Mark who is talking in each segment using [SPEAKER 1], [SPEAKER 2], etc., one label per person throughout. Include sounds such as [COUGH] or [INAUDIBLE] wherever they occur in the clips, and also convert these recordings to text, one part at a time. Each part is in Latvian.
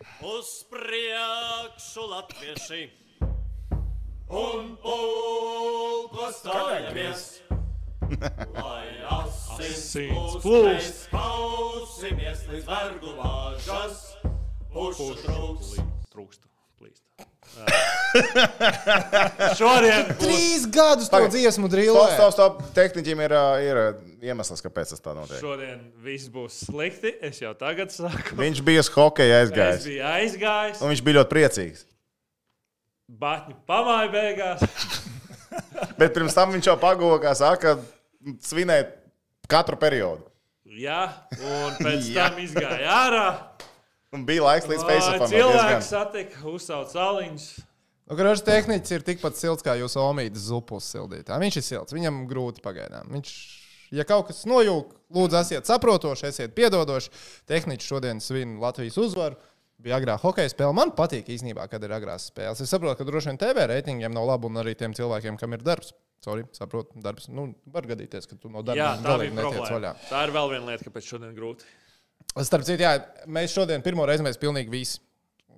[SPEAKER 1] Uz priekšu latvieši!
[SPEAKER 2] Un pulko
[SPEAKER 3] [LAUGHS]
[SPEAKER 2] stājamies, lai
[SPEAKER 3] Asins
[SPEAKER 2] asins
[SPEAKER 3] plūst.
[SPEAKER 2] plūst, pausimies līdz vergu vāžas, pušu trūks.
[SPEAKER 3] Trūkst. plīst.
[SPEAKER 4] [LAUGHS]
[SPEAKER 3] Ā. Šorien Uh, būs,
[SPEAKER 4] Trīs gadus to
[SPEAKER 5] Tagad.
[SPEAKER 4] dziesmu
[SPEAKER 5] Stop,
[SPEAKER 4] drillē.
[SPEAKER 5] stop, stop. Tehniķim ir, ā, ir ā, iemesls, kāpēc tas tā notiek.
[SPEAKER 3] šodien viss būs slikti. Es jau tagad saku,
[SPEAKER 5] Viņš bija uz hokeja
[SPEAKER 3] es
[SPEAKER 5] aizgājis.
[SPEAKER 3] biju aizgājis.
[SPEAKER 5] Un viņš bija ļoti priecīgs.
[SPEAKER 3] Batņu pamāja beigās.
[SPEAKER 5] Bet pirms tam viņš jau pagoja, kā saka, svinēt katru periodu.
[SPEAKER 3] Jā, un pēc
[SPEAKER 5] Jā.
[SPEAKER 3] tam izgāja ārā.
[SPEAKER 5] Un bija laiks līdz
[SPEAKER 3] Ā,
[SPEAKER 5] Facebookam.
[SPEAKER 3] Cilvēks satika, uzsauca saliņas.
[SPEAKER 4] Nu, Gražs tehnicis ir tikpat silts kā jūsu omīdas zupus sildītā. Viņš ir silts, viņam grūti pagaidām. Viņš, ja kaut kas nojūg, lūdzu, esiet saprotoši, esiet piedodoši. Tehnicis šodien svin Latvijas uzvaru. Bija agrā hokeja spēle. Man patīk īstenībā, kad ir agrās spēles. Es saprotu, ka droši vien TV reitingiem nav labi un arī tiem cilvēkiem, kam ir darbs. Sorry, saprotu, darbs. Nu, var gadīties, ka tu no darba
[SPEAKER 3] Jā, tā bija
[SPEAKER 4] galīgi netiec
[SPEAKER 3] problēma.
[SPEAKER 4] vaļā.
[SPEAKER 3] Tā ir vēl viena lieta, kāpēc šodien grūti.
[SPEAKER 4] Starp citu, jā, mēs šodien pirmo reizi mēs pilnīgi visi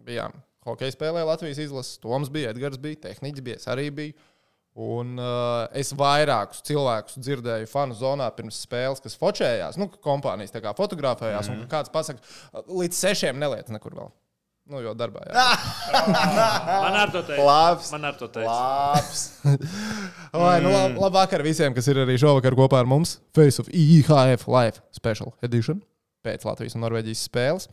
[SPEAKER 4] bijām. Hokejas spēlē Latvijas izlases. Toms bija, Edgars bija, Tehniķis bija, es arī bija. Un uh, es vairākus cilvēkus dzirdēju fanu zonā pirms spēles, kas focējās. Nu, ka kompānijas tā kā fotografējās. Mm -hmm. Kāds pasakā, līdz sešiem neliec nekur vēl. Nu, jo darbā jau tādā.
[SPEAKER 3] Man ar to teikt.
[SPEAKER 5] Labs,
[SPEAKER 3] Man ar to teikt.
[SPEAKER 5] labs.
[SPEAKER 4] Lai, nu, lab, labvakar visiem, kas ir arī šovakar kopā ar mums. Face of IHF Live Special Edition pēc Latvijas un Norvēģijas spēles.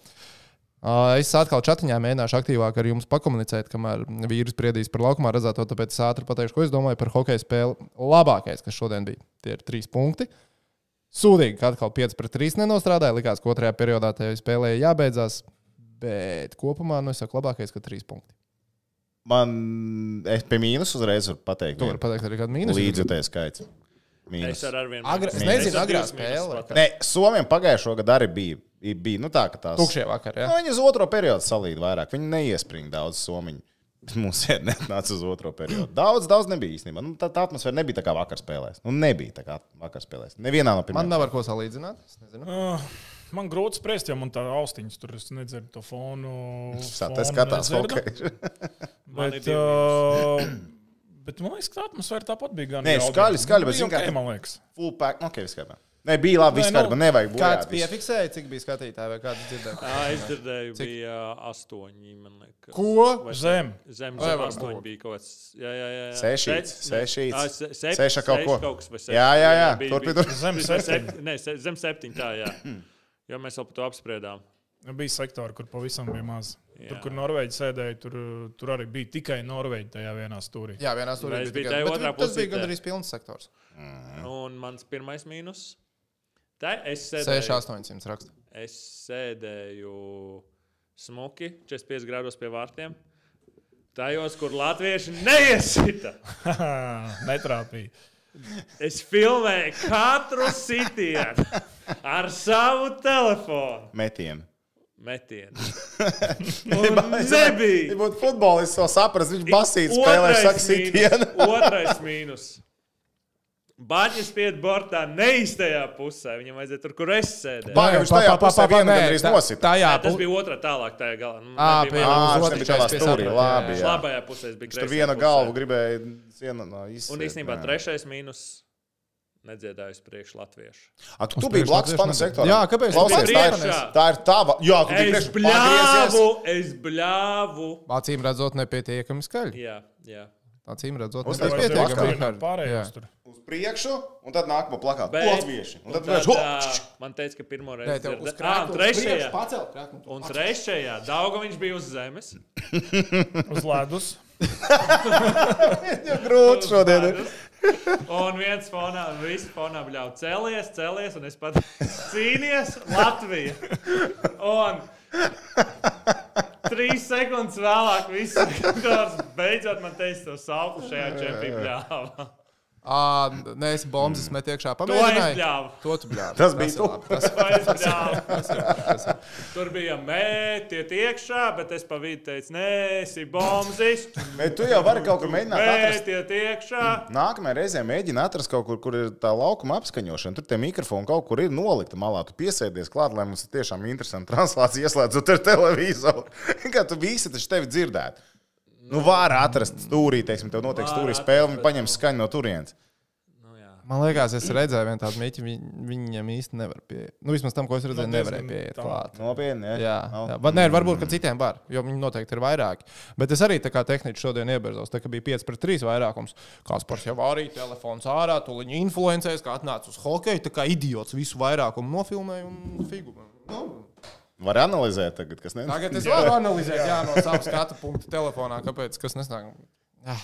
[SPEAKER 4] Uh, Es atkal čatiņā mēģināšu aktīvāk ar jums pakomunicēt, kamēr vīrs priedīs par laukumā redzēto. Tāpēc es ātri pateikšu, ko es domāju par hokeja spēli. Labākais, kas šodien bija, tie ir trīs punkti. Sūdīgi, ka atkal 5 pret 3 nenostrādāja. Likās, ka otrajā periodā tajā spēlē jābeidzās. Bet kopumā, nu, es saku, labākais, ka 3 punkti.
[SPEAKER 5] Man, es pie mīnus uzreiz varu pateikt.
[SPEAKER 4] To var pateikt arī kādu mīnusu.
[SPEAKER 5] Līdzjutējs skaits.
[SPEAKER 3] Es
[SPEAKER 5] Mīnus.
[SPEAKER 3] ar arvien.
[SPEAKER 4] Agra- es
[SPEAKER 3] mīnus.
[SPEAKER 4] nezinu,
[SPEAKER 3] Es ar
[SPEAKER 4] agrā
[SPEAKER 3] divas mīnus
[SPEAKER 4] spēlē.
[SPEAKER 3] pat.
[SPEAKER 5] Nē, Somijam pagājušā gada arī bija. i- bija nu tā, ka tās,
[SPEAKER 4] Tukšie vakar, jā.
[SPEAKER 5] Nu, viņi uz otro periodu salīdz vairāk. Viņi neiespringa daudz somiņu. [LAUGHS] Mums ir nenāca uz otro periodu. Daudz, daudz nebija īstenībā. Nu, tā, tā atmosfēra nebija tā kā vakar spēlēs. Nu, nebija tā kā vakar spēlēs. Nevienā no
[SPEAKER 4] Man
[SPEAKER 5] pirmajām.
[SPEAKER 4] nav ar ko salīdzināt. Es nezinu.
[SPEAKER 6] Man grūti spriest, jo man tā austiņas tur es nedzirdu to
[SPEAKER 5] [LAUGHS]
[SPEAKER 6] fonu.
[SPEAKER 5] Sā-
[SPEAKER 6] fonu
[SPEAKER 5] Tas skatās,
[SPEAKER 6] nedzirdu.
[SPEAKER 5] ok.
[SPEAKER 6] Bet,
[SPEAKER 3] ir divi
[SPEAKER 6] uh, [CLEARS THROAT] bet man liekas, ka tā atmosfēra tāpat bija gan
[SPEAKER 5] Nē,
[SPEAKER 6] jauka.
[SPEAKER 5] skaļi, skaļi, bet
[SPEAKER 6] Bija
[SPEAKER 5] zini kā-
[SPEAKER 6] okei, man liekas.
[SPEAKER 5] [LAUGHS] Full pack. Nu, Ok, viss kārtībā. Nē, bija labi. Viss
[SPEAKER 6] Nē, nu,
[SPEAKER 5] kārtībā. Nevajag būt.
[SPEAKER 4] Kāds piefiksēja, cik bija skatītāji vai kāds dzirdēja?
[SPEAKER 3] Ā, Es dzirdēju,
[SPEAKER 4] Cik?
[SPEAKER 3] bija astoņi. man liekas.
[SPEAKER 4] Ko?
[SPEAKER 3] Vai-
[SPEAKER 6] Zem.
[SPEAKER 3] Zem
[SPEAKER 4] Vai
[SPEAKER 3] zem
[SPEAKER 4] var
[SPEAKER 3] astoņi
[SPEAKER 4] būt?
[SPEAKER 3] bija kaut kas. Jā, jā, jā. jā.
[SPEAKER 5] Sešīts,
[SPEAKER 3] Sec-
[SPEAKER 5] sešīts.
[SPEAKER 3] Ā, se- sep-
[SPEAKER 5] Seša kaut
[SPEAKER 3] seši
[SPEAKER 5] ko.
[SPEAKER 3] kaut kas vai septiņi.
[SPEAKER 5] Jā, jā, jā.
[SPEAKER 3] bija-
[SPEAKER 5] Turpin,
[SPEAKER 3] bija-
[SPEAKER 5] turpin.
[SPEAKER 6] Zem
[SPEAKER 3] bija
[SPEAKER 6] septiņi.
[SPEAKER 3] sep- Nē, se- zem septiņi, tā jā. Jo mēs vēl par to apspriedām.
[SPEAKER 6] Nu, Bija sektori, kur pavisam bija maz.
[SPEAKER 3] Jā.
[SPEAKER 6] Tur, kur Norvēģi sēdēja, tur, tur arī bija tikai Norvēģi tajā vienā stūrī.
[SPEAKER 4] Jā, vienā stūrī
[SPEAKER 3] Mēs
[SPEAKER 4] bija
[SPEAKER 3] bija
[SPEAKER 4] tikai-
[SPEAKER 3] tajā
[SPEAKER 4] bet
[SPEAKER 3] otrā
[SPEAKER 4] Tas bija
[SPEAKER 3] pusītē.
[SPEAKER 4] gandrīz pilns sektors.
[SPEAKER 3] Un mans pirmais mīnus. Tā es sēdēju.
[SPEAKER 4] 6800 raksta.
[SPEAKER 3] Es sēdēju smuki 45 grādos pie vārtiem. Tajos, kur latvieši neiesita.
[SPEAKER 6] [LAUGHS] Netrāpīja.
[SPEAKER 3] Es filmēju katru sitienu ar savu telefonu.
[SPEAKER 5] Metienu.
[SPEAKER 3] Metienu.
[SPEAKER 5] [LAUGHS] Ja
[SPEAKER 3] Un
[SPEAKER 5] būtu- Ja
[SPEAKER 3] nebija.
[SPEAKER 5] būtu futbolists, to saprast, viņš basīt spēlē,
[SPEAKER 3] Otrais
[SPEAKER 5] saka,
[SPEAKER 3] mīnus,
[SPEAKER 5] [LAUGHS] sitienu.
[SPEAKER 3] Otrais mīnus. Bāģis spied bortā neiztajā pusē. Viņam aiziet tur, kur es sēdēju.
[SPEAKER 5] Pārējiem viņš tajā pusē vienu gandrīz nosita.
[SPEAKER 4] Tajā
[SPEAKER 3] Tas bija otrā tālāk tajā galā. Nu,
[SPEAKER 4] Ā,
[SPEAKER 3] nebija
[SPEAKER 4] pie-
[SPEAKER 3] mana-
[SPEAKER 5] Ā,
[SPEAKER 4] uz
[SPEAKER 5] viņš
[SPEAKER 4] otru
[SPEAKER 5] nebija tādā
[SPEAKER 4] četrdesmit
[SPEAKER 5] stūrī.
[SPEAKER 4] apmēram,
[SPEAKER 5] Labi,
[SPEAKER 4] jā.
[SPEAKER 5] jā.
[SPEAKER 3] Labajā pusē es biju.
[SPEAKER 5] Viņš tur
[SPEAKER 3] kreisajā
[SPEAKER 5] vienu
[SPEAKER 3] pusē.
[SPEAKER 5] galvu gribēja sienā no izsēst.
[SPEAKER 3] Un īstenībā trešais mīnus nedziedājis priekš latviešu.
[SPEAKER 5] Ak, tu
[SPEAKER 4] Uz
[SPEAKER 5] biji
[SPEAKER 4] priekšu
[SPEAKER 5] blakus
[SPEAKER 4] latviešu
[SPEAKER 5] fanu
[SPEAKER 4] nedēļu.
[SPEAKER 5] sektorā.
[SPEAKER 4] Jā, kāpēc?
[SPEAKER 5] Klausies,
[SPEAKER 3] Tu biji
[SPEAKER 5] tā ir,
[SPEAKER 3] priekšā.
[SPEAKER 5] tā ir tava. Jā, tu biji
[SPEAKER 3] Es
[SPEAKER 5] priekšā.
[SPEAKER 3] bļāvu,
[SPEAKER 5] Pagriezies.
[SPEAKER 3] es bļāvu.
[SPEAKER 4] Acīm redzot, nepietiekami skaļi.
[SPEAKER 3] Jā, jā.
[SPEAKER 4] Acīm redzot,
[SPEAKER 5] Uztaisīt
[SPEAKER 4] nepietiekami
[SPEAKER 5] plakātu.
[SPEAKER 4] skaļi.
[SPEAKER 6] Pārējās
[SPEAKER 4] Jā.
[SPEAKER 6] tur.
[SPEAKER 5] Uz priekšu, un tad nākamo plakātu.
[SPEAKER 3] Bet-
[SPEAKER 5] Latvieši. Un tad
[SPEAKER 3] un tad,
[SPEAKER 5] vienkārši, ho!
[SPEAKER 3] ā, man teica, ka pirmo reizi
[SPEAKER 4] Nē, tev
[SPEAKER 3] dzird- Ā,
[SPEAKER 4] uz
[SPEAKER 3] un
[SPEAKER 4] krāklu, uz priekšu,
[SPEAKER 3] trešajā.
[SPEAKER 4] pacel krāklu.
[SPEAKER 3] Un trešajā daudzā viņš bija uz zemes.
[SPEAKER 6] Uz ledus.
[SPEAKER 5] [LAUGHS] Grūti šodien. ir.
[SPEAKER 3] Un viens fonā, viss fonā bļauj, cēlies, cēlies, un es pat cīnījos Latviju. Un trīs sekundes vēlāk, viss sektors beidzot man teica to sauku šajā čempionā.
[SPEAKER 4] Ā, nē, es bombas mm. metu iekšā.
[SPEAKER 3] es bļāvu.
[SPEAKER 4] Pamēģināju. To tu bļāvi.
[SPEAKER 5] Tas bija
[SPEAKER 4] ir
[SPEAKER 5] tu.
[SPEAKER 4] labi, Tas,
[SPEAKER 3] Vai es bļāvu? Tur bija mētiet iekšā, bet es pa vidu teicu, nē, esi bombzists.
[SPEAKER 5] Bet tu jau vari kaut kur mēģināt atrast.
[SPEAKER 3] Mētiet iekšā.
[SPEAKER 5] Nākamajā reizē mēģini atrast kaut kur, kur ir tā laukuma apskaņošana. Tur tie mikrofoni kaut kur ir nolikti malā. Tu piesēdies klāt, lai mums ir tiešām interesanti translācija, ieslēdzot ar televizoru. [LAUGHS] Kā tu visi taču tevi dzirdētu. Nu, var atrast stūrī, teiksim, tev notiek stūrī spēle, un
[SPEAKER 3] nu-
[SPEAKER 5] paņem skaņu no turienes.
[SPEAKER 4] man liekas, es redzēju, viena tāda mīķa, viņiem īsti nevar pieiet. Nu, vismaz tam, ko es redzēju,
[SPEAKER 6] Nu,
[SPEAKER 4] nevarēja
[SPEAKER 6] diezgan
[SPEAKER 4] pieiet
[SPEAKER 6] tā.
[SPEAKER 4] klāt.
[SPEAKER 5] Nopietni, jā.
[SPEAKER 4] Jā,
[SPEAKER 5] Nav.
[SPEAKER 4] jā. Bet, nē, varbūt, ka citiem var, jo viņi noteikti ir vairāki. Bet es arī tā kā tehniski šodien iebērzos, tā kā bija 5 pret 3 vairākums. Kaspars jau arī telefons ārā, to viņa influencēs, kā atnāca uz hokeju, tā kā idiots visu vairākumu nofilmēja un figu. Nu,
[SPEAKER 5] Var analizēt tagad, kas nenotiek.
[SPEAKER 4] tagad es varu analizēt jā, no sava skatu punkta telefonā, kāpēc, kas nesnāk. Ah.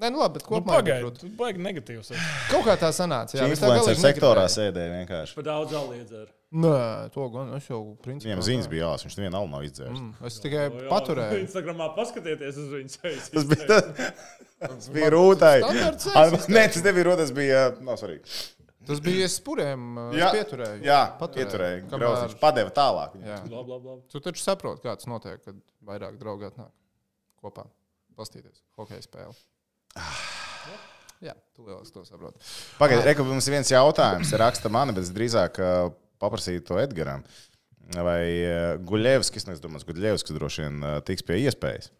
[SPEAKER 4] Nē, nu labi, bet
[SPEAKER 6] Nu,
[SPEAKER 4] kopumā bija grūti.
[SPEAKER 6] Pagaidiet, baigi negatīvs. esi.
[SPEAKER 4] Kaut kā tā sanāca. Jā, es tā
[SPEAKER 5] Influencer
[SPEAKER 4] galīgi
[SPEAKER 5] sektorā
[SPEAKER 4] negribēju.
[SPEAKER 5] sēdēja vienkārši.
[SPEAKER 3] Pa daudz zaliedz ar.
[SPEAKER 4] Nē, to gan es jau principā.
[SPEAKER 5] Viņam ziņas bija jāsaka, viņš nevienu nav izdzēris. Mm.
[SPEAKER 4] Es tikai
[SPEAKER 3] O, Nu, jā,
[SPEAKER 4] paturēju.
[SPEAKER 3] Instagramā paskatieties uz viņu ceļu.
[SPEAKER 5] Tas bija tas, tas [LAUGHS] bija rūtai.
[SPEAKER 4] Standarts
[SPEAKER 5] Ai,
[SPEAKER 4] seks
[SPEAKER 5] Nē, tas nebija rūtai, tas bija, nav svarīgi.
[SPEAKER 4] Tas bija es spurēm, jā,
[SPEAKER 5] Jā,
[SPEAKER 4] es pieturēju.
[SPEAKER 5] Jā,
[SPEAKER 4] Paturēju,
[SPEAKER 5] paturēja.
[SPEAKER 4] kamēr-
[SPEAKER 5] Grauziņš padeva tālāk.
[SPEAKER 4] Jā.
[SPEAKER 3] Labi, labi, labi.
[SPEAKER 4] Tu taču saproti, kā tas notiek, kad vairāk draugu atnāk kopā. Pastīties, hokeja spēle. Jā, tu lieliski to saproti.
[SPEAKER 5] Pagaidiet, reku, mums ir viens jautājums. Raksta man, bet es drīzāk ā, paprasīju to Edgaram. Vai Guļevskis, nu, es domāju, Guļevskis droši vien ā, tiks pie iespējas.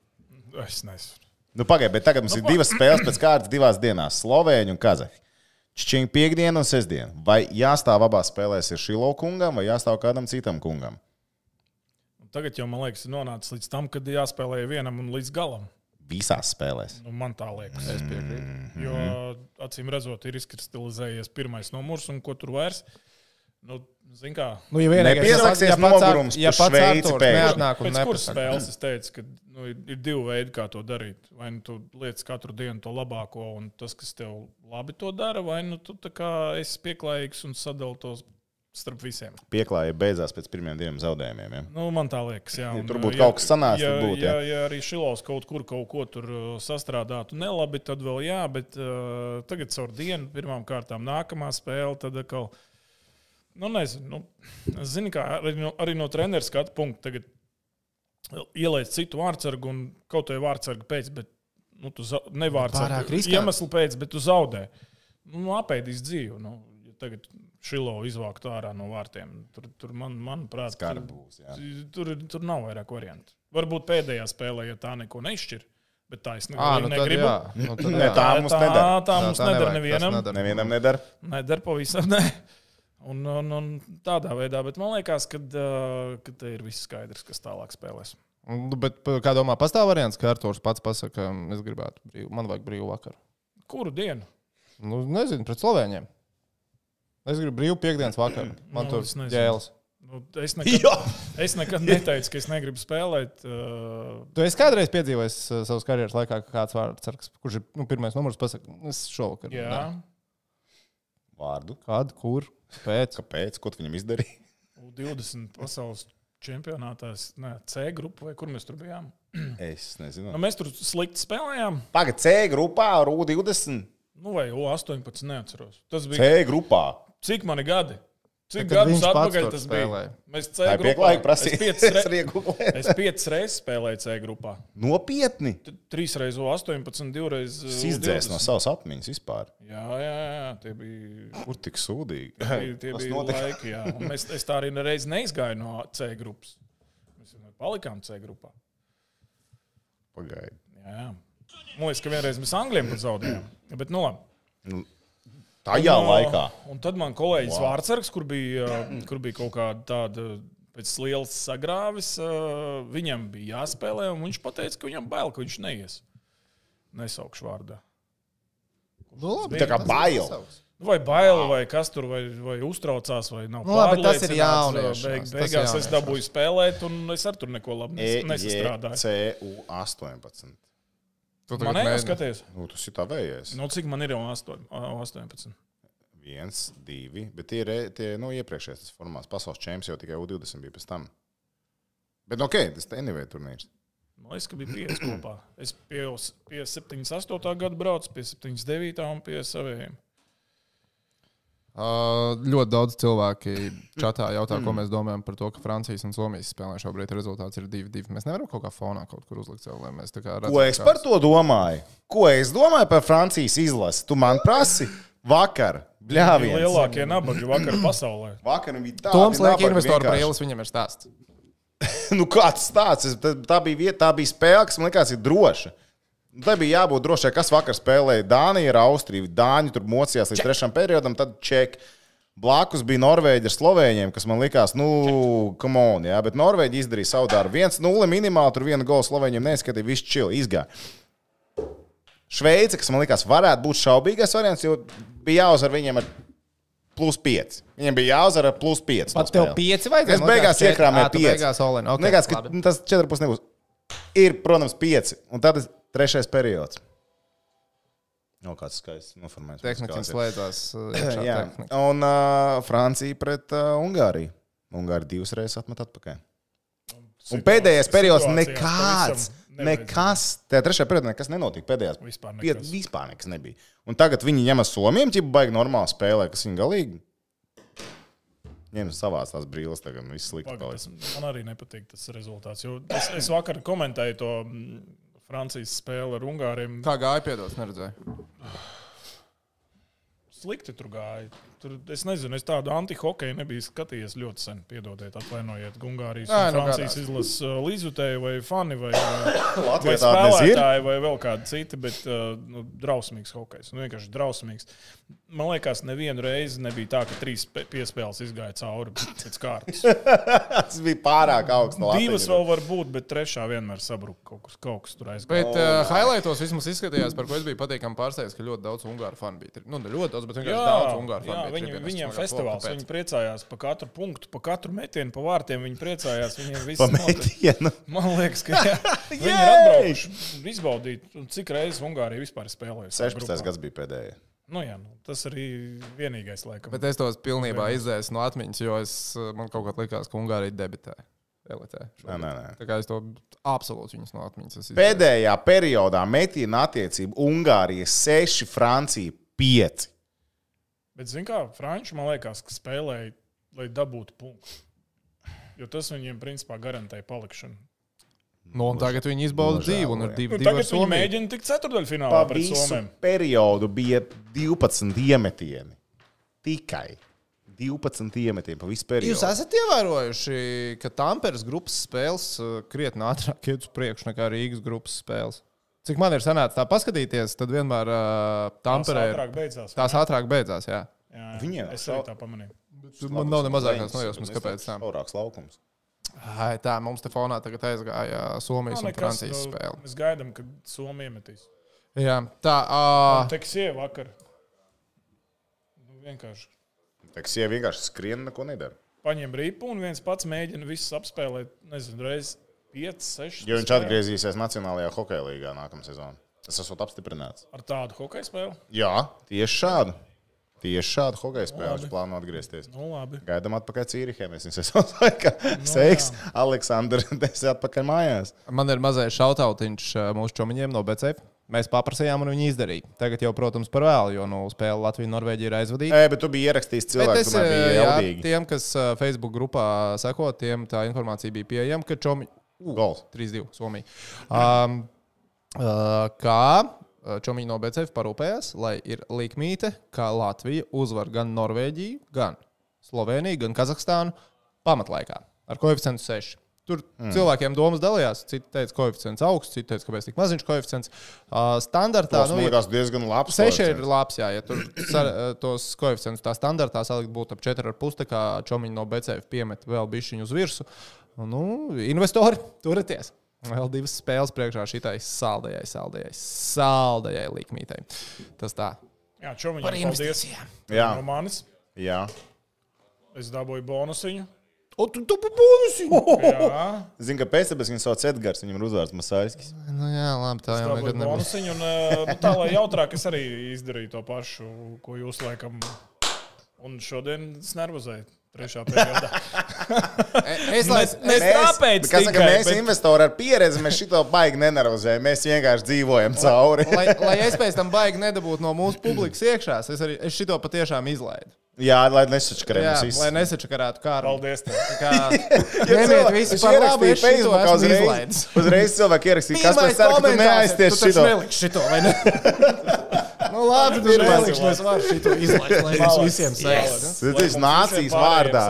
[SPEAKER 6] Es nezinu.
[SPEAKER 5] Nu, pagaidiet, bet tagad mums ir divas spēles pēc kārtas divās dienās - Slovēņa un Kazahi. Čīņa piekdiena un sestdiena. Vai jāstāv abās spēlēs ir Šilo kungam vai jāstāv kādam citam kungam?
[SPEAKER 6] Tagad jau man liekas, nonācis līdz tam, kad jāspēlē vienam un līdz galam.
[SPEAKER 5] Visās spēlēs.
[SPEAKER 6] Nu, man tā liekas.
[SPEAKER 4] Es
[SPEAKER 5] Mm.
[SPEAKER 4] piekrītu.
[SPEAKER 6] Jo, acīm redzot, ir izkristalizējies pirmais numurs, un ko tur vairs. Nu, Ziniet, kā
[SPEAKER 4] Nu, ja vienīgais-
[SPEAKER 5] Nepiesaksies
[SPEAKER 4] ja pats Ar-
[SPEAKER 5] nogurums
[SPEAKER 4] ja
[SPEAKER 5] par
[SPEAKER 4] pats
[SPEAKER 5] Šveici
[SPEAKER 4] Arturs
[SPEAKER 5] pēkšņi.
[SPEAKER 4] neatnāk un
[SPEAKER 6] pēc kuras
[SPEAKER 4] nepasaka.
[SPEAKER 6] spēles es teicu, ka nu, ir, ir divi veidi, kā to darīt. Vai nu tu lietas katru dienu to labāko, un tas, kas tev labi to dara, vai nu tu tā kā esi pieklājīgs un sadali tos starp visiem.
[SPEAKER 5] Pieklāja beidzās pēc pirmiem diviem zaudējumiem. Ja?
[SPEAKER 6] Nu, man tā liekas, jā.
[SPEAKER 5] Ja
[SPEAKER 6] Un, uh,
[SPEAKER 5] tur būtu
[SPEAKER 6] ja-
[SPEAKER 5] kaut kas sanācis,
[SPEAKER 6] ja,
[SPEAKER 5] tad būtu,
[SPEAKER 6] Ja,
[SPEAKER 5] jā.
[SPEAKER 6] ja arī Šilovs kaut kur kaut ko tur uh, sastrādātu nelabi, tad vēl jā, bet uh, tagad caur dienu, pirmām kārtām nākamā spēle, tad atkal. Nu, nezinu, nu, zini, kā arī no, arī no treneru skatu punkta tagad ielaiž citu vārdsargu un kaut kādu vārdsargu pēc, bet nu, tu zau- ne
[SPEAKER 4] Pārāk
[SPEAKER 6] vārdsargu
[SPEAKER 4] riskanti.
[SPEAKER 6] iemeslu pēc, bet tu zaudē. Nu, apēdīs dzīvi. Nu, ja tagad Šilovs izvākt ārā no vārtiem. Tur, tur man, manuprāt,
[SPEAKER 5] Kara
[SPEAKER 6] tur-
[SPEAKER 5] būs. Jā.
[SPEAKER 6] Tur, tur nav vairāk variantu. Varbūt pēdējā spēlē, ja tā neko nešķir, bet tā es ne,
[SPEAKER 4] Ā, nu tad
[SPEAKER 6] negribu.
[SPEAKER 4] jā. Nu, tad
[SPEAKER 5] Ne,
[SPEAKER 4] jā.
[SPEAKER 5] tā
[SPEAKER 6] tā,
[SPEAKER 5] mums
[SPEAKER 6] tā, tā,
[SPEAKER 5] nedara.
[SPEAKER 6] tā
[SPEAKER 4] Tā-
[SPEAKER 6] mums
[SPEAKER 4] tā nevajag,
[SPEAKER 6] nedara nevienam.
[SPEAKER 4] tas nedara.
[SPEAKER 5] Nevienam nedara.
[SPEAKER 6] Nedara pavisam [LAUGHS] ne. Un, un, un tādā veidā, bet man liekas, ka te ir viss skaidrs, kas tālāk spēlēs.
[SPEAKER 4] Nu, Bet p- kā domā, pastāv variants, ka Arturs pats pasaka, es gribētu, brīvu, man vajag brīvu vakaru.
[SPEAKER 6] Kuru dienu?
[SPEAKER 4] Nu, nezinu, pret Slovēņiem. Es gribu brīvu piekdienas vakaru. Man
[SPEAKER 6] Nu,
[SPEAKER 4] tur
[SPEAKER 6] es nezinu.
[SPEAKER 4] ģēles.
[SPEAKER 6] Nu, es,
[SPEAKER 4] [LAUGHS]
[SPEAKER 6] nekad, es nekad neteicu, ka es negribu spēlēt. Uh,
[SPEAKER 4] Tu esi kādreiz piedzīvojis uh, savas karjeras laikā, ka kāds vārds, kurš ir nu, pirmais numurs, pasakā, es šovakar.
[SPEAKER 6] jā,
[SPEAKER 4] nē."
[SPEAKER 5] Vārdu.
[SPEAKER 4] Kad, kur, pēc.
[SPEAKER 5] Kāpēc? Ko tu viņam izdarīji?
[SPEAKER 6] 20 pasaules čempionātā, es- ne, C grupā, vai kur mēs tur bijām?
[SPEAKER 5] Es nezinu.
[SPEAKER 6] Nu, mēs tur slikti spēlējām.
[SPEAKER 5] Pagaidā, C grupā ar U20.
[SPEAKER 6] Nu, vai O18, neatceros. Tas bija.
[SPEAKER 5] C grupā.
[SPEAKER 6] Cik mani gadi? Cik
[SPEAKER 4] Tad, kad
[SPEAKER 6] gadus
[SPEAKER 4] viņš pats
[SPEAKER 6] atpakaļ
[SPEAKER 4] tur
[SPEAKER 6] tas bija?
[SPEAKER 4] spēlēja.
[SPEAKER 6] Mēs C
[SPEAKER 5] Tā ir
[SPEAKER 6] grupā.
[SPEAKER 5] pieklājīga
[SPEAKER 6] Es
[SPEAKER 5] prasība. [LAUGHS]
[SPEAKER 6] piecas
[SPEAKER 5] Es
[SPEAKER 6] re-
[SPEAKER 5] arī googlēju.
[SPEAKER 6] Es piecas reizes spēlēju C grupā.
[SPEAKER 5] Nopietni.
[SPEAKER 6] T- Trīs reizes O18, divreiz.
[SPEAKER 5] Es izdzēsu no savas atmiņas vispār.
[SPEAKER 6] Jā, jā, jā, tie bija.
[SPEAKER 5] Kur tik sūdīgi?
[SPEAKER 6] Tie, tie
[SPEAKER 5] Tas
[SPEAKER 6] bija
[SPEAKER 5] notika.
[SPEAKER 6] laiki, jā. Un Mēs, es tā arī nereiz neizgāju no C grupas. Mēs vienmēr palikām C grupā.
[SPEAKER 5] Pagaidi.
[SPEAKER 6] Jā, jā. Man liekas, ka vienreiz mēs Anglijam pat zaudējām. Bet, nu, labi.
[SPEAKER 5] Tajā
[SPEAKER 6] Un, uh,
[SPEAKER 5] laikā.
[SPEAKER 6] Un tad man kolēģis wow. Vārtsargs, kur bija, uh, kur bija kaut kāda tāda pēc lielas sagrāvis, uh, viņam bija jāspēlē, un viņš teica, ka viņam bail, ka viņš neies. Nesaukšu vārdu.
[SPEAKER 4] Nu, labi,
[SPEAKER 5] Tā kā
[SPEAKER 4] tas ir
[SPEAKER 5] bail.
[SPEAKER 4] savs.
[SPEAKER 6] Vai bail, vai kas tur, vai, vai uztraucās, vai nav.
[SPEAKER 4] Nu, labi, tas ir
[SPEAKER 6] pārliecināts, vai
[SPEAKER 4] jauniešanās, tas ir
[SPEAKER 6] beigās es
[SPEAKER 4] jauniešanās.
[SPEAKER 6] dabūju spēlēt, un es ar tur neko
[SPEAKER 5] E,
[SPEAKER 6] labu nes, nesastrādāju.
[SPEAKER 5] CU18.
[SPEAKER 4] Tu tagad
[SPEAKER 6] Man ir
[SPEAKER 4] mēģini.
[SPEAKER 6] jāskatās,
[SPEAKER 5] Nu, tas ir tā vējies.
[SPEAKER 6] nu, cik man ir jau 8, 18.
[SPEAKER 5] Viens, divi. Bet tie ir tie, nu, iepriekšējais tas formāts. Pasaules čempions jau tikai U20 bija pēc tam. Bet, nu, ok, tas ir anyway turnīrs.
[SPEAKER 6] Man Man liekas, ka bija pieci kopā. Es pie, s- pie 78. gada braucu, pie 79. un pie saviem.
[SPEAKER 4] Uh, ļoti daudz cilvēki čatā jautā, ko mēs domājam par to, ka Francijas un Somijas spēlē šobrīd rezultāts ir 2-2. Mēs nevaram kaut kā fonā kaut kur uzlikt sev, lai mēs tā kā redzētu.
[SPEAKER 5] Ko es par to domāju? Ko es domāju par Francijas izlasi? Tu man prasi vakar,
[SPEAKER 6] Bija
[SPEAKER 5] bļāviens.
[SPEAKER 6] lielākie nabaga vakar pasaulē.
[SPEAKER 5] Vakar viņi bija
[SPEAKER 4] Toms liek
[SPEAKER 5] nabaga
[SPEAKER 4] investoru
[SPEAKER 5] vienkārši.
[SPEAKER 4] brīlis, viņam ir stāsts.
[SPEAKER 5] [LAUGHS] nu, kāds tāds - tā bija vieta, tā bija spēle, kas man liekas, ir droša. Nu, Tā bija jābūt drošai, kas vakar spēlēja Dāniju ar Austriju. Dāņi tur mocījās līdz trešajam periodam, tad čeki. Blakus bija Norvēģija ar Slovēņiem, kas man likās, nu, come on, jā, bet Norvēģija izdarīja savu darbu. 1-0 minimāli, tur viena gola Slovēņiem neizskatīja, viss čili izgāja. Šveice, kas man likās, varētu būt šaubīgais variants, jo bija jāuzvar viņiem ar plus 5. Viņiem bija jāuzvar ar plus 5.
[SPEAKER 4] Pat tev pieci vajadzēja?
[SPEAKER 5] Es beigās
[SPEAKER 4] Četri. Ā,
[SPEAKER 5] iekrāmēju
[SPEAKER 4] tu
[SPEAKER 5] 5.
[SPEAKER 4] Beigās Olin. Okay,
[SPEAKER 5] Nekāds, ka nu, tas 4,5 nebūs. Ir, protams, 5. Un tad ir trešais periods. No kāds skaists noformējums.
[SPEAKER 4] Tehniski
[SPEAKER 5] Kāds ir.
[SPEAKER 4] slēdzās. uh,
[SPEAKER 6] [CLEARS THROAT]
[SPEAKER 4] iekšā
[SPEAKER 5] Jā,
[SPEAKER 4] tehnika.
[SPEAKER 5] un uh, Francija pret uh, Ungāriju. Ungārija divas reizes atmet atpakaļ. Un pēdējais periods
[SPEAKER 6] situācijās
[SPEAKER 5] nekāds.
[SPEAKER 6] pavisam nevajadzētu.
[SPEAKER 5] Nekas. Tajā trešajā periodā nekas nenotika. Pēdējās
[SPEAKER 6] Vispār
[SPEAKER 5] pie-
[SPEAKER 6] nekas.
[SPEAKER 5] vispār nekas nebija. Un tagad viņi ņemas somiem, ja baigi normāli spēlē, kas viņi galīgi. Ņem savās tās brīvas, tagad viss slikti.
[SPEAKER 6] Pagaid,
[SPEAKER 5] paliks.
[SPEAKER 6] tas- Man arī nepatīk tas rezultāts. jo Es, es vakar komentēju to mm, Francijas spēli ar Ungāriem.
[SPEAKER 4] Kā gāja piedos, neredzēju.
[SPEAKER 6] Slikti tur gāja. Tur, es nezinu, es tādu antihokeju nebiju skatījies ļoti sen. Piedodiet, atvainojiet, Ungārijas
[SPEAKER 4] Nē,
[SPEAKER 6] un
[SPEAKER 4] nu,
[SPEAKER 6] Francijas izlases uh, līdzjutēju vai fani vai, vai, vai
[SPEAKER 5] Latvijā tāda nezinu.
[SPEAKER 6] spēlētāji vai vēl kādi citi, bet uh, nu, drausmīgs hokejs. Nu, vienkārši drausmīgs. Man liekas, nevienu reizi nebija tā, ka trīs pe- piespēles izgāja cauri pēc kārtas.
[SPEAKER 5] Tas bija pārāk augsts. no
[SPEAKER 6] Divas
[SPEAKER 5] Latvijas.
[SPEAKER 6] vēl var būt, bet trešā vienmēr sabruka kaut kas, kaut kas tur aizgāja.
[SPEAKER 4] Bet uh, highlightos vismaz izskatījās, par ko es biju patīkami pārsteigts, ka ļoti daudz ungāru fanu bija. tri- Nu, ne ļoti daudz, bet vienkārši daudz ungāru fanu
[SPEAKER 6] jā,
[SPEAKER 4] bija.
[SPEAKER 6] viņi,
[SPEAKER 4] tribīnēs.
[SPEAKER 6] viņiem
[SPEAKER 4] Es domāju,
[SPEAKER 6] festivāls,
[SPEAKER 4] kāpēc?
[SPEAKER 6] viņi priecājās par katru punktu, par katru metienu, par vārtiem. Viņi priecājās, viņiem viss [LAUGHS]
[SPEAKER 5] Pamēģinu.
[SPEAKER 6] Man liekas, ka jā, viņi ir
[SPEAKER 5] Jej!
[SPEAKER 6] atbraukuši izbaudīt, un cik reizes Ungārija vispār ir spēlējusi.
[SPEAKER 5] 16. gads bija pēdējais.
[SPEAKER 6] Nu, jā, nu, tas arī vienīgais, laikam.
[SPEAKER 4] Bet es tos pilnībā izdzēsu no atmiņas, jo es, uh, man kaut kā likās, ka Ungārija debitē. Elitē.
[SPEAKER 5] Nē, nē, nē.
[SPEAKER 4] Tā kā es to absolūti viņas no atmiņas. es izdzēsu.
[SPEAKER 5] Pēdējā periodā metiena attiecība Ungārija 6, Francija 5.
[SPEAKER 6] Bet, zin kā, Frančs man liekas, ka spēlēja, lai dabūtu punktu. Jo tas viņiem, principā, garantēja palikšanu.
[SPEAKER 4] Nu, un tagad viņi izbauda
[SPEAKER 5] Nožēlo,
[SPEAKER 4] dzīvi un ir
[SPEAKER 5] jā.
[SPEAKER 4] divi.
[SPEAKER 6] Nu,
[SPEAKER 4] divi ar
[SPEAKER 6] tagad viņi
[SPEAKER 4] Somiju.
[SPEAKER 6] mēģina tikt ceturdaļfinālā
[SPEAKER 5] Pa
[SPEAKER 6] pret
[SPEAKER 5] visu
[SPEAKER 6] Somiem.
[SPEAKER 5] periodu bija 12 iemetieni. Tikai 12 iemetieni pa visu
[SPEAKER 4] Jūs
[SPEAKER 5] periodu.
[SPEAKER 4] esat ievērojuši, ka Tampēras grupas spēles uh, krietni ātrāk iet uz priekšu nekā Rīgas grupas spēles. Cik man ir sanācis tā paskatīties, tad vienmēr uh,
[SPEAKER 6] Tas
[SPEAKER 4] Tamperē
[SPEAKER 6] ātrāk beidzās.
[SPEAKER 4] tās ātrāk beidzās. Jā.
[SPEAKER 6] Jā,
[SPEAKER 5] Viņiem
[SPEAKER 6] es
[SPEAKER 5] šau-
[SPEAKER 6] arī tā pamanīju.
[SPEAKER 4] Man nav ne mazākās nojausmas, kāpēc tā.
[SPEAKER 5] Aurāks laukums.
[SPEAKER 4] Ai, tā mums te fonā tagad aizgāja eh, Somijas un
[SPEAKER 6] Nav nekas,
[SPEAKER 4] Francijas
[SPEAKER 6] nu,
[SPEAKER 4] spēle.
[SPEAKER 6] Mēs gaidām, kad Somija iemetīs.
[SPEAKER 4] Jā, tā. Uh,
[SPEAKER 6] Teksija vakar. Nu, vienkārši.
[SPEAKER 5] Tā kā sieva vienkārši skrien, neko nedara.
[SPEAKER 6] paņem ripu un viens pats mēģina visus apspēlēt, nezinu, reizes 5, 6.
[SPEAKER 5] Jo viņš atgriezīsies Nacionālajā hokeja līgā nākamā sezonā. Tas esmu apstiprināts.
[SPEAKER 6] Ar tādu hokeja spēli?
[SPEAKER 5] Jā, tieši šādu. Tieši šādu hokeja spēli viņš plāno atgriezties.
[SPEAKER 6] Nu, labi.
[SPEAKER 5] Gaidām atpakaļ Cīrihē. Mēs viņus [LAUGHS] esam laikā.
[SPEAKER 4] Nu,
[SPEAKER 5] Sveiks, Aleksandrs, [LAUGHS] tas ir atpakaļ mājās.
[SPEAKER 4] man ir mazais šautautiņš uh, mūsu čomiņiem no BCF. Mēs paprasījām, un viņi izdarīja. Tagad jau, protams, par vēlu, jo nu, spēle Latvija-Norvēģija ir aizvadīta.
[SPEAKER 5] Nē, bet tu biji ierakstījis
[SPEAKER 4] Bet
[SPEAKER 5] cilvēku,
[SPEAKER 4] es, eh,
[SPEAKER 5] kuriem bija
[SPEAKER 4] jā,
[SPEAKER 5] jaudīgi.
[SPEAKER 4] tiem, kas ā, Facebook grupā seko, tiem tā informācija bija pieejama, ka Čomi
[SPEAKER 5] Gols.
[SPEAKER 4] 3-2 Somija. Um, uh, kā Čomi no BCF parūpējās, lai ir likmīte, ka Latvija uzvar gan Norvēģiju, gan Sloveniju, gan Kazahstānu pamatlaikā ar koeficientu 6. Tur mm. cilvēkiem domas dalījās. Citi teica, ka koeficients augsts, citi teica, ka bez tik maziņš koeficients. Uh, standartā
[SPEAKER 5] Tas man
[SPEAKER 4] ir-
[SPEAKER 5] liekas diezgan labs.
[SPEAKER 4] Seši ir
[SPEAKER 5] koeficients.
[SPEAKER 4] labs, jā, ja tur sar, eh, tos koeficientus tā standartā salikt būtu ap 4,5, tā kā čomiņi no BCF piemet vēl bišķiņu uz virsu. Nu, investori, [LAUGHS] turieties! Vēl divas spēles priekšā šitai saldējai, saldējai, saldējai likmītei. Tas tā.
[SPEAKER 6] Jā, čomiņš, paldies.
[SPEAKER 5] Jā,
[SPEAKER 6] No manis.
[SPEAKER 5] jā.
[SPEAKER 6] Es dabūju bonusiņu.
[SPEAKER 4] O, tu tu pabunusi!
[SPEAKER 6] Jā,
[SPEAKER 5] Zinu, ka pēc tam viņu sauc Edgars, viņam ir uzvārds Masāļskis.
[SPEAKER 4] Nu, jā, labi, tā jau
[SPEAKER 6] dabūju
[SPEAKER 4] nekad nebūs.
[SPEAKER 6] bonusiņu. Un, eh, nu, tā lai jautrāk, es arī izdarīju to pašu, ko jūs laikam. Un šodien es nervozēju. trešā periodā.
[SPEAKER 4] Es
[SPEAKER 6] Mēs- mēs-
[SPEAKER 4] domāju,
[SPEAKER 6] tāpēc
[SPEAKER 5] kā saka,
[SPEAKER 6] tikai,
[SPEAKER 5] mēs
[SPEAKER 6] bet-
[SPEAKER 5] investori ar pieredzi, mēs šito baigi nenervozējam. Mēs vienkārši dzīvojam cauri.
[SPEAKER 4] lai, lai es pēc tam baigi nedabūtu no mūsu publikas iekšā, es, arī, es šito patiešām izlaidu.
[SPEAKER 5] [LAUGHS] Jā, lai
[SPEAKER 4] Jā,
[SPEAKER 5] nesačakarējamies visi.
[SPEAKER 4] lai nesačakarētu kāru.
[SPEAKER 6] Paldies! Tev.
[SPEAKER 4] [LAUGHS] Nemiet visi par labu, es šito esmu izlaidis.
[SPEAKER 5] uzreiz, uzreiz cilvēki ierakstīja, kas man
[SPEAKER 4] Pirmais
[SPEAKER 5] saka, ka tu
[SPEAKER 4] komentārs ir,
[SPEAKER 5] neaizties
[SPEAKER 4] tu taču
[SPEAKER 5] šito.
[SPEAKER 4] neliksi šito, vai ne? [LAUGHS] nu labi, tu
[SPEAKER 5] Pirmais
[SPEAKER 4] neliksi, mēs varam šito izlaist, lai mums visiem sēž.
[SPEAKER 5] Tas ir nācijas vārdā.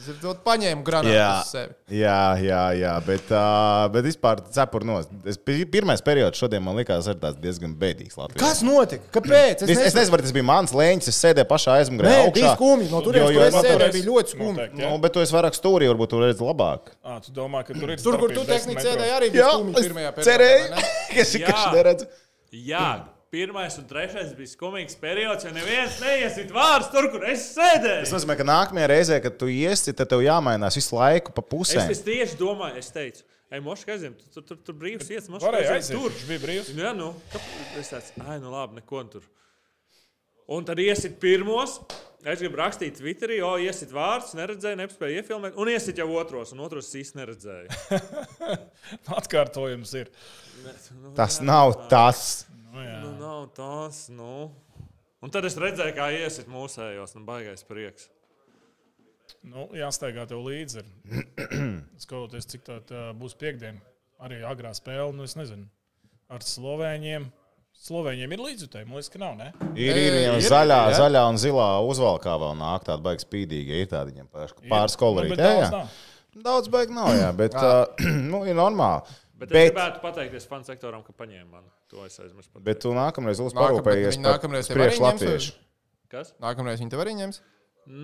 [SPEAKER 4] Es ir ļoti paņēmu granātu
[SPEAKER 5] Jā.
[SPEAKER 4] uz sevi.
[SPEAKER 5] Jā, jā, jā, bet, uh, bet vispār cepur nos. Es, pi- pirmais periods šodien man likās ar tāds diezgan bēdīgs. Latvijā.
[SPEAKER 4] Kas notika? Kāpēc?
[SPEAKER 5] Es, es nezinu, vai tas bija mans lēņķis, es sēdēju pašā aizmugurē.
[SPEAKER 4] Nē, bija
[SPEAKER 5] augšā.
[SPEAKER 4] skumji. No turienes, kur
[SPEAKER 5] Jo- jo-
[SPEAKER 4] es sēdēju, bija ļoti skumji.
[SPEAKER 5] Nu, bet tu esi vairāk stūrī, varbūt tu redzi labāk.
[SPEAKER 6] Ā, tu domā, ka tur ir
[SPEAKER 4] Tur, kur tu
[SPEAKER 6] starpība 10
[SPEAKER 4] tehniski
[SPEAKER 6] metros.
[SPEAKER 4] sēdēji, arī bija skumji pirmajā periodā. vai ne?
[SPEAKER 5] ka šī
[SPEAKER 3] Jā.
[SPEAKER 5] kaša neredz.
[SPEAKER 3] Jā, pirmais un trešais bija skumīgs periods, jo neviens neiesit vārds tur, kur es
[SPEAKER 5] Tas
[SPEAKER 3] sēdēju.
[SPEAKER 5] nozīmē, ka nākamajā reizē, kad tu iesi, tad tev jāmainās visu laiku pa
[SPEAKER 3] Es,
[SPEAKER 5] pusēm.
[SPEAKER 3] es tieši domāju, es teicu, ej, moškā aizjām, tu tur, tur, tur brīvs iet, moškā
[SPEAKER 6] Varēja aiziet,
[SPEAKER 3] aizjām. Tur.
[SPEAKER 6] viņš bija brīvs. [LAUGHS]
[SPEAKER 3] Nu, Jā, nu, kāpēc? es tāds, ai, nu labi, neko tur. Un tad iesit pirmos, es gribu rakstīt Twitterī, o, iesit vārds, neredzēju, nespēju iefilmēt, un iesit jau otros, un otros īsti neredzēju. [LAUGHS]
[SPEAKER 6] Atkārtojums ir.
[SPEAKER 3] Nu,
[SPEAKER 5] Tas nav tas.
[SPEAKER 6] Nu, jā.
[SPEAKER 3] Nu, nav tās, nu. Un tad es redzēju, kā iesit mūsējos, nu, baigais prieks.
[SPEAKER 6] Nu, jāsteigā tev līdzi.
[SPEAKER 4] [CLEARS THROAT]
[SPEAKER 6] ir. Skatoties, cik tā, tā būs piekdiena. Arī agrā spēle, nu es nezinu. Ar slovēņiem. Slovēņiem ir līdzjutēji, man liekas, ka nav. Ne?
[SPEAKER 5] Ir, ir, ir, ir zaļā, jā. zaļā un zilā uzvalkā vēl nāk tāda baigas spīdīga. Ir tāda viņam pār- pāris kolorīta.
[SPEAKER 6] bet daudz
[SPEAKER 5] Jā, jā.
[SPEAKER 6] nav.
[SPEAKER 5] Daudz baigas nav, jā, bet uh, [CLEARS THROAT] nu, ir normāli.
[SPEAKER 3] Bet, bet
[SPEAKER 5] Bet,
[SPEAKER 3] es
[SPEAKER 5] bet,
[SPEAKER 3] gribētu pateikties fanu sektoram, ka paņēma mani. To es aizmirsu. pateikt.
[SPEAKER 5] bet tu nākamreiz būsi
[SPEAKER 4] Nākam-
[SPEAKER 5] parūpējies
[SPEAKER 4] viņi
[SPEAKER 5] par
[SPEAKER 4] nākamreiz tev arī
[SPEAKER 5] priekš
[SPEAKER 4] ņems
[SPEAKER 5] latviešu.
[SPEAKER 3] Kas?
[SPEAKER 4] Nākamreiz viņi tev arī ņems.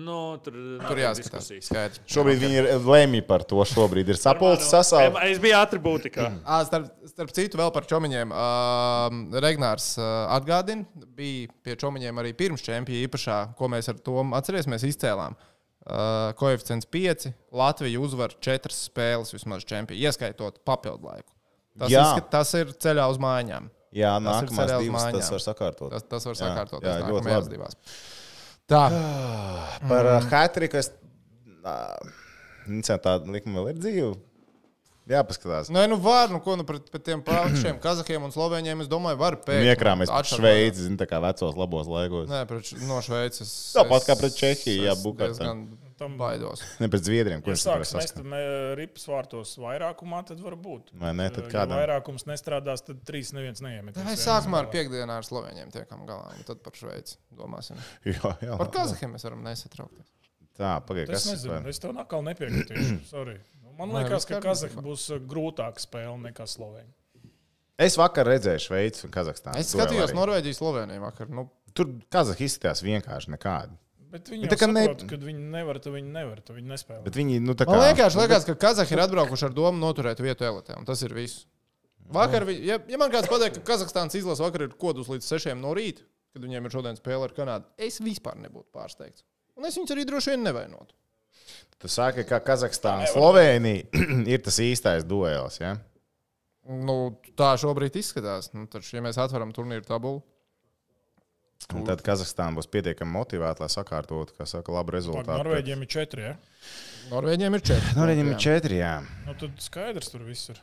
[SPEAKER 3] Nu, tur
[SPEAKER 4] Tur jāskatās.
[SPEAKER 3] diskusijas.
[SPEAKER 4] Skaidrs.
[SPEAKER 5] Šobrīd viņi ir lēmī par to. Šobrīd ir sapulcis
[SPEAKER 3] Normāli.
[SPEAKER 5] sasaukt.
[SPEAKER 3] Em, Es biju atribūtikā.
[SPEAKER 4] À, starp, starp citu, vēl par čomiņiem. Uh, Regnārs uh, atgādina, bija pie čomiņiem arī pirms čempiona īpašā, ko mēs ar to atcerēsimies, izcēlām. Uh, koeficients 5. Latvija uzvar 4 spēles vismaz čempionā, ieskaitot papildu laiku. Tas,
[SPEAKER 5] Jā.
[SPEAKER 4] izskat, tas ir ceļā uz mājām.
[SPEAKER 5] Jā,
[SPEAKER 4] Tas ir
[SPEAKER 5] nākamās
[SPEAKER 4] ceļā uz
[SPEAKER 5] divas tas
[SPEAKER 4] mājām.
[SPEAKER 5] var sakārtot.
[SPEAKER 4] Tas, tas var
[SPEAKER 5] Jā,
[SPEAKER 4] sakārtot.
[SPEAKER 5] jā, ļoti labi.
[SPEAKER 4] Tā,
[SPEAKER 5] Par
[SPEAKER 4] Mhm.
[SPEAKER 5] uh, Hatriku es. Nē, tā likuma vēl ir dzīva. Jā, paskatās.
[SPEAKER 4] Nē, nu var, nu ko nu pret, pret tiem pašiem kazahiem un slovēņiem, es domāju, var pēc.
[SPEAKER 5] Iekrāmies pret
[SPEAKER 4] Atšķirot-
[SPEAKER 5] Šveici, zina, tā kā vecos labos laikos.
[SPEAKER 4] Nē, pret, Š- no Šveices.
[SPEAKER 5] Tāpat
[SPEAKER 4] es-
[SPEAKER 5] kā pret Čehiju, jā,
[SPEAKER 4] es
[SPEAKER 5] Bukarestā.
[SPEAKER 4] diezgan
[SPEAKER 6] Tam-
[SPEAKER 4] Baidos.
[SPEAKER 5] Ne pret Zviedriem,
[SPEAKER 6] Ja
[SPEAKER 5] kurš
[SPEAKER 6] sāks
[SPEAKER 5] sākas.
[SPEAKER 6] mest mē- ripas vārtos vairākumā, tad var būt.
[SPEAKER 5] Vai ne, tad
[SPEAKER 6] Ja
[SPEAKER 5] kādam? [LAUGHS]
[SPEAKER 6] vairākums nestrādās, tad trīs neviens neiemetīs.
[SPEAKER 4] Vai sākumā ar piekdienu ar Sloveniem tiekam galā, un tad par Šveici domāsim.
[SPEAKER 5] Jā, jā.
[SPEAKER 4] Par Kazahiem mēs varam nesatraukties.
[SPEAKER 5] Tā, pagaidi,
[SPEAKER 6] Es
[SPEAKER 5] kas
[SPEAKER 6] nezinu,
[SPEAKER 5] ir.
[SPEAKER 6] es tev nākal
[SPEAKER 5] [CLEARS THROAT]
[SPEAKER 6] nepiekritīšu. Sorry. Nu, Man
[SPEAKER 4] Nē,
[SPEAKER 6] liekas, ka
[SPEAKER 4] vispār
[SPEAKER 6] Kazahstāna
[SPEAKER 4] nevienmēr.
[SPEAKER 6] būs uh, grūtāka spēle nekā Slovēnija.
[SPEAKER 5] Es vakar redzēju Šveici un Kazahstānu.
[SPEAKER 4] Es
[SPEAKER 5] dueli
[SPEAKER 4] skatījos
[SPEAKER 5] arī.
[SPEAKER 4] Norvēģiju, Sloveniju vakar. Nu,
[SPEAKER 5] Tur Kazahstāna izskatījās vienkārši nekādi.
[SPEAKER 6] Bet viņi
[SPEAKER 5] Bet tā
[SPEAKER 6] jau
[SPEAKER 5] kā ne-
[SPEAKER 6] saprot, ka viņi nevar, tad viņi nevar, tad viņi nespēlē.
[SPEAKER 5] Bet viņi, nu, tā kā.
[SPEAKER 4] man vienkārši liekas, ka Kazahi ir atbraukuši ar domu noturēt vietu elitē, un tas ir viss. Vakar, vi- ja, ja man kāds pateiks, ka Kazahstānas izlase vakar ir kodus līdz 6 no rīta, kad viņiem ir šodien spēle ar Kanādu, es vispār nebūtu pārsteigts. Un es viņus arī droši vien nevainotu.
[SPEAKER 5] Tu saki, ka Kazahstāna, Slovēnija [CLEARS THROAT] ir tas īstais duels. Ja?
[SPEAKER 4] Nu, tā šobrīd izskatās. Nu, taču, ja mēs atveram turnīru tabulu,
[SPEAKER 5] Un tad Kazahstāna būs pietiekami motivēta, lai sakārtotu, kā saka, labu
[SPEAKER 6] Pag,
[SPEAKER 5] rezultātu.
[SPEAKER 6] Norvēģiem ir četri. Ja?
[SPEAKER 4] Norvēģiem ir 4.
[SPEAKER 5] Norvēģiem ir četri. Jā.
[SPEAKER 6] Nu, tad skaidrs, tur viss ir.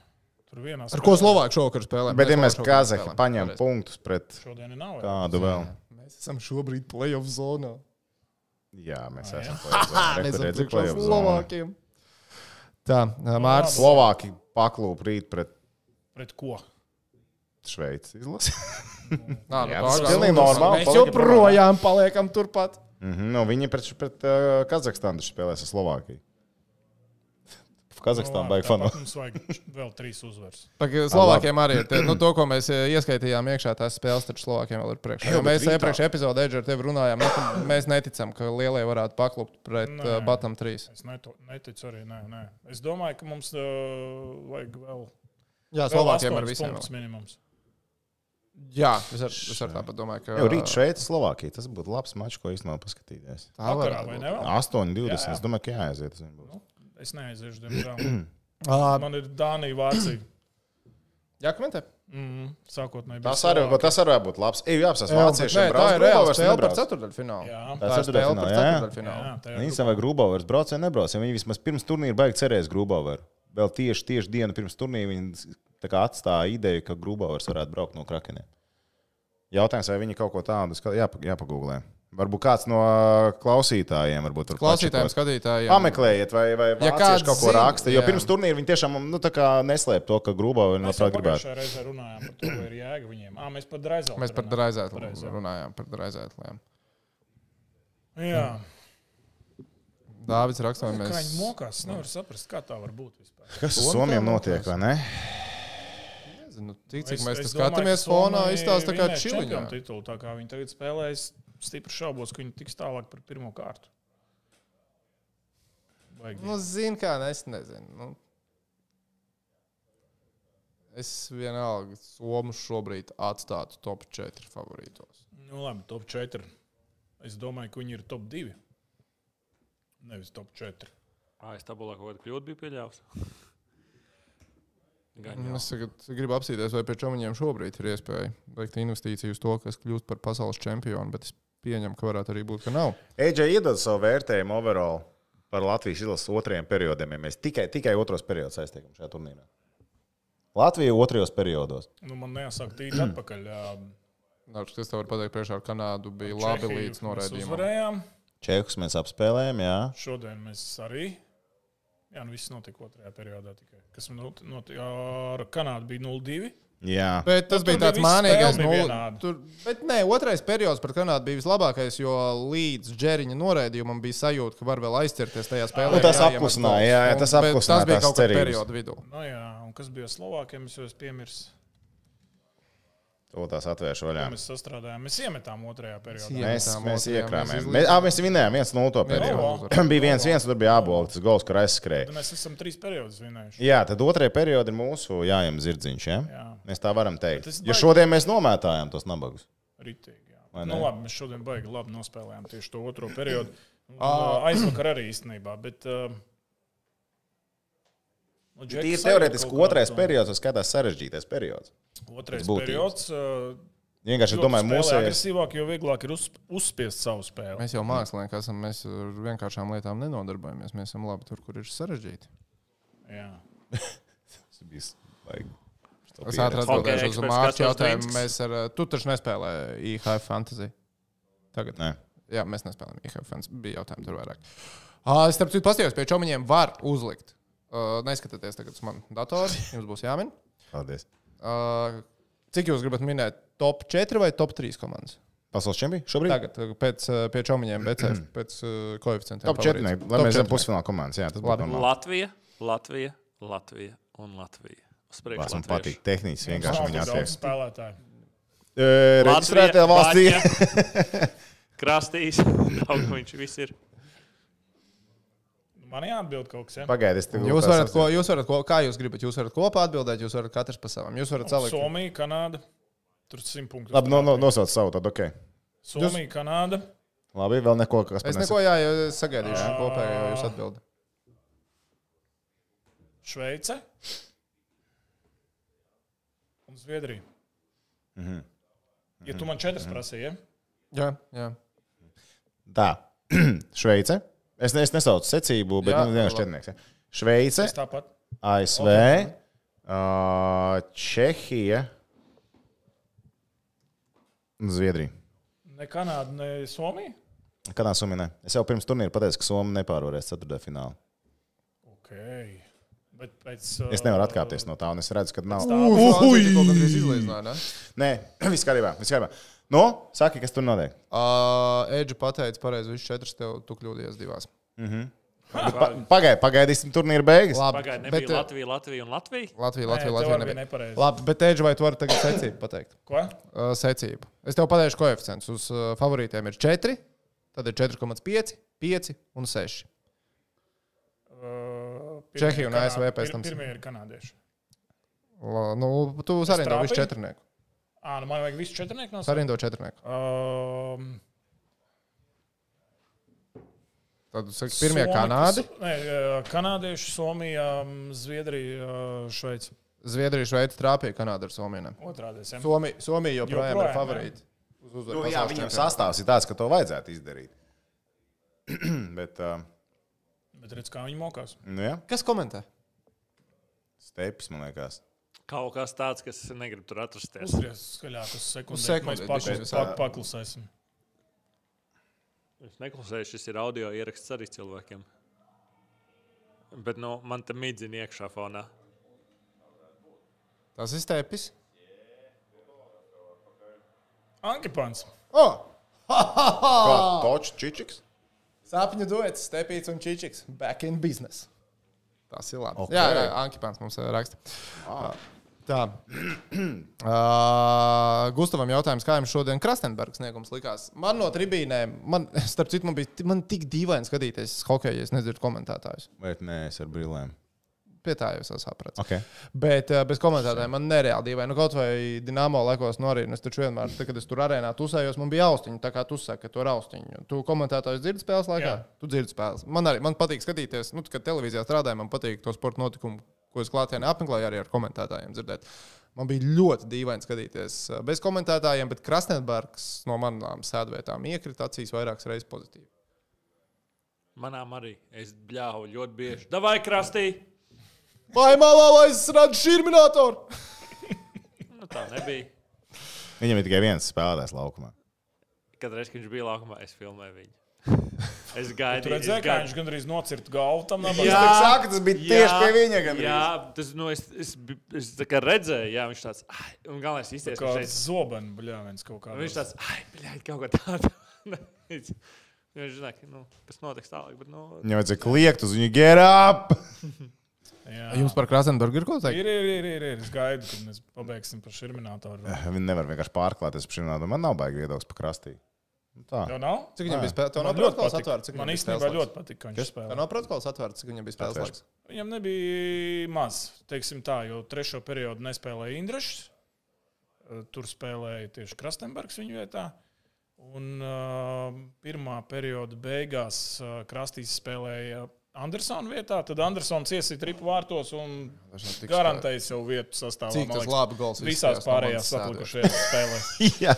[SPEAKER 6] Tur vienā
[SPEAKER 4] Ar ko Slovākija šovakar spēlē?
[SPEAKER 5] Bet, ja mēs
[SPEAKER 4] Slovāki šovakar
[SPEAKER 5] Kazahi
[SPEAKER 4] spēlēm.
[SPEAKER 5] paņem
[SPEAKER 4] Pareizi.
[SPEAKER 5] punktus pret
[SPEAKER 6] šodien nav. jā?
[SPEAKER 5] kādu vēl,
[SPEAKER 4] Mēs esam šobrīd playoff zonā.
[SPEAKER 5] jā, mēs
[SPEAKER 6] jā.
[SPEAKER 5] esam plēsojuši.
[SPEAKER 4] priekšā Slovākiem. Tā, Mārcis.
[SPEAKER 5] Slovāki paklūp rīt pret
[SPEAKER 6] Pret ko?
[SPEAKER 5] Šveici izlasi.
[SPEAKER 4] Nā, nu,
[SPEAKER 5] Jā,
[SPEAKER 4] tā
[SPEAKER 5] tas
[SPEAKER 4] kā-
[SPEAKER 5] pilnīgi normāli,
[SPEAKER 4] Mēs
[SPEAKER 5] paliekam
[SPEAKER 4] joprojām paliekam turpat.
[SPEAKER 5] Mhm, nu, viņi pret, pret uh, Kazahstānu taču spēlēs ar Slovākiju. [LAUGHS]
[SPEAKER 4] Nu,
[SPEAKER 5] Kazahstāna baigta fanu. [LAUGHS]
[SPEAKER 6] Nu, Tāpat Mums vajag vēl trīs uzvaras.
[SPEAKER 4] Pagaid, Slovākiem arī ir. tie- Nu, to, ko mēs e, ieskaitījām iekšā, tās spēles, taču Slovākiem vēl ir priekšā. Jo,
[SPEAKER 5] bet
[SPEAKER 4] mēs
[SPEAKER 5] rītā-
[SPEAKER 4] iepriekšējā epizodē Edžer, ar tevi runājām, nu, ka mēs neticam, ka lielie varētu paklupt pret
[SPEAKER 6] Nē.
[SPEAKER 4] uh, Batam 3.
[SPEAKER 6] Es neto, neticu arī. Nē, nē. Es domāju, ka mums uh, vajag vēl.
[SPEAKER 4] Jā,
[SPEAKER 6] vēl
[SPEAKER 4] Slovākiem ar
[SPEAKER 6] astoņus
[SPEAKER 4] visiem.
[SPEAKER 6] punktus minimums.
[SPEAKER 4] Jā, es ar, es ar tāpat domāju, ka
[SPEAKER 5] Jau rīt Šveici, Slovākija. Tas būtu labs mačs, ko īstenībā paskatīties.
[SPEAKER 4] Tā
[SPEAKER 6] Vakarā
[SPEAKER 4] varētu
[SPEAKER 6] vai
[SPEAKER 4] būt.
[SPEAKER 5] 8,
[SPEAKER 6] ne? vēl?
[SPEAKER 5] 20.
[SPEAKER 6] Jā, jā.
[SPEAKER 5] Es domāju, ka jāaiziet. uz viņu būs.
[SPEAKER 6] Es neaiziešu, diemžēl.
[SPEAKER 4] Ā,
[SPEAKER 6] Man ir Dānija, Vācija.
[SPEAKER 4] Jākomentē.
[SPEAKER 6] Mm, sākotnēji bija
[SPEAKER 5] Tas arī,
[SPEAKER 6] Slovākija.
[SPEAKER 5] tas arī būtu labs. Ej, jāapsās
[SPEAKER 4] Jā, bet nē,
[SPEAKER 5] vāciešiem.
[SPEAKER 4] tā
[SPEAKER 5] brauc
[SPEAKER 4] ir reāla
[SPEAKER 5] Grubauers
[SPEAKER 4] spēle par
[SPEAKER 5] nebrauc.
[SPEAKER 4] ceturdaļfinālu.
[SPEAKER 6] Jā.
[SPEAKER 5] Tā
[SPEAKER 4] Tā ir spēle par ceturdaļfinālu.
[SPEAKER 6] Jā, tā ir
[SPEAKER 5] Viņam vai Grubauers brauc vai nebrauc. Ja viņi vismaz pirms turnīra baigi cerēs Grubaueru. Vēl tieši, tieši dienu pirms turnīra viņi tā kā atstāja ideju, ka Grubauers varētu braukt no Krakeniem. Jautājums, vai viņi kaut ko tādu ska- jāpa- jāpagūglē. Varbūt kāds no uh, klausītājiem varbūt tur
[SPEAKER 4] Klausītājiem,
[SPEAKER 5] pačakos.
[SPEAKER 4] skatītājiem.
[SPEAKER 5] Pameklējiet, vai, vai ja
[SPEAKER 4] kāds
[SPEAKER 5] kāds kaut ko
[SPEAKER 4] zina,
[SPEAKER 5] raksta. Jo
[SPEAKER 4] jā.
[SPEAKER 5] pirms turnīra viņi tiešām nu, tā kā neslēp to, ka Grubauers
[SPEAKER 6] Mēs jau
[SPEAKER 5] labprāt gribētu.
[SPEAKER 6] pagājušajā reizē runājām par to, vai ir jēga viņiem. À, mēs par Draizelu.
[SPEAKER 4] Mēs par
[SPEAKER 6] runājām.
[SPEAKER 4] draizētlu
[SPEAKER 6] Draizētlu.
[SPEAKER 4] runājām. Par draizētliem.
[SPEAKER 6] Jā,
[SPEAKER 4] Dāvids raksta, vai
[SPEAKER 6] mēs... kā viņi
[SPEAKER 4] mēs.
[SPEAKER 6] mokās, es nevaru saprast, kā tā var būt vispār.
[SPEAKER 5] Kas ar Somijam notiek, vai ne?
[SPEAKER 4] Nezinu, Cik cik
[SPEAKER 6] Es-
[SPEAKER 4] mēs te
[SPEAKER 6] es domāju,
[SPEAKER 4] skatāmies
[SPEAKER 6] ka
[SPEAKER 4] fonā,
[SPEAKER 6] Somija
[SPEAKER 4] izstāsta tā kā
[SPEAKER 6] vinnēs
[SPEAKER 4] čiliņā.
[SPEAKER 6] čempionu Titulu, tā kā viņi tagad spēlēs, stipri šaubos, ka viņi tiks tālāk par pirmo kārtu. Baigi.
[SPEAKER 4] Nu, zinu, kā ne, es nezinu. Nu. Es vienalga, Somu šobrīd atstātu top 4 favorītos.
[SPEAKER 6] Nu, labi, top 4. Es domāju, ka viņi ir top 2. Nevis top 4.
[SPEAKER 1] Ai, es tabulā kaut kādu kļūdu biju pieļāvis. Gan
[SPEAKER 4] Nu,
[SPEAKER 1] jau.
[SPEAKER 4] Es tagad gribu apsīties, vai pēc tam viņiem šobrīd ir iespēja veikt investīciju uz to, kas kļūst par pasaules čempionu, bet es pieņemu, ka varētu arī būt, ka nav.
[SPEAKER 5] Eģe iedod savu vērtējumu overall par Latvijas izlases otrajiem periodiem, ja mēs tikai, tikai otros periodus aiztiekam šajā turnīrā. Latvija otrajos periodos.
[SPEAKER 6] Nu, man jāsaka,
[SPEAKER 4] [CLEARS THROAT]
[SPEAKER 6] tīri atpakaļ. ā,
[SPEAKER 4] Nāc, kas tev var pateikt, priekšā ar Kanādu bija labi
[SPEAKER 6] Čehiju
[SPEAKER 4] līdz
[SPEAKER 6] mēs
[SPEAKER 4] noraidījumam.
[SPEAKER 6] Uzvarējām.
[SPEAKER 5] Čehus mēs apspēlējām, jā.
[SPEAKER 6] Šodien mēs arī. Jā, nu viss notika otrajā periodā tikai. Kas not- notika ar Kanādu bija 0-2.
[SPEAKER 5] jā.
[SPEAKER 4] Bet tas
[SPEAKER 6] Nu,
[SPEAKER 4] bija
[SPEAKER 6] tur
[SPEAKER 4] tāds
[SPEAKER 6] bija visi
[SPEAKER 4] mākslīgais.
[SPEAKER 6] spēle
[SPEAKER 4] Nu,
[SPEAKER 6] bija vienāda.
[SPEAKER 4] tur, bet nē, otrais periods par Kanādu bija vislabākais, jo līdz džeriņa noraidījumam bija sajūta, ka var vēl aizķerties tajā spēlē.
[SPEAKER 5] Nu, tas
[SPEAKER 4] jāiemet
[SPEAKER 5] apklusināja,
[SPEAKER 4] gols.
[SPEAKER 5] jā, jā,
[SPEAKER 4] Un-
[SPEAKER 5] tas
[SPEAKER 4] bet
[SPEAKER 5] apklusināja
[SPEAKER 4] Tas bija
[SPEAKER 5] tās
[SPEAKER 4] kaut kādā
[SPEAKER 5] cerības.
[SPEAKER 4] perioda vidū.
[SPEAKER 6] Nu, jā, un kas bija ar Slovākiem, es jau piemirsu.
[SPEAKER 5] To tās atvēršu vaļā.
[SPEAKER 6] Mēs sastrādājām, mēs iemetām otrajā periodā.
[SPEAKER 4] Jā.
[SPEAKER 5] Mēs,
[SPEAKER 4] Iemetām otrajā,
[SPEAKER 5] mēs
[SPEAKER 4] mēs
[SPEAKER 5] iekrāmējām.
[SPEAKER 4] izlīdzinājām.
[SPEAKER 5] Mēs, ā, mēs vinējām viens no to periodu.
[SPEAKER 4] Viens
[SPEAKER 5] Bija viens, viens, tur bija ābols, tas gols, kur aizskrēja.
[SPEAKER 6] Tad Mēs esam trīs periodus vinnējuši.
[SPEAKER 5] Jā, tad otrajā periodā ir mūsu jājām zirdziņš. Ja?
[SPEAKER 6] Jā.
[SPEAKER 5] Mēs tā varam teikt.
[SPEAKER 6] Bet es
[SPEAKER 5] Jo
[SPEAKER 6] baigi-
[SPEAKER 5] šodien mēs nomētājām tos nabagus.
[SPEAKER 6] Ritīgi, jā.
[SPEAKER 5] Vai
[SPEAKER 6] Nu,
[SPEAKER 5] ne?
[SPEAKER 6] labi, mēs šodien baigi labi nospēlējām tieši to otro periodu.
[SPEAKER 5] [CLEARS THROAT]
[SPEAKER 6] Un,
[SPEAKER 5] Ah.
[SPEAKER 6] ā, Aizvakar arī īstenībā. Bet, ā, nu, Džeks
[SPEAKER 5] Tīri
[SPEAKER 6] sajūt
[SPEAKER 5] teorētiski
[SPEAKER 6] kaut kā
[SPEAKER 5] otrais
[SPEAKER 6] to-
[SPEAKER 5] periods, tas skatās sarežģītais periods.
[SPEAKER 6] Otrais
[SPEAKER 5] pēc būtības.
[SPEAKER 6] periods. ā,
[SPEAKER 5] Vienkārši,
[SPEAKER 6] jo
[SPEAKER 5] es domāju,
[SPEAKER 6] tu spēlē
[SPEAKER 5] mūsu
[SPEAKER 6] agresīvāk, jo vieglāk ir uz, uzspiest savu spēli.
[SPEAKER 4] Mēs jau mākslinieki esam, mēs ar vienkāršām lietām nenodarbojamies. Mēs esam labi tur, kur ir sarežģīti.
[SPEAKER 6] Jā.
[SPEAKER 5] bija. Like,
[SPEAKER 4] Es ātri atbildēšu
[SPEAKER 1] Hokeja
[SPEAKER 4] uz
[SPEAKER 1] eksperts
[SPEAKER 4] Mārķa
[SPEAKER 1] Kaspars
[SPEAKER 4] jautājumu.
[SPEAKER 1] Drinks.
[SPEAKER 4] Mēs ar, tu taču nespēlē IHF fantasy. Tagad.
[SPEAKER 5] Nē,
[SPEAKER 4] Jā, mēs E nespēlējām IHF fans. Bija jautājumi tur vairāk. Uh, starp citu, paskatījos pie čomiņiem, var uzlikt. Uh, neskatieties tagad uz manu datoru, jums būs jāmin.
[SPEAKER 5] paldies.
[SPEAKER 4] Uh, cik jūs gribat minēt? Top 4 vai top 3 komandas?
[SPEAKER 5] Pasaules čempions šobrīd?
[SPEAKER 4] Tagad uh, pēc, uh, pie čomiņiem, BCF, pēc uh, koeficientiem.
[SPEAKER 5] Top 4.
[SPEAKER 4] favorīts. Top
[SPEAKER 5] Lai mēs
[SPEAKER 4] četrnieki.
[SPEAKER 5] zinām pusfināla komandas. Jā, tas būtu
[SPEAKER 4] Labi.
[SPEAKER 5] normāli.
[SPEAKER 1] Latvija, Latvija, Latvija un Latvija. Uz priekšu.
[SPEAKER 5] Vācis man
[SPEAKER 1] latvieši.
[SPEAKER 5] patīk. Tehniski
[SPEAKER 6] Nav
[SPEAKER 5] vienkārši
[SPEAKER 6] tik
[SPEAKER 5] viņa
[SPEAKER 6] daudz
[SPEAKER 5] attiek.
[SPEAKER 6] spēlētāju.
[SPEAKER 5] E,
[SPEAKER 1] Latvija,
[SPEAKER 5] Reģistrētajā valstī.
[SPEAKER 1] Vācija,
[SPEAKER 3] [LAUGHS]
[SPEAKER 1] Krastīs, daudz viņš viss ir.
[SPEAKER 6] Nu, Man jāatbild kaut kas. Ja?
[SPEAKER 5] Pagaidiet, tas
[SPEAKER 4] Jūs varat, ko, jūs varat, ko, kā jūs gribat, jūs varat kopā atbildēt, jūs varat katrs pa savam. Jūs varat salikt.
[SPEAKER 6] Somija, Kanāda. Tur 100 punktus.
[SPEAKER 5] Labi, nu, no, no, nosauc savu tādu. Okay.
[SPEAKER 6] Somija, Kanāda.
[SPEAKER 5] Labi, vēl neko, kas
[SPEAKER 4] Es
[SPEAKER 5] man
[SPEAKER 4] neko, jā, jā, es sagaidīšu kopējo jūs atbildi.
[SPEAKER 6] Šveice un Zviedrija. Mm
[SPEAKER 5] Mhm.
[SPEAKER 6] -hmm. Ja tu man četras mm -hmm. prasīji, ja?
[SPEAKER 4] Jā, jā.
[SPEAKER 5] Tā. [CLEARS THROAT] Šveice. Es, ne, es nesaucu secību, bet
[SPEAKER 4] Jā,
[SPEAKER 5] nu, viens
[SPEAKER 4] labi.
[SPEAKER 5] četrnieks. ja. Šveice,
[SPEAKER 6] es tāpat.
[SPEAKER 5] ASV, ā, Čehija un Zviedrija.
[SPEAKER 6] Ne Kanāda, ne Somija.
[SPEAKER 5] Kādā summā? Es jau pirms turnīra pateicu, ka Somija nepārvarēs ceturtajā finālā.
[SPEAKER 6] Okay. Bet pēc, eh,
[SPEAKER 5] Es nevaru atkāpties no tā, un es redzu, ka nav.
[SPEAKER 4] Uhuj!
[SPEAKER 5] Nē, [CLEARS THROAT] viss kārībā. Viss kārībā. Nu, saki, kas tur notiek.
[SPEAKER 4] Uh, Edžu pateica, pareizi, viņš četras tev, tu kļūdījies divās.
[SPEAKER 5] Pa, pagaid, pagaidīsim, turnīra beigas.
[SPEAKER 4] Labi,
[SPEAKER 1] Pagaidām, nebija
[SPEAKER 4] eh,
[SPEAKER 1] Latvija, Latvija un Latvija.
[SPEAKER 4] Latvija,
[SPEAKER 6] Nē,
[SPEAKER 4] Latvija,
[SPEAKER 6] tev
[SPEAKER 4] Latvija
[SPEAKER 6] arī bija
[SPEAKER 4] nebija.
[SPEAKER 6] nepareizi.
[SPEAKER 4] Labi, bet Edžu, vai tu vari tagad secību pateikt?
[SPEAKER 6] Ko?
[SPEAKER 4] Uh, secību. Es tev pateikšu koeficients. Uz uh, favorītiem ir 4, tad ir 4,5, 5 un 6.
[SPEAKER 6] Uh, pirmie
[SPEAKER 4] Čehija un
[SPEAKER 6] Kanā-
[SPEAKER 4] ASV pēc
[SPEAKER 6] pir-
[SPEAKER 4] tam.
[SPEAKER 6] Pirmie ir kanādieši.
[SPEAKER 4] La, nu, tu sarindo visu
[SPEAKER 6] trāpīju?
[SPEAKER 4] četrnieku.
[SPEAKER 6] À, nu man vajag visu četrnieku no savas.
[SPEAKER 4] Sarindo četrnieku.
[SPEAKER 6] Um,
[SPEAKER 4] Tad tu saki, pirmie Kanādi.
[SPEAKER 6] eh, mm, Nē, ā, kanādieši, Somija, um, Zviedrija, ā, Šveice.
[SPEAKER 4] Zviedrija, Šveice trāpīja Kanādu ar Somiju. ne?
[SPEAKER 6] Otrā desmit.
[SPEAKER 4] Somija, Somija joprojām
[SPEAKER 6] Joprojām,
[SPEAKER 4] ir
[SPEAKER 6] jā.
[SPEAKER 4] favorīti. Uz uzvaru
[SPEAKER 5] Nu, jā,
[SPEAKER 4] pasaules
[SPEAKER 5] viņam
[SPEAKER 4] čempionātā.
[SPEAKER 5] sastāvs ir tāds, ka to vajadzētu izdarīt. [CLEARS THROAT] Bet, uh,
[SPEAKER 6] Bet redz, kā viņi mokās.
[SPEAKER 5] nu jā,
[SPEAKER 4] Kas komentē?
[SPEAKER 5] stepis, man liekas.
[SPEAKER 1] Kaut kas tāds, kas negribu tur atrasties.
[SPEAKER 6] Uzgriez skaļāk uz
[SPEAKER 4] Uz
[SPEAKER 6] sekundi.
[SPEAKER 4] sekundi,
[SPEAKER 6] Mēs
[SPEAKER 4] tikai
[SPEAKER 6] paklus,
[SPEAKER 4] uz
[SPEAKER 6] pak,
[SPEAKER 5] tā.
[SPEAKER 6] paklusēsim.
[SPEAKER 1] Es neklausēju, šis ir audio ieraksts arī cilvēkiem. Bet nu, man te mīdzina iekšā fonā.
[SPEAKER 4] Tas ir stepis.
[SPEAKER 6] Ankepants.
[SPEAKER 4] Oh!
[SPEAKER 5] Točs, čičiks.
[SPEAKER 4] Sāpņu duets, stepīts un čičiks. Back in business. Tas ir labi.
[SPEAKER 5] Ok. Ah.
[SPEAKER 4] Okay. Jā, jā Ankipāns mums eh, raksta. Tā. [CLEARS THROAT] Uh, Gustavam jautājums, kā jums šodien Krastenbergs sniegums likās? Man no tribīnēm, man, [LAUGHS] starp citu, man bija ti- man tik dīvaini skatīties hokeju, ja es nedzirdu komentētājus.
[SPEAKER 5] Bet nē, es ar brīlēm.
[SPEAKER 4] Pie tā jau es esmu sapratis.
[SPEAKER 5] Okay.
[SPEAKER 4] Bet eh, bez komentētājiem man nereāli dīvaini. Nu, kaut vai Dienāmo laikos norīdus. Es taču vienmēr, tad, kad es tur arēnā tusējos, man bija austiņa. Tā kā tu saki, ka tur ir austiņa. Tu komentētājs dzirdi spēles laikā? Jā.
[SPEAKER 6] Jā.
[SPEAKER 4] Tu dzirdi spēles. Man arī man patīk skatīties, nu, kad televīzijā strādāju, man patīk to sporta notikumu, ko es klātienē apmeklēju, arī ar komentētājiem dzirdēt. Man bija ļoti dīvaini skatīties eh, bez komentētājiem, bet Krasnodebārks no manām sēdvietām iekrita acīs vairākas reizes pozitīvi.
[SPEAKER 1] Manām arī. Es bļāvu ļoti bieži. Davai krastī!
[SPEAKER 4] Vai malā, vai es redzu šurminātoru?
[SPEAKER 1] Nu, tā nebija.
[SPEAKER 5] Viņam ir tikai viens spēlētājs laukumā.
[SPEAKER 1] Kadreiz, kad viņš bija laukumā, es filmēju viņu.
[SPEAKER 5] [LAUGHS]
[SPEAKER 1] Es
[SPEAKER 6] Tur
[SPEAKER 1] gaidīju,
[SPEAKER 6] redzēja, kā viņš gandrīz nocirta galvu tam nabagam.
[SPEAKER 5] tik saku, tas bija tieši pie viņa gandrīz.
[SPEAKER 1] Jā, tas, nu, es, es, bi- es tā kā redzēju, jā, viņš tāds - un galvenais īstais
[SPEAKER 6] Kā
[SPEAKER 1] viņš šeit. Nu,
[SPEAKER 6] zobens, bļāvens kaut kā.
[SPEAKER 1] Viņš tāds - bļaigi, kaut ko tādu. [LAUGHS] Viņš viņš zina, ka, nu, kas notiks tālāk, bet, nu,
[SPEAKER 5] Viņam vajadzēja kliegt uz viņu, get up!
[SPEAKER 6] tāds.
[SPEAKER 4] Jums par Krasnodebārgu ir ko teikt?
[SPEAKER 6] Ir, ir, ir, ir, ir. Es gaidu, kad mēs pabeigsim par šurminātoru.
[SPEAKER 5] Viņi nevar vienkārši pārklāties par šīm lietām. Man nav baigi viedoklis par krastī. Nu Tā.
[SPEAKER 6] Jau nav?
[SPEAKER 4] Cik viņam bija spēle? Tev nav
[SPEAKER 6] Man ļoti
[SPEAKER 4] protokols
[SPEAKER 6] patīk.
[SPEAKER 4] atvērts. cik
[SPEAKER 6] Man
[SPEAKER 4] viņam bija
[SPEAKER 6] īstenībā
[SPEAKER 4] spēles laiks?
[SPEAKER 6] ļoti patīk, ka viņš
[SPEAKER 4] Tev
[SPEAKER 6] spēlē.
[SPEAKER 4] nav protokols atvērts, cik viņam bija spēles
[SPEAKER 5] Atvērts.
[SPEAKER 4] laiks.
[SPEAKER 6] Viņam nebija maz, teiksim tā, jo trešo periodu nespēlēja Indrašs. Tur spēlēja tieši Krastenbergs viņa vietā. Un uh, pirmā perioda beigās uh, Krastīs spēlēja Andersona vietā. Tad Andersons iesita ripu vārtos un
[SPEAKER 4] Dažreiz tik
[SPEAKER 6] garantēja sev vietu sastāvā.
[SPEAKER 4] Cik
[SPEAKER 6] man
[SPEAKER 4] tas
[SPEAKER 6] liekas,
[SPEAKER 4] labi gols
[SPEAKER 6] Visās
[SPEAKER 4] izskatījās no
[SPEAKER 6] pārējās
[SPEAKER 4] manas
[SPEAKER 6] atlikušajās spēlēs.
[SPEAKER 5] [LAUGHS] Jā,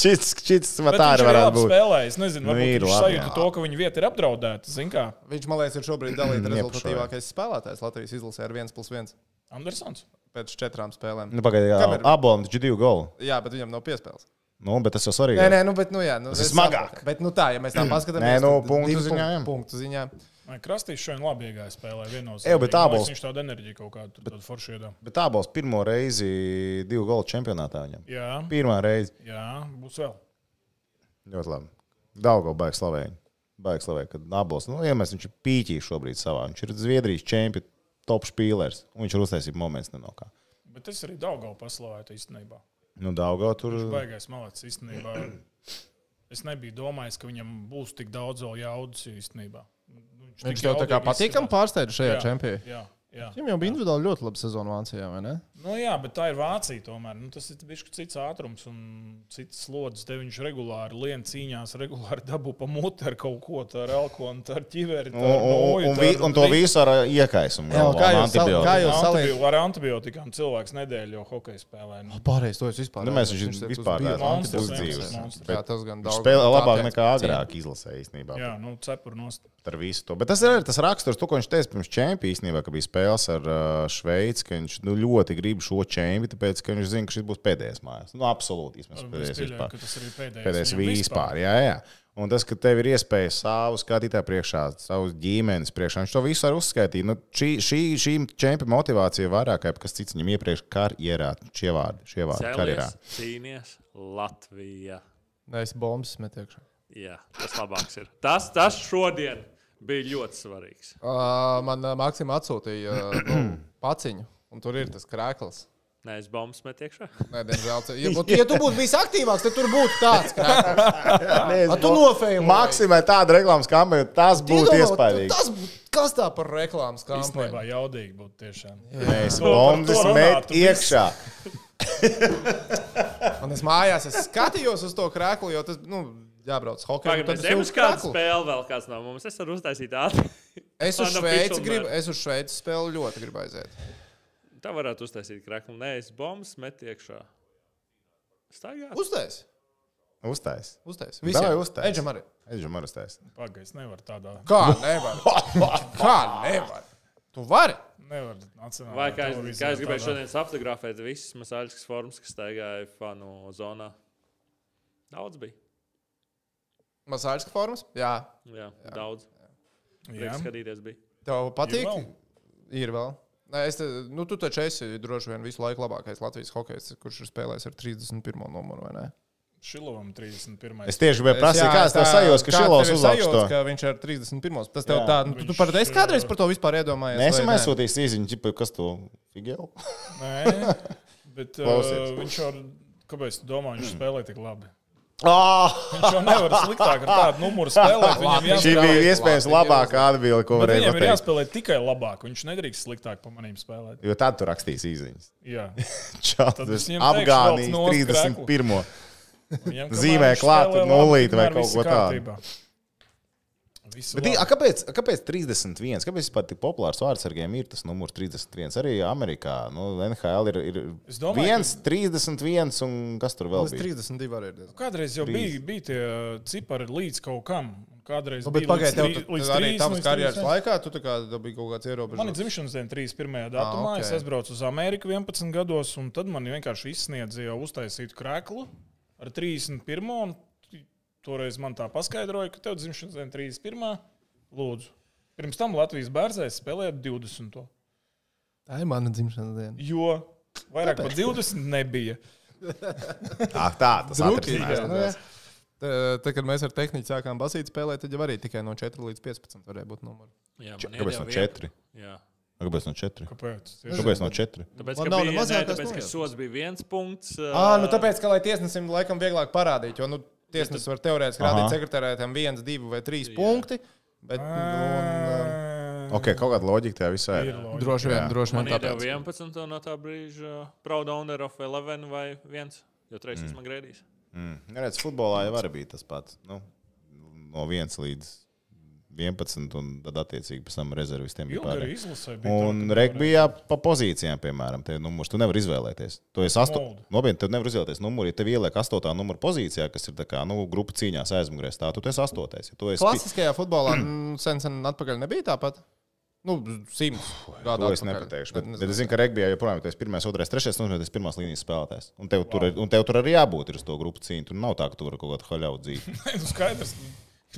[SPEAKER 5] šis, šis tā
[SPEAKER 6] Bet viņš
[SPEAKER 5] arī
[SPEAKER 6] ir
[SPEAKER 5] varētu
[SPEAKER 6] labi
[SPEAKER 5] būt.
[SPEAKER 6] spēlējis. Es nezinu,
[SPEAKER 5] Nu,
[SPEAKER 6] varbūt
[SPEAKER 5] ir
[SPEAKER 6] viņš
[SPEAKER 5] labi,
[SPEAKER 6] sajūta
[SPEAKER 5] jā.
[SPEAKER 6] to, ka viņa vieta ir apdraudēta. Zini kā,
[SPEAKER 4] Viņš, man liekas, ir šobrīd dalīts
[SPEAKER 5] Iepušoja.
[SPEAKER 4] rezultatīvākais spēlētājs Latvijas izlasē ar 1,1
[SPEAKER 6] Andersons.
[SPEAKER 4] pēc četrām spēlēm.
[SPEAKER 5] Nu, Pagaidiet,
[SPEAKER 4] Kamer-
[SPEAKER 5] abolām taču divu golu.
[SPEAKER 4] Jā, bet viņam nav piespēles.
[SPEAKER 5] Nu, bet tas jau svarīgi.
[SPEAKER 4] Nē, nē, nu, bet, nu, jā, nu,
[SPEAKER 5] Tas ir
[SPEAKER 4] es
[SPEAKER 5] smagāk.
[SPEAKER 4] saprotu. Bet, nu, tā, ja mēs tā paskatāmies,
[SPEAKER 5] Nē, nu,
[SPEAKER 4] tad
[SPEAKER 5] punktu
[SPEAKER 4] divi
[SPEAKER 5] ziņā,
[SPEAKER 4] punkti-
[SPEAKER 5] jā.
[SPEAKER 4] punktu ziņā.
[SPEAKER 6] Vai Krastīs šodien labi iegāja spēlē vienos?
[SPEAKER 5] Ej, bet ābols-
[SPEAKER 6] Viņš tādu enerģiju kaut kādu tur tādu foršu iedā.
[SPEAKER 5] Bet tā būs pirmo reizi divu golu čempionātā viņam.
[SPEAKER 6] Jā,
[SPEAKER 5] Pirmā reize.
[SPEAKER 6] jā, būs vēl.
[SPEAKER 5] Ļoti labi. Daudzā baigta slavēņa. Baigta slavēņa, kad nabos. Nu, ja mēs viņš ir pīķī šobrīd savā. Viņš ir Zviedrijas čempions, top spīlers. Un viņš ir uztaisījis moments nenokā.
[SPEAKER 6] Bet es arī Daugau paslavēju īstenībā.
[SPEAKER 5] Nu, Daudzā tur
[SPEAKER 6] Baigais malācis īstenībā. Es nebiju domājis, ka viņam būs tik daudz vēl jaudas īstenībā. Nu, Viņš, tik
[SPEAKER 4] Viņš tev tā kā
[SPEAKER 6] jaudīgi
[SPEAKER 4] patīkami
[SPEAKER 6] izskatās.
[SPEAKER 4] pārsteidza šajā
[SPEAKER 6] Jā,
[SPEAKER 4] čempionā.
[SPEAKER 6] Jā, jā.
[SPEAKER 4] Viņam jau bija individuāli ļoti laba sezona Vācijā, vai ne?
[SPEAKER 6] Nu, jā, bet tā ir Vācija. Tomēr nu, tas ir bijis cits ātrums un cits slodzes. Te viņš regulāri lien cīņās, regulāri dabū pa muti ar kaut ko tādu, ar alkoholu, tā ar ķiveri. tā
[SPEAKER 5] Un,
[SPEAKER 6] ar
[SPEAKER 5] un, un,
[SPEAKER 6] noju, Nu, tā
[SPEAKER 5] vi-
[SPEAKER 6] ar
[SPEAKER 5] un to
[SPEAKER 6] visu.
[SPEAKER 5] visu ar iekaisumu.
[SPEAKER 4] Jā,
[SPEAKER 5] galvā,
[SPEAKER 4] kā
[SPEAKER 5] un
[SPEAKER 4] jau sal-
[SPEAKER 5] antibiotiku.
[SPEAKER 4] kā jau-
[SPEAKER 6] Antibio, ar antibiotikām cilvēks nedēļu jau hokeja spēlē. Nu,
[SPEAKER 4] Pārējais to es vispār.
[SPEAKER 5] Nu, mēs
[SPEAKER 4] neesmu.
[SPEAKER 5] viņš
[SPEAKER 4] ir
[SPEAKER 5] vispār
[SPEAKER 4] uz-
[SPEAKER 5] neesam
[SPEAKER 6] monstrs,
[SPEAKER 5] uzdzīves.
[SPEAKER 6] monstrs.
[SPEAKER 5] Bet
[SPEAKER 4] Jā, tas gan
[SPEAKER 5] Viņš
[SPEAKER 4] daudz.
[SPEAKER 5] spēlē labāk nekā agrāk izlasē īstenībā.
[SPEAKER 6] jā, nu, cepur nost.
[SPEAKER 5] ar visu to. Bet tas ir arī tas raksturs, to, ko viņš teica pirms čempiona īstenībā, ka bija spēles ar uh, Šveici, ka viņš nu, ļoti grib šo čempionu, tāpēc ka viņš zina, ka šis būs pēdējais mājās. Nu, absolūti, vismaz
[SPEAKER 6] Es
[SPEAKER 5] pēdējais
[SPEAKER 6] pieļauju,
[SPEAKER 5] vispār.
[SPEAKER 6] ka tas arī pēdējais.
[SPEAKER 5] Pēdējais
[SPEAKER 6] viņam
[SPEAKER 5] vispār, jā, jā. Un tas, ka tev ir iespēja savu skatītāju priekšā, savu ģimenes priekšā, viņš to visu arī uzskaitīja. Nu, šī, šī, šī čempiona motivācija ir vairāk kā kas cits viņam iepriekš karjerā, šie vārdi, šie vārdi karjerā.
[SPEAKER 1] cēlies, cīnies Latvijā.
[SPEAKER 4] Nē, es bombas metiekšu.
[SPEAKER 1] Jā, tas labāks ir. Tas, tas šodien bija ļoti svarīgs.
[SPEAKER 4] Ā, Man ā, Maksim atsūtīja ā, [CLEARS THROAT] nu, paciņu, un tur ir tas krēkls.
[SPEAKER 1] Nē, es bombas metu iekšā.
[SPEAKER 4] Nē, diemžēl. ce- Ja, būtu, ja tu būtu bijis aktīvāks, tad tur būtu
[SPEAKER 5] [LAUGHS]
[SPEAKER 4] tāds krēkls.
[SPEAKER 5] Nē,
[SPEAKER 4] A tu nofēmo.
[SPEAKER 5] Maksimai tāda reklāmas kampaņa, tas nu, būtu
[SPEAKER 4] Iedomā,
[SPEAKER 5] iespaidīgi.
[SPEAKER 4] Tas būtu kas tā par reklāmas
[SPEAKER 6] Īstenībā
[SPEAKER 4] kampaņu?
[SPEAKER 6] jaudīgi būtu tiešām.
[SPEAKER 5] Mēs
[SPEAKER 6] To par to
[SPEAKER 5] bombas
[SPEAKER 6] runāt,
[SPEAKER 5] met
[SPEAKER 6] tu viss.
[SPEAKER 5] iekšā.
[SPEAKER 4] Un es mājās es skatījos uz to krēklu, jo tas, nu, jābrauc hokeja.
[SPEAKER 1] Pagaidām,
[SPEAKER 4] Tad
[SPEAKER 1] bet
[SPEAKER 4] es
[SPEAKER 1] tev
[SPEAKER 4] jūtu
[SPEAKER 1] ir kāda
[SPEAKER 4] krēklu.
[SPEAKER 1] spēle vēl kāds no mums. Es varu uztaisīt ātri.
[SPEAKER 4] Es uz
[SPEAKER 1] Anna
[SPEAKER 4] Šveici
[SPEAKER 1] Pitzelberg.
[SPEAKER 4] gribu, es uz Šveici spēli ļoti gribu aiziet.
[SPEAKER 3] [LAUGHS] Tā varētu uztaisīt krāklinu. Nē, es bombas metu iekšā. Staigā.
[SPEAKER 4] Uztais!
[SPEAKER 5] Uztais.
[SPEAKER 4] Uztais!
[SPEAKER 5] Davai, uztais.
[SPEAKER 4] Edžam arī!
[SPEAKER 5] Aizžam ar uztais.
[SPEAKER 6] Pagaidzi, nevar tādā.
[SPEAKER 4] Kā
[SPEAKER 5] [LAUGHS]
[SPEAKER 4] nevar? Kā nevar? Tu vari!
[SPEAKER 6] Nevar nacionālā
[SPEAKER 3] Vai kā es,
[SPEAKER 6] televīzijā
[SPEAKER 3] kā es gribēju
[SPEAKER 6] tādā.
[SPEAKER 3] šodien apfotografēt visas masāļas formas, kas staigāja fanu zonā? Daudz bija.
[SPEAKER 4] Masāžas formas? Jā.
[SPEAKER 3] Jā, jā. daudz.
[SPEAKER 6] Jā.
[SPEAKER 3] Prieks skatīties bija.
[SPEAKER 4] Tev patīk?
[SPEAKER 6] vēl?
[SPEAKER 4] Ir vēl. Nē, es te, nu, tu taču esi droši vien visu laiku labākais Latvijas hokejs, kurš ir spēlējis ar 31. numuru, vai ne?
[SPEAKER 6] Šilovam 31.
[SPEAKER 5] Es tieši gribēju prasīt,
[SPEAKER 4] jā,
[SPEAKER 5] kā es tev
[SPEAKER 4] tā-
[SPEAKER 5] sajūtu, ka
[SPEAKER 4] kā tev
[SPEAKER 5] Šilovs
[SPEAKER 4] ir
[SPEAKER 5] uzlauks
[SPEAKER 4] sajūta,
[SPEAKER 5] to.
[SPEAKER 4] Ka viņš ir 31. Tas tev
[SPEAKER 5] Jā,
[SPEAKER 4] tā, nu, tu, tu par, es
[SPEAKER 6] viņš,
[SPEAKER 4] kādreiz
[SPEAKER 6] uh,
[SPEAKER 4] par to vispār iedomājos.
[SPEAKER 5] Nē, esam
[SPEAKER 4] vai ne?
[SPEAKER 5] aizsūtījis īziņu, ķipa, kas to
[SPEAKER 4] [LAUGHS]
[SPEAKER 5] figēlu.
[SPEAKER 6] Nē,
[SPEAKER 5] [LAUGHS]
[SPEAKER 6] bet uh,
[SPEAKER 5] Klausies.
[SPEAKER 6] viņš jau, kāpēc tu domā, viņš spēlē tik labi?
[SPEAKER 5] Ah!
[SPEAKER 6] Viņš jau nevar sliktāk ar tādu numuru
[SPEAKER 5] [LAUGHS]
[SPEAKER 6] spēlēt. Viņam
[SPEAKER 5] Šī
[SPEAKER 6] jāspēlē,
[SPEAKER 5] bija iespējams labākā atbilde, ko
[SPEAKER 6] bet
[SPEAKER 5] varēja
[SPEAKER 6] viņam ir
[SPEAKER 5] pateikt.
[SPEAKER 6] jāspēlē tikai labāk. Viņš nedrīkst sliktāk par manīm spēlēt.
[SPEAKER 5] Jo tad tu rakstīsi īziņas.
[SPEAKER 6] Jā. [LAUGHS] Tad es
[SPEAKER 5] Čautavs
[SPEAKER 6] viņiem teikšu,
[SPEAKER 5] apgānīs
[SPEAKER 6] velc nost
[SPEAKER 5] 31.
[SPEAKER 6] Viņam, kamēr
[SPEAKER 5] Zīmē
[SPEAKER 6] viņš
[SPEAKER 5] klāt
[SPEAKER 6] spēlē
[SPEAKER 5] un
[SPEAKER 6] labi,
[SPEAKER 5] nulīti vai
[SPEAKER 6] tikmēr
[SPEAKER 5] kaut
[SPEAKER 6] viss
[SPEAKER 5] ko tādu.
[SPEAKER 6] kārtībā. Viss
[SPEAKER 5] Bet,
[SPEAKER 6] labi.
[SPEAKER 5] i- a, kāpēc, a, kāpēc 31? Kāpēc vispār tik populārs vārdsargiem ir tas numurs 31? Arī Amerikā, nu, NHL ir, ir
[SPEAKER 6] Es domāju,
[SPEAKER 5] 1, 31 un kas tur vēl
[SPEAKER 4] Līdz
[SPEAKER 5] bija?
[SPEAKER 4] 32 arī ir diezgan.
[SPEAKER 6] Nu, Kādreiz jau
[SPEAKER 5] Trīs.
[SPEAKER 6] bija, bija tie uh, cipari līdz kaut kam. un Kādreiz
[SPEAKER 4] Nu,
[SPEAKER 6] nu,
[SPEAKER 4] bet
[SPEAKER 6] bija
[SPEAKER 4] pagaidiet,
[SPEAKER 6] līdz,
[SPEAKER 4] tev
[SPEAKER 6] trī-
[SPEAKER 4] tas
[SPEAKER 6] līdz
[SPEAKER 4] arī
[SPEAKER 6] trīs,
[SPEAKER 4] tavas
[SPEAKER 6] līdz
[SPEAKER 4] karjeras
[SPEAKER 6] trīs.
[SPEAKER 4] laikā, tu tā kā tev bija kaut kāds
[SPEAKER 6] Man ir
[SPEAKER 4] ierobežojums.
[SPEAKER 6] dzimšanas diena 31. datumā.
[SPEAKER 4] Ah, ok.
[SPEAKER 6] Okay. Es aizbraucu uz Ameriku 11 gados, un tad man vienkārši izsniedza jau uztaisītu krēklu ar 31. un t- Toreiz man tā paskaidroja, ka tev dzimšanas diena 31. Lūdzu. Pirms tam Latvijas bērnēs spēlēja 20.
[SPEAKER 4] Tā ir mana dzimšanas diena.
[SPEAKER 6] Jo vairāk par 20 nebija.
[SPEAKER 5] Tā, tā, tas atrisinājās.
[SPEAKER 4] nu, jā. Tā- Tad, kad mēs ar tehniku sākām basīt spēlēt, tad jau arī tikai no 4 līdz 15 varēja būt numuri.
[SPEAKER 3] Jā,
[SPEAKER 5] Če-
[SPEAKER 3] man
[SPEAKER 5] Kāpēc
[SPEAKER 3] iedeva
[SPEAKER 5] no
[SPEAKER 3] vienu.
[SPEAKER 5] 4?
[SPEAKER 3] Jā.
[SPEAKER 5] Kāpēc no 4?
[SPEAKER 6] Kāpēc?
[SPEAKER 5] Kāpēc no 4?
[SPEAKER 3] Tāpēc,
[SPEAKER 4] Man
[SPEAKER 3] ka
[SPEAKER 4] nav ne
[SPEAKER 3] bija, nē,
[SPEAKER 4] mazākās
[SPEAKER 3] tāpēc, ka
[SPEAKER 4] nojausmas.
[SPEAKER 3] sods bija viens punkts.
[SPEAKER 4] Ā, nu tāpēc, ka lai tiesnesim laikam vieglāk parādīt, jo nu, tiesnesis var teorētiski
[SPEAKER 5] Aha.
[SPEAKER 4] rādīt sekretārētam 1, 2 vai 3 punkti. Bet, nu, un,
[SPEAKER 5] Ok, kaut kāda loģika tajā visā ir.
[SPEAKER 6] Ir
[SPEAKER 4] ā,
[SPEAKER 6] loģiski.
[SPEAKER 4] droši vien, droši
[SPEAKER 3] Man
[SPEAKER 4] vien
[SPEAKER 3] iedeva
[SPEAKER 4] tāpēc.
[SPEAKER 3] 11. no tā brīža Proud Owner of 11 vai 1, jo trešais mm. man grēdīs.
[SPEAKER 5] Mm. Redz, futbolā jau arī bija tas pats. Nu, no 1 līdz 11, un tad attiecīgi pēc tam rezervistiem bija
[SPEAKER 6] Ilgi arī
[SPEAKER 5] pārējie.
[SPEAKER 6] izlasē
[SPEAKER 5] Un
[SPEAKER 6] bija. tā, ka toreiz-
[SPEAKER 5] regbijā pa pozīcijām, piemēram, te numurs tu nevar izvēlēties. Tu esi asto...
[SPEAKER 6] Moldu.
[SPEAKER 5] nopietni, tu nevar izvēlēties numuru. Ja tev ieliek astotā numura pozīcijā, kas ir tā kā, nu, grupa cīņās aizmugurē, tā tu esi astotais. Ja tu esi
[SPEAKER 4] Klasiskajā futbolā mm, sen, sen atpakaļ nebija tāpat. Nu, simts gadu.
[SPEAKER 5] To es nepateikšu. Bet, bet es zinu, ka regbijā joprojām ir pirmais, otrais, trešais, un tas ir pirmās līnijas spēlētājs. Un tev, tur, ir- un tev tur arī jābūt ir uz to grupu cīņu. Tur nav tā, ka tu vari kaut kādu haļauju dzīvi.
[SPEAKER 6] [LAUGHS] Nu, skaidrs. nu,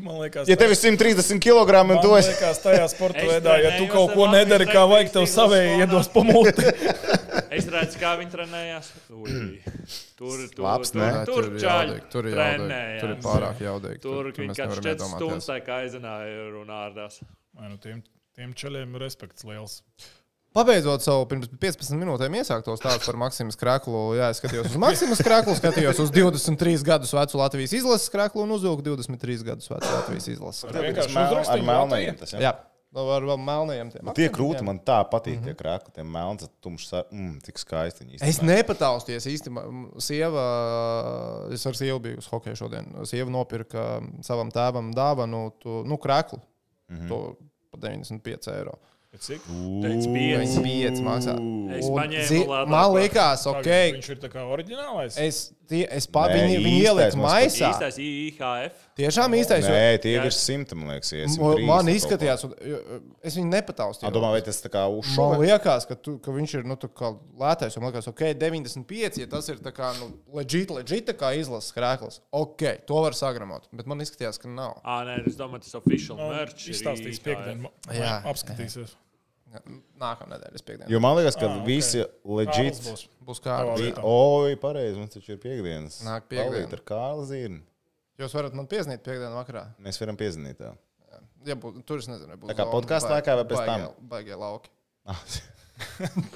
[SPEAKER 6] Man liekas,
[SPEAKER 5] Ja tev ir 130 kg, un tu esi.
[SPEAKER 6] liekas, tajā sporta
[SPEAKER 3] Es
[SPEAKER 6] veidā, ja tu
[SPEAKER 3] trenējos
[SPEAKER 6] kaut
[SPEAKER 3] ar
[SPEAKER 6] ko
[SPEAKER 3] Latvijas
[SPEAKER 6] nedari, kā vajag, tev
[SPEAKER 3] Rugby
[SPEAKER 6] savēji
[SPEAKER 3] Stīvas
[SPEAKER 6] iedos
[SPEAKER 3] [LAUGHS]
[SPEAKER 6] pamūti.
[SPEAKER 3] Es redzu, kā viņi trenējās. Ui, Tur, tur,
[SPEAKER 5] Labs,
[SPEAKER 3] tur,
[SPEAKER 5] ne?
[SPEAKER 3] tur, čaļi
[SPEAKER 4] tur ir jaudīgi. Tur ir
[SPEAKER 3] trenējās.
[SPEAKER 4] pārāk jaudīgi.
[SPEAKER 3] Tur
[SPEAKER 4] mēs
[SPEAKER 3] viņi kāds
[SPEAKER 4] nevaram
[SPEAKER 3] četras
[SPEAKER 4] iedomāties.
[SPEAKER 3] stundas tā kā aizināja runārdās.
[SPEAKER 6] Vai nu tiem, tiem čaļiem ir respekts liels.
[SPEAKER 4] Pabeidzot savu pirms 15 minūtēm iesākto stāstu par Maksimu Skraklu, jā, es skatījos uz Maksimu Skraklu, skatījos uz 23 gadus vecu Latvijas izlases Skraklu un uzvilku 23 gadus vecu Latvijas izlases.
[SPEAKER 5] Tev ir
[SPEAKER 6] Vienkārši
[SPEAKER 5] tas mel-
[SPEAKER 6] uzrakstīju
[SPEAKER 5] Ar melnajiem tas ir.
[SPEAKER 4] Jā, no ar vēl melniem tiem.
[SPEAKER 5] Tie
[SPEAKER 4] akcentiem, jā.
[SPEAKER 5] krūti man tā patīk,
[SPEAKER 6] Mhm.
[SPEAKER 5] tie krākli, tie melni, tad tumšs, sar- mm, tik skaisti viņi
[SPEAKER 4] Es
[SPEAKER 5] īstenībā.
[SPEAKER 4] nepatausties īstenībā. Sieva, es ar sievu biju uz hokeja šodien. Sieva nopirka savam tēvam dāvanu, to, nu, krēklu. Mm -hmm. To par 95 eiro.
[SPEAKER 6] Bet Cik?
[SPEAKER 3] Teic, pieci.
[SPEAKER 4] 95 maksā.
[SPEAKER 3] Es
[SPEAKER 4] Un
[SPEAKER 3] paņēmu
[SPEAKER 4] zi-
[SPEAKER 3] lādētāju.
[SPEAKER 4] Man liekas,
[SPEAKER 6] Tagad
[SPEAKER 4] ok.
[SPEAKER 6] Viņš ir tā kā oriģinālais.
[SPEAKER 4] Es, tie, es pat
[SPEAKER 5] Nē,
[SPEAKER 4] viņu, viņu
[SPEAKER 5] īstais
[SPEAKER 4] ieliku
[SPEAKER 5] mums
[SPEAKER 4] maisā.
[SPEAKER 3] Īstais IHF.
[SPEAKER 4] Tiešām īstais. jo
[SPEAKER 5] Nē, tie ir virs simta, man liekas, iesim.
[SPEAKER 4] mo- Man izskatījās, un, jo, es viņu nepataustīju.
[SPEAKER 5] Domā, vai tas tā kā
[SPEAKER 4] Man
[SPEAKER 5] uzšūvēts?
[SPEAKER 4] liekas, ka, tu, ka viņš ir nu, tā kā lētais. Man liekas, ok, 95, ja tas ir tā kā nu, leģit, leģit, tā kā izlases krēklis. Ok, to var sagramot. Bet man izskatījās, ka nav.
[SPEAKER 3] Ā, nē, es domāju, tas oficiāls
[SPEAKER 6] Nu,
[SPEAKER 3] merch. ir
[SPEAKER 6] Izstāstīs
[SPEAKER 3] IHF.
[SPEAKER 6] piekdienu.
[SPEAKER 4] Jā.
[SPEAKER 6] Apskatīsies.
[SPEAKER 4] Nākamā nedēļa, es piekdienu.
[SPEAKER 5] Jo man liekas, ka
[SPEAKER 6] Ah, ok.
[SPEAKER 5] visi
[SPEAKER 6] Kārlis
[SPEAKER 5] leģitīvi.
[SPEAKER 6] būs.
[SPEAKER 4] Būs kā ar
[SPEAKER 6] Tavā
[SPEAKER 4] jums.
[SPEAKER 6] lietā.
[SPEAKER 5] Oi, pareizi, mums taču ir piekdienas.
[SPEAKER 4] Nāk piekdiena.
[SPEAKER 5] Palīt Ar Kārli Zīrni.
[SPEAKER 4] Jūs varat man piesniegt piekdienu vakarā.
[SPEAKER 5] Mēs varam piezināt. tev.
[SPEAKER 4] Ja būs, tur es nezinu, vai būs.
[SPEAKER 5] Tā kā
[SPEAKER 4] zona,
[SPEAKER 5] podkāstu
[SPEAKER 4] baigi-
[SPEAKER 5] laikā vai pēc
[SPEAKER 4] baigie- Baigie lauki.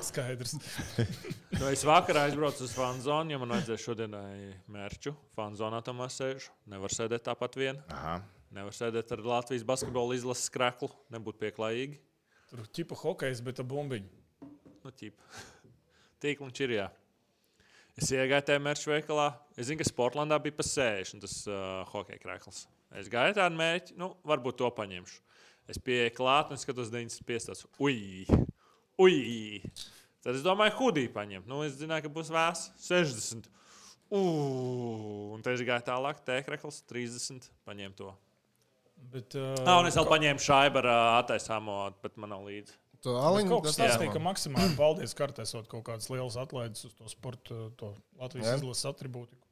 [SPEAKER 6] Skaidrs.
[SPEAKER 3] Nu, es vakarā aizbraucu uz fanzonu, jo man vajadzēja šodienai mērķu. Fanzonā tam es sēžu. Nevar sēdēt tāpat vien.
[SPEAKER 5] Aha.
[SPEAKER 3] Nevar sēdēt ar Latvijas basketbolu izlases krēklu. Nebūtu pieklājīgi.
[SPEAKER 6] Tur ķipa hokejs, bet ar bumbiņu.
[SPEAKER 3] Nu, ķip. [LAUGHS] Tīkliņš ir jā. Es iegāju tajā mērķu veikalā. Es zinu, ka Sportlandā bija pa 60 tas uh, hockey krēkls. Es gāju tādu mērķi, nu, varbūt to paņemšu. Es pieeju klāt un skatos 95. tāds, Ui! Ui! Tad es domāju, hudī paņemt. Nu, es zināju, ka būs vēss 60. Uu, un te es gāju tālāk, tēkrakls 30. Paņēmu to.
[SPEAKER 6] Bet, uh,
[SPEAKER 3] Nā, un es vēl paņēmu šādu ar uh, attaisāmo, bet man nav līdzi.
[SPEAKER 4] Tu
[SPEAKER 6] Bet
[SPEAKER 4] aliņu
[SPEAKER 6] Kaut kas tāds - ka maksimāli paldies kartēsot kaut kādas lielas atlaides uz to sporta, to Latvijas izlases atribūtiku.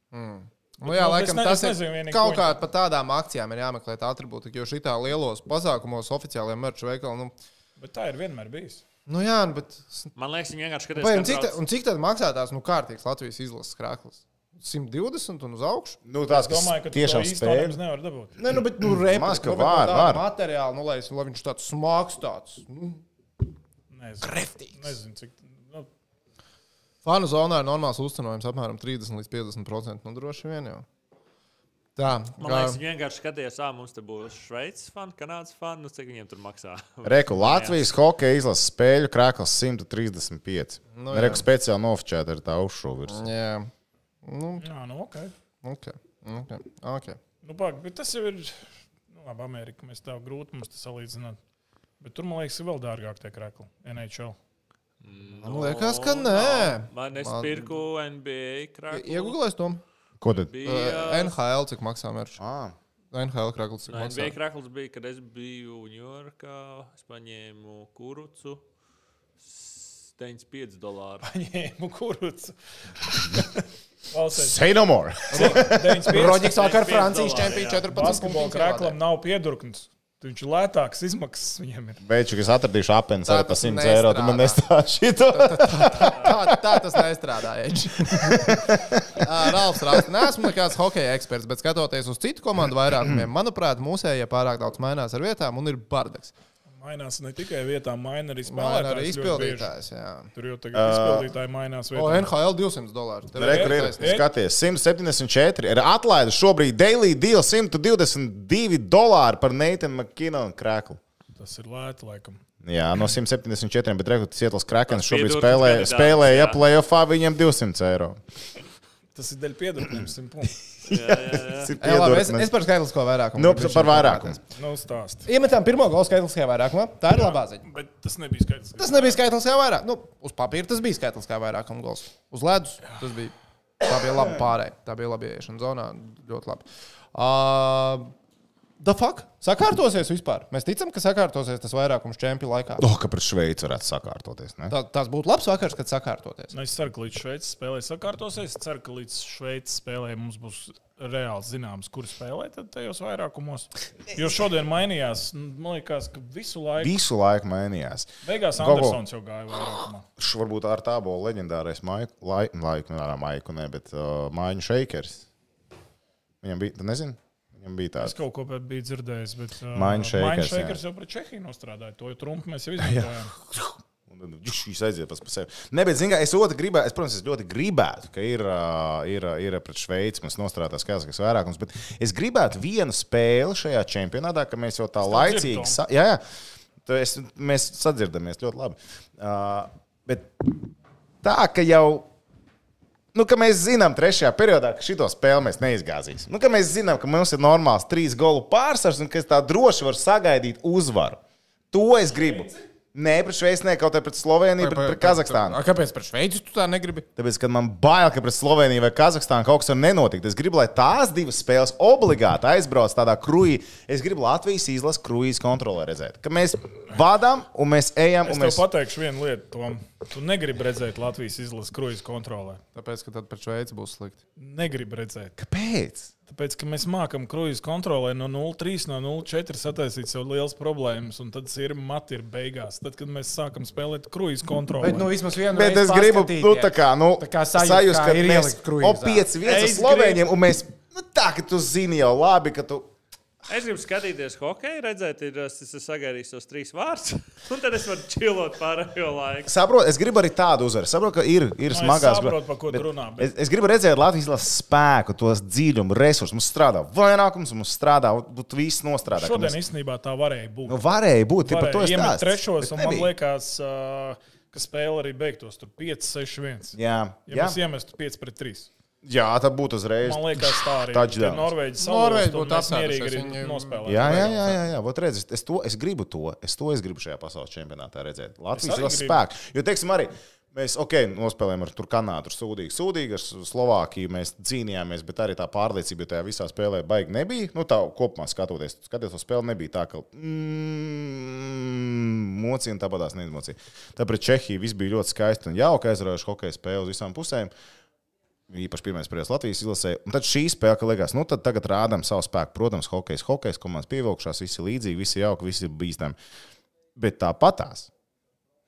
[SPEAKER 4] Nu, jā,
[SPEAKER 6] Nu, es
[SPEAKER 4] laikam
[SPEAKER 6] ne-
[SPEAKER 4] tas
[SPEAKER 6] es
[SPEAKER 4] ir
[SPEAKER 6] nezinu vienīgi,
[SPEAKER 4] kaut
[SPEAKER 6] ko
[SPEAKER 4] kā par tādām akcijām ir jāmeklē tā atribūta, jo šitā lielos pasākumos oficiālajā merču veikalā, nu,
[SPEAKER 6] Bet tā ir vienmēr bijusi.
[SPEAKER 4] nu jā, nu, bet
[SPEAKER 3] Man liekas, viņi vienkārši skatās,
[SPEAKER 4] Vai, un, cik tā, un cik tad maksā tās nu, kārtīgas Latvijas izlases krāklis? 120 un uz augšu?
[SPEAKER 5] Nu, tās,
[SPEAKER 6] Es
[SPEAKER 5] kas
[SPEAKER 6] domāju, ka
[SPEAKER 5] tiešām
[SPEAKER 6] tiešām
[SPEAKER 5] spēja.
[SPEAKER 6] spēļus nevar dabūt.
[SPEAKER 4] Nē, nu, bet nu,
[SPEAKER 5] Maz, ka
[SPEAKER 4] repliku, nu, bet no
[SPEAKER 5] var,
[SPEAKER 4] tāda
[SPEAKER 5] var.
[SPEAKER 4] materiāla, nu, lai, es- lai viņš tāds smags tāds. Nu,
[SPEAKER 6] Kreftīgs. Nezinu, cik. Nu,
[SPEAKER 4] Fanu zonā ir normāls uzcenojums apmēram 30 līdz 50%. Nu, droši vien jau. Tā,
[SPEAKER 3] Man liekas, viņi vienkārši skatījās, ah, mums te būs Šveices fani, Kanādas fani, nu cik viņiem tur maksā. [LAUGHS]
[SPEAKER 5] Reku Latvijas hokeja izlases spēļu krāklis 135.
[SPEAKER 4] Nu,
[SPEAKER 5] Nu,
[SPEAKER 4] jā. Mm.
[SPEAKER 5] Reku speciāli nofočēta ar tā uzšuvis.
[SPEAKER 4] jā. Nu,
[SPEAKER 6] jā, nu, ok.
[SPEAKER 4] ok. Ok. okay.
[SPEAKER 6] Nu, pag, bet tas jau ir. Nu, labi, Amerika. Mēs tā grūti mums tas salīdzināt. Bet tur, man liekas, ir vēl dārgāk tie krēkli. [LAUGHS] NHL.
[SPEAKER 4] Man liekas, ka nē.
[SPEAKER 3] Man es
[SPEAKER 4] Man-
[SPEAKER 3] pirku NBA krāklus.
[SPEAKER 4] Iegūlēs to.
[SPEAKER 5] Ko tad?
[SPEAKER 4] Uh, NHL cik maksā mērķis?
[SPEAKER 5] Ah,
[SPEAKER 4] NHL krāklis cik
[SPEAKER 3] No NBA
[SPEAKER 4] maksā?
[SPEAKER 3] krāklis bija, kad es biju Ņujorkā. Es paņēmu kurucu. s- 95 dolāru.
[SPEAKER 6] Paņēmu [LAUGHS] kurucu. Valsts
[SPEAKER 5] Say no more!
[SPEAKER 6] 95.
[SPEAKER 4] Roģis sāk ar
[SPEAKER 3] pieci
[SPEAKER 4] Francijas
[SPEAKER 3] dolāri,
[SPEAKER 4] čempionu
[SPEAKER 3] jā.
[SPEAKER 4] 14.
[SPEAKER 6] Basketbola
[SPEAKER 4] punktiņus ievādē.
[SPEAKER 6] krēklam nav piedurknes. Viņš ir lētāks, izmaksas viņam ir.
[SPEAKER 5] Veicu, ka es atradīšu apelsīnu
[SPEAKER 4] Tā
[SPEAKER 5] arī par
[SPEAKER 4] tas
[SPEAKER 5] 100 eiro. Tu man
[SPEAKER 4] nestrādā.
[SPEAKER 5] nestāsti
[SPEAKER 4] [LAUGHS]
[SPEAKER 5] šito.
[SPEAKER 4] tā, tā tas nestrādā. Edž. [LAUGHS] Ā, Ralfs raksta, neesmu nekāds hokeja eksperts, bet skatoties uz citu komandu vairākumiem, manuprāt, mūsējie pārāk daudz mainās ar vietām un ir bardaks.
[SPEAKER 6] Mainās ne tikai vietā, maina arī
[SPEAKER 4] Man
[SPEAKER 6] spēlētājs.
[SPEAKER 4] arī
[SPEAKER 6] ļoti bieži.
[SPEAKER 4] izpildītājs. jā.
[SPEAKER 6] Tur jau tagad izpildītāji mainās.
[SPEAKER 4] O,
[SPEAKER 6] vietā.
[SPEAKER 4] NHL 200 dolāri. Tev ir
[SPEAKER 5] Rekur ir.
[SPEAKER 4] taisnība.
[SPEAKER 5] Skaties, 174 ir atlaide. Šobrīd daily deal 122 dolāri par Neitenu McKinnonu krēklu.
[SPEAKER 6] Tas ir lēti, laikam.
[SPEAKER 5] Jā, no 174, bet Rekur Cietlis Krakens šobrīd
[SPEAKER 3] piedurknes
[SPEAKER 5] spēlē,
[SPEAKER 3] kandidāts,
[SPEAKER 5] spēlē ja
[SPEAKER 3] jā.
[SPEAKER 5] playoffā viņam 200 eiro.
[SPEAKER 6] Tas ir dēļ piedurknēm, simt punktu.
[SPEAKER 5] Tas ir
[SPEAKER 4] Jā, labi, es,
[SPEAKER 5] piedurknes.
[SPEAKER 4] es par skaitlisko vairākumu.
[SPEAKER 5] Nu, par vairākumu.
[SPEAKER 6] [LAUGHS] Nav stāsts.
[SPEAKER 4] Iemetām pirmo galu skaitliskajā vairākumā. Tā ir labā ziņa.
[SPEAKER 6] Bet tas nebija skaidrs.
[SPEAKER 4] Tas nebija skaitliskajā vairākumā. Nu, uz papīra tas bija skaitliskajā vairākumā gals. Uz ledus tas bija. Tā bija laba pārēja. Tā bija laba ieiešana zonā. Ļoti labi. Uh, Da fuck? Sakārtosies vispār. Mēs ticam, ka sakārtosies tas vairākums čempionu laikā.
[SPEAKER 5] Oh, ka pret Šveici varētu sakārtoties. Ne?
[SPEAKER 4] Tā, tas būtu labs vakars, kad sakārtosies.
[SPEAKER 6] Nu, es ceru, ka līdz Šveices spēlē sakārtosies. Es ceru, ka līdz Šveices spēlē mums būs reāli zināms, kur spēlēt tad tajos vairākumos. Jo šodien mainījās, nu, man liekas, ka visu laiku.
[SPEAKER 5] Visu laiku mainījās.
[SPEAKER 6] Beigās
[SPEAKER 5] Gogo.
[SPEAKER 6] Andersons jau gāja vairākumā.
[SPEAKER 5] Šis varbūt ar tā būtu leģendārais Maiku, lai, laiku, nē, Maiku, ne, bet uh, Maiņu Šeikers. Viņam bija, tu nezini, viņam bija
[SPEAKER 6] Es
[SPEAKER 5] tāds.
[SPEAKER 6] kaut ko pat biju dzirdējis, bet
[SPEAKER 5] Mind shakers,
[SPEAKER 6] Maņš
[SPEAKER 5] jā.
[SPEAKER 6] Šakers jau pret Čehiju nostrādāja. To jau trumpu mēs [LAUGHS] jau izdarījām.
[SPEAKER 5] Un tad Viņš aiziet pats par sevi. Nē, bet, zināmā mērā, es, ļoti gribētu- es, protams, es ļoti gribētu, ka ir, ā, ir, ā, ir pret Šveici mums nostrādāts Kazahstānas vairākums, bet es gribētu vienu spēli šajā čempionātā, ka mēs jau tā
[SPEAKER 6] dzirdu, Tom.
[SPEAKER 5] laicīgi. Sa, jā, jā, Tu es, mēs sadzirdamies ļoti labi. Uh, bet tā, ka jau. Nu, ka mēs zinām, trešajā periodā, ka šito spēli mēs neizgāzīsim. Nu, ka mēs zinām, ka mums ir normāls trīs golu pārsvars un ka es tā droši varu sagaidīt uzvaru. To es gribu. Nē, pret Šveici, ne kaut kā pret Sloveniju, bet pret Kazahstānu.
[SPEAKER 4] A, Kāpēc par Šveici tu tā negribi?
[SPEAKER 5] Tāpēc, kad man bail, ka pret Sloveniju vai Kazahstānu kaut kas var nenotikt, es gribu, lai tās divas spēles obligāti aizbrauc tādā krūjī. Es gribu Latvijas izlases krūjīs kontrolē redzēt, ka mēs vadām un mēs ejam
[SPEAKER 6] Es
[SPEAKER 5] un
[SPEAKER 6] tev
[SPEAKER 5] mēs.
[SPEAKER 6] pateikšu vienu lietu, Tom. Tu negribi redzēt Latvijas izlases kruīzes kontrolē.
[SPEAKER 4] Tāpēc, ka tad par Šveici būs slikti.
[SPEAKER 6] Negribi redzēt.
[SPEAKER 5] Kāpēc?
[SPEAKER 6] Tāpēc, ka mēs mākam kruīzes kontrolē no 0,3 no 0,4 sataisīt sev liels problēmas, un tad ir mati ir beigās. Tad, kad mēs sākam spēlēt kruīzes kontrolē,
[SPEAKER 4] Bet, nu, vismaz vienu
[SPEAKER 5] Bet es gribu, nu, tā kā, nu,
[SPEAKER 4] Tā kā sajust, kā ir
[SPEAKER 5] mēs
[SPEAKER 4] ielikt kruīzā.
[SPEAKER 5] pieci vietas
[SPEAKER 6] Es
[SPEAKER 5] slovēņiem, un mēs, nu, tā, ka tu zini jau labi, ka tu.
[SPEAKER 3] Es gribu skatīties hokeju, redzēt, ir, es esmu sagaidījis tos trīs vārdus, [LAUGHS] un tad es varu čilot pārējo laiku.
[SPEAKER 5] Saprotu, es gribu arī tādu uzvaru. Saprotu, ka ir, ir
[SPEAKER 6] Nu, es
[SPEAKER 5] smagās
[SPEAKER 6] saprotu, par ko tu runā, bet-
[SPEAKER 5] Es, es gribu redzēt Latvijas izlases spēku, tos dziļumu, resursus. Mums strādā vairākums, mums strādā, un tu viss nostrādā. ka
[SPEAKER 6] šodien
[SPEAKER 5] mēs-
[SPEAKER 6] īstenībā tā varēja būt.
[SPEAKER 5] Nu, varēja būt, ja par to es
[SPEAKER 6] Varēja iemet
[SPEAKER 5] tādu
[SPEAKER 6] trešos, un man liekas, ā, ka spēle arī beigtos tur 5,
[SPEAKER 5] Jā,
[SPEAKER 6] 6, 1. Ja
[SPEAKER 5] jā.
[SPEAKER 6] mēs iemestu 5 pret 3,
[SPEAKER 5] jā tā būtu uzreiz.
[SPEAKER 6] man liekas, tā arī
[SPEAKER 5] Touchdown.
[SPEAKER 6] Norvēģis
[SPEAKER 4] Norvēģi
[SPEAKER 6] Norvēģi
[SPEAKER 4] Nu, būtu
[SPEAKER 6] būtu
[SPEAKER 4] apsēdušies,
[SPEAKER 6] apmierīgi arī
[SPEAKER 4] viņi-
[SPEAKER 6] nospēlēt.
[SPEAKER 5] Jā, jā, jā, jā, jā. Vot redz, es, es, to, es gribu to. Es to es gribu šajā pasaules čempionātā redzēt. Latvijas
[SPEAKER 6] arī
[SPEAKER 5] valsts
[SPEAKER 6] gribu.
[SPEAKER 5] spēku. Jo, teiksim, arī Mēs, ok, nospēlējām ar tur Kanādu, tur sūdīgi, sūdīgi, ar Slovākiju mēs cīnījāmies, bet arī tā pārliecība tajā visā spēlē baigi nebija. Nu, tā kopumā skatoties, skatoties to spēli, nebija tā, ka mm, mocīja un tāpatās neizmocīja. Tāpēc Čehija viss bija ļoti skaisti un jauki, aizraujoši hokeja spēle uz visām pusēm. Īpaši pirmais spēlēs Latvijas izlasē. Un tad šī spēle, ka liekas, nu tad tagad rādām savu spēku. Protams, hokejs, hokejs, komandas pievilkšās, visi līdzīgi, visi jauki, visi bīstami. Bet tāpatās.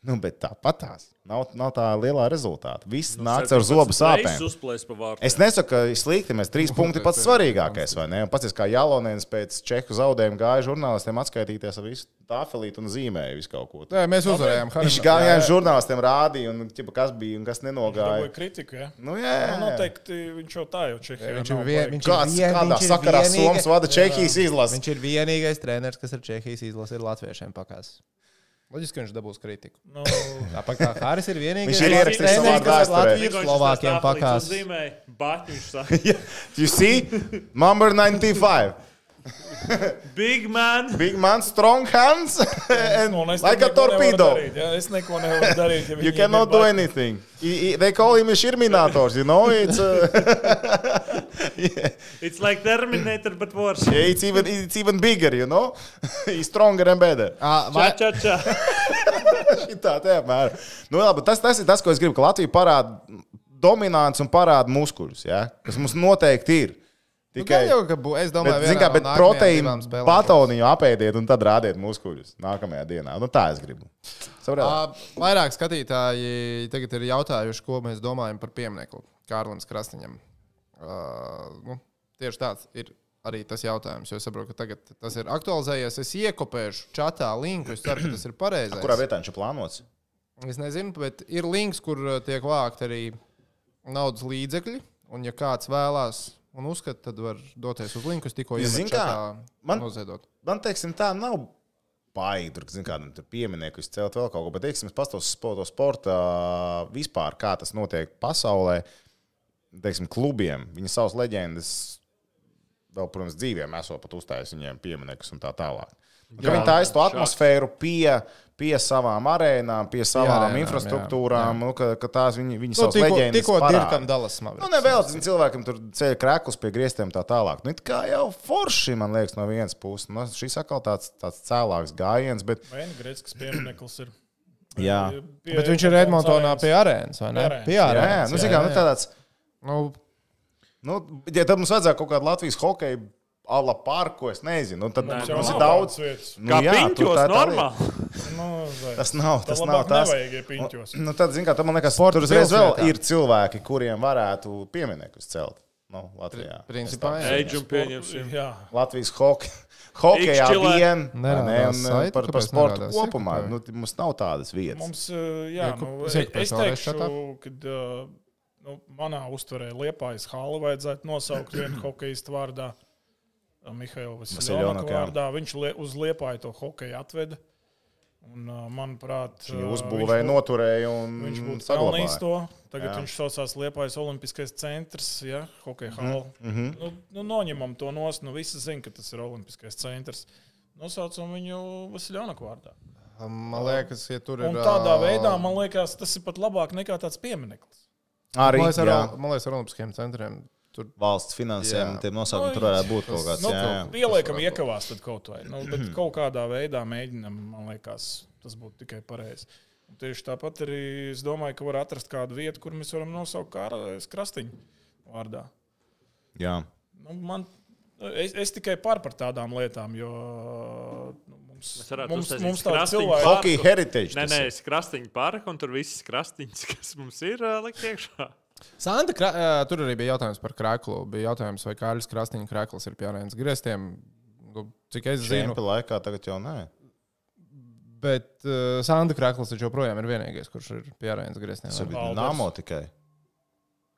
[SPEAKER 5] Nu, bet tāpatās. Nav, nav tā lielā rezultāta. Viss nu, nāca ar zobu sāpēm.
[SPEAKER 3] Uzplēs pa vārtu.
[SPEAKER 5] Es nesaku, ka slikti mēs trīs punkti
[SPEAKER 4] [LAUGHS]
[SPEAKER 5] pats svarīgākais, vai ne? Un Pats, kā Jālonēns pēc čehu zaudējuma gāja žurnālistiem atskaitīties ar visu tāfelīti un zīmēju visu kaut ko. Nu,
[SPEAKER 4] Nē, mēs uzvarējām.
[SPEAKER 6] nu,
[SPEAKER 5] Viņš
[SPEAKER 4] Harim-
[SPEAKER 5] gāja žurnālistiem rādīja, un, ķipa, kas bija un kas
[SPEAKER 6] Dabūja
[SPEAKER 5] nenogāja.
[SPEAKER 6] kritiku. Ja?
[SPEAKER 5] Nu, jā, jā,
[SPEAKER 6] Nu,
[SPEAKER 5] jā.
[SPEAKER 6] noteikti viņš jau tā jau Čehijā.
[SPEAKER 4] Viņš ir
[SPEAKER 6] nav
[SPEAKER 4] vien-
[SPEAKER 6] baigi.
[SPEAKER 4] viņš ir
[SPEAKER 5] Kāds,
[SPEAKER 4] vien-
[SPEAKER 5] kādā
[SPEAKER 4] viņš ir
[SPEAKER 5] sakarā
[SPEAKER 4] vienīgais-
[SPEAKER 5] Somijas vada Čehijas izlasi?
[SPEAKER 4] Viņš ir vienīgais treneris, kas ar Čehijas izlasi ir latviešiem pakās. Loģiski, ka viņš dabūs kritiku.
[SPEAKER 6] Nu,
[SPEAKER 4] Tāpat kā Hāris ir vienīgais
[SPEAKER 5] Viņš ir ierakstījis savā
[SPEAKER 4] treneris, kas ar
[SPEAKER 5] vēsturē.
[SPEAKER 4] Latviju Slovākiem pakās.
[SPEAKER 3] Baķis saka,
[SPEAKER 5] You see, number 95.
[SPEAKER 3] big man.
[SPEAKER 5] Big man, strong
[SPEAKER 6] [LAUGHS]
[SPEAKER 5] hands, and
[SPEAKER 6] Nu, un es
[SPEAKER 5] [LAUGHS] like a
[SPEAKER 6] tur neko nevaru
[SPEAKER 5] torpedo.
[SPEAKER 6] darīt, Ja? Es neko nevaru darīt. Ja
[SPEAKER 5] You
[SPEAKER 6] viņiem
[SPEAKER 5] cannot
[SPEAKER 6] ir
[SPEAKER 5] do
[SPEAKER 6] baigi.
[SPEAKER 5] anything. He- he- They call him a Sherminator, you know? It's, uh,
[SPEAKER 3] It's like Terminator, but worse.
[SPEAKER 5] yeah, it's, even, it's even bigger, you know? [LAUGHS] He's stronger and better. [LAUGHS]
[SPEAKER 4] Ā,
[SPEAKER 3] Ča,
[SPEAKER 4] [LAUGHS] vai-
[SPEAKER 3] ča, ča.
[SPEAKER 5] Tā, tā, apmēram. Nu, labi, tas, tas ir tas, ko es gribu, ka Latvija parāda dominants un parāda muskuļus, ja? kas mums noteikti ir.
[SPEAKER 4] Nu, gan
[SPEAKER 5] Tikai,
[SPEAKER 4] jau, ka bū- es domāju,
[SPEAKER 5] bet, zin kā,
[SPEAKER 4] vienā no
[SPEAKER 5] bet
[SPEAKER 4] nākamajām
[SPEAKER 5] proteīnu
[SPEAKER 4] divām spēlēm
[SPEAKER 5] patoniņu apēdiet un tad rādiet muskuļus nākamajā dienā. Nu, tā es gribu. Saprāt?
[SPEAKER 4] Ā, Vairāk skatītāji tagad ir jautājuši, ko mēs domājam par pieminiektu Kārlim Krasniņam. Ā, Nu, tieši tāds ir arī tas jautājums, jo es saprotu, ka tagad tas ir aktualizējies. Es iekopēšu čatā linku, es ceru, ka tas ir pareizais.
[SPEAKER 5] Kurā vietā viņš ir plānots?
[SPEAKER 4] Es nezinu, bet ir links, kur uh, tiek vākt arī naudas līdzekļi. Un, ja kāds vēlās un uzskata, tad var doties uz linku, kas tikko
[SPEAKER 5] Ja zini kā,
[SPEAKER 4] iesaistīts.
[SPEAKER 5] man-
[SPEAKER 4] noziedot.
[SPEAKER 5] man teiksim, tā nav baigta. Tur zinu, kādam tur pieminieku izcelt vēl kaut ko, bet, teiksim, es pastāstīšu par to sporta vispār, kā tas notiek pasaulē. Teiksim, klubiem viņi savas leģendas, vēl, protams, dzīvēm esot pat uzstājis viņiem pieminiekus un tā tālāk. Jā, viņi taisa to atmosfēru pie, pie savām arēnām, pie savām
[SPEAKER 4] arēnām, jā,
[SPEAKER 5] arēnām, infrastruktūrām, jā, jā. Nu, ka, ka tās viņi, viņi
[SPEAKER 4] Nu,
[SPEAKER 5] savas
[SPEAKER 4] tikko
[SPEAKER 5] leģendas.
[SPEAKER 4] tikko
[SPEAKER 5] parāda.
[SPEAKER 4] Dirkam Dalasam.
[SPEAKER 5] Nu, nevēlas cilvēkam tur ceļot krāklus pie griestiem tā tālāk. Nu, it kā jau forši, man liekas, no vienas puses. Nu, šis atkal tāds, tāds cēlāks gājiens, bet
[SPEAKER 6] Vēngrēckas piemineklis ir.
[SPEAKER 5] jā.
[SPEAKER 6] Pie-
[SPEAKER 4] Bet viņš ir Edmontonā
[SPEAKER 6] Cēlējums.
[SPEAKER 4] pie arēnas, vai ne?
[SPEAKER 6] Arēnas.
[SPEAKER 4] Pie
[SPEAKER 5] Jā, jā,
[SPEAKER 4] arēnas.
[SPEAKER 5] nu, zin kā, nu, tāds,
[SPEAKER 4] Nu,
[SPEAKER 5] nu, ja tad mums vajadzētu kaut kādu Latvijas hokeju ala parku, es nezinu. Nu, tad
[SPEAKER 6] Mums
[SPEAKER 5] mums,
[SPEAKER 6] jau
[SPEAKER 5] mums
[SPEAKER 6] nav
[SPEAKER 5] ir daudz.
[SPEAKER 6] tādas vietas.
[SPEAKER 5] Nu,
[SPEAKER 3] Kā
[SPEAKER 5] jā, tur
[SPEAKER 3] piņķos,
[SPEAKER 5] tā- tā lieta.
[SPEAKER 3] normāli.
[SPEAKER 6] Nu, vai-
[SPEAKER 5] Tas nav tas,
[SPEAKER 6] labāk
[SPEAKER 5] nav tas.
[SPEAKER 6] nevajag, ja piņķos.
[SPEAKER 5] Nu, tad, zin kā, tad man liekas, tur uzreiz vēl
[SPEAKER 4] pilsētā.
[SPEAKER 5] ir cilvēki, kuriem varētu pieminekļus celt. Nu, Latvijā.
[SPEAKER 4] principā, jā.
[SPEAKER 3] Eidžu un
[SPEAKER 5] nu,
[SPEAKER 3] pieņemsim.
[SPEAKER 6] Jā,
[SPEAKER 5] Latvijas hoke- hokejā
[SPEAKER 3] Ikšķilē.
[SPEAKER 5] vien, vai
[SPEAKER 4] Nerādās
[SPEAKER 5] ne, un
[SPEAKER 4] saiti,
[SPEAKER 5] eh, par, par
[SPEAKER 4] kāpēc
[SPEAKER 5] sportu
[SPEAKER 4] nerādās?
[SPEAKER 5] kopumā.
[SPEAKER 4] Sekretāri.
[SPEAKER 5] Nu, t- mums nav tādas vietas.
[SPEAKER 6] mums, uh, jā,
[SPEAKER 4] Jakub,
[SPEAKER 6] nu,
[SPEAKER 4] es ieku
[SPEAKER 6] es
[SPEAKER 4] pēc vēlreiz
[SPEAKER 6] teikšu,
[SPEAKER 4] šatā.
[SPEAKER 6] ka uh, nu, manā uztverē Liepājas hāli vajadzētu
[SPEAKER 5] [CLEARS THROAT]
[SPEAKER 6] nosaukt vienu hokeistu vārdā. Mihaila Vasiljonaka
[SPEAKER 5] Vasiljonaka, jā.
[SPEAKER 6] vārdā. Viņš lie, uz Liepāju to hokeju atveda. Un, uh, manuprāt,
[SPEAKER 5] Viņa
[SPEAKER 6] uh,
[SPEAKER 5] uzbūvēja,
[SPEAKER 6] viņš būtu-
[SPEAKER 5] noturēja un
[SPEAKER 6] Viņš būtu pelnījis
[SPEAKER 5] Mhm, saglabāja.
[SPEAKER 6] to. Tagad
[SPEAKER 5] Jā.
[SPEAKER 6] jā. viņš saucās Liepais Olimpiskais centrs, ja, hokeja
[SPEAKER 5] Mhm,
[SPEAKER 6] hala. Mm -hmm. nu, nu, noņemam to nost, nu visi zina, ka tas ir Olimpiskais centrs. Nosaucam viņu Vasiljānu vārdā.
[SPEAKER 4] Man liekas, ja tur ir. eh,
[SPEAKER 6] Un tādā
[SPEAKER 4] ā,
[SPEAKER 6] veidā, man liekas, tas ir pat labāk nekā tāds piemineklis.
[SPEAKER 5] Arī
[SPEAKER 4] Man liekas, ar,
[SPEAKER 5] jā,
[SPEAKER 4] man liekas, ar Olimpiskiem centriem. Tur
[SPEAKER 5] valsts finansēm
[SPEAKER 4] Jā.
[SPEAKER 5] tiem nosaukumiem
[SPEAKER 6] Nu,
[SPEAKER 5] tur varētu būt kaut kāds.
[SPEAKER 6] Nu,
[SPEAKER 5] jā, Mhm. jā.
[SPEAKER 6] Pieliekam iekavās tad kaut vai. Nu, bet kaut kādā veidā mēģinam, man liekas, tas būtu tikai pareizi. Un Tieši tāpat arī es domāju, ka var atrast kādu vietu, kur mēs varam nosaukt kā krastiņu vārdā.
[SPEAKER 5] Jā.
[SPEAKER 6] Nu, man, es, es tikai pār par tādām lietām, jo nu, mums,
[SPEAKER 3] varētu
[SPEAKER 6] mums,
[SPEAKER 3] uztaisīt
[SPEAKER 6] mums tāds
[SPEAKER 3] krāstīgu
[SPEAKER 6] cilvēks
[SPEAKER 3] parku.
[SPEAKER 5] Hockey heritage.
[SPEAKER 3] Nē,
[SPEAKER 5] tas
[SPEAKER 3] nē,
[SPEAKER 5] ir.
[SPEAKER 3] es krastiņu parku un tur viss krastiņš, kas mums ir, ā, likt iekšā.
[SPEAKER 4] Santa, krā, ā, Eh, tur arī bija jautājums par krāklu. Bija jautājums, vai Kārlis Krasniņš krāklis ir pie arēnas griestiem. Nu, Cik es zinu,
[SPEAKER 5] Zempe laikā tagad jau nē.
[SPEAKER 4] bet uh, Santa krāklis taču joprojām ir vienīgais, kurš ir pie arēnas griestiem.
[SPEAKER 5] Tas
[SPEAKER 4] vai ne?
[SPEAKER 5] bija
[SPEAKER 6] Balders.
[SPEAKER 5] Namo tikai.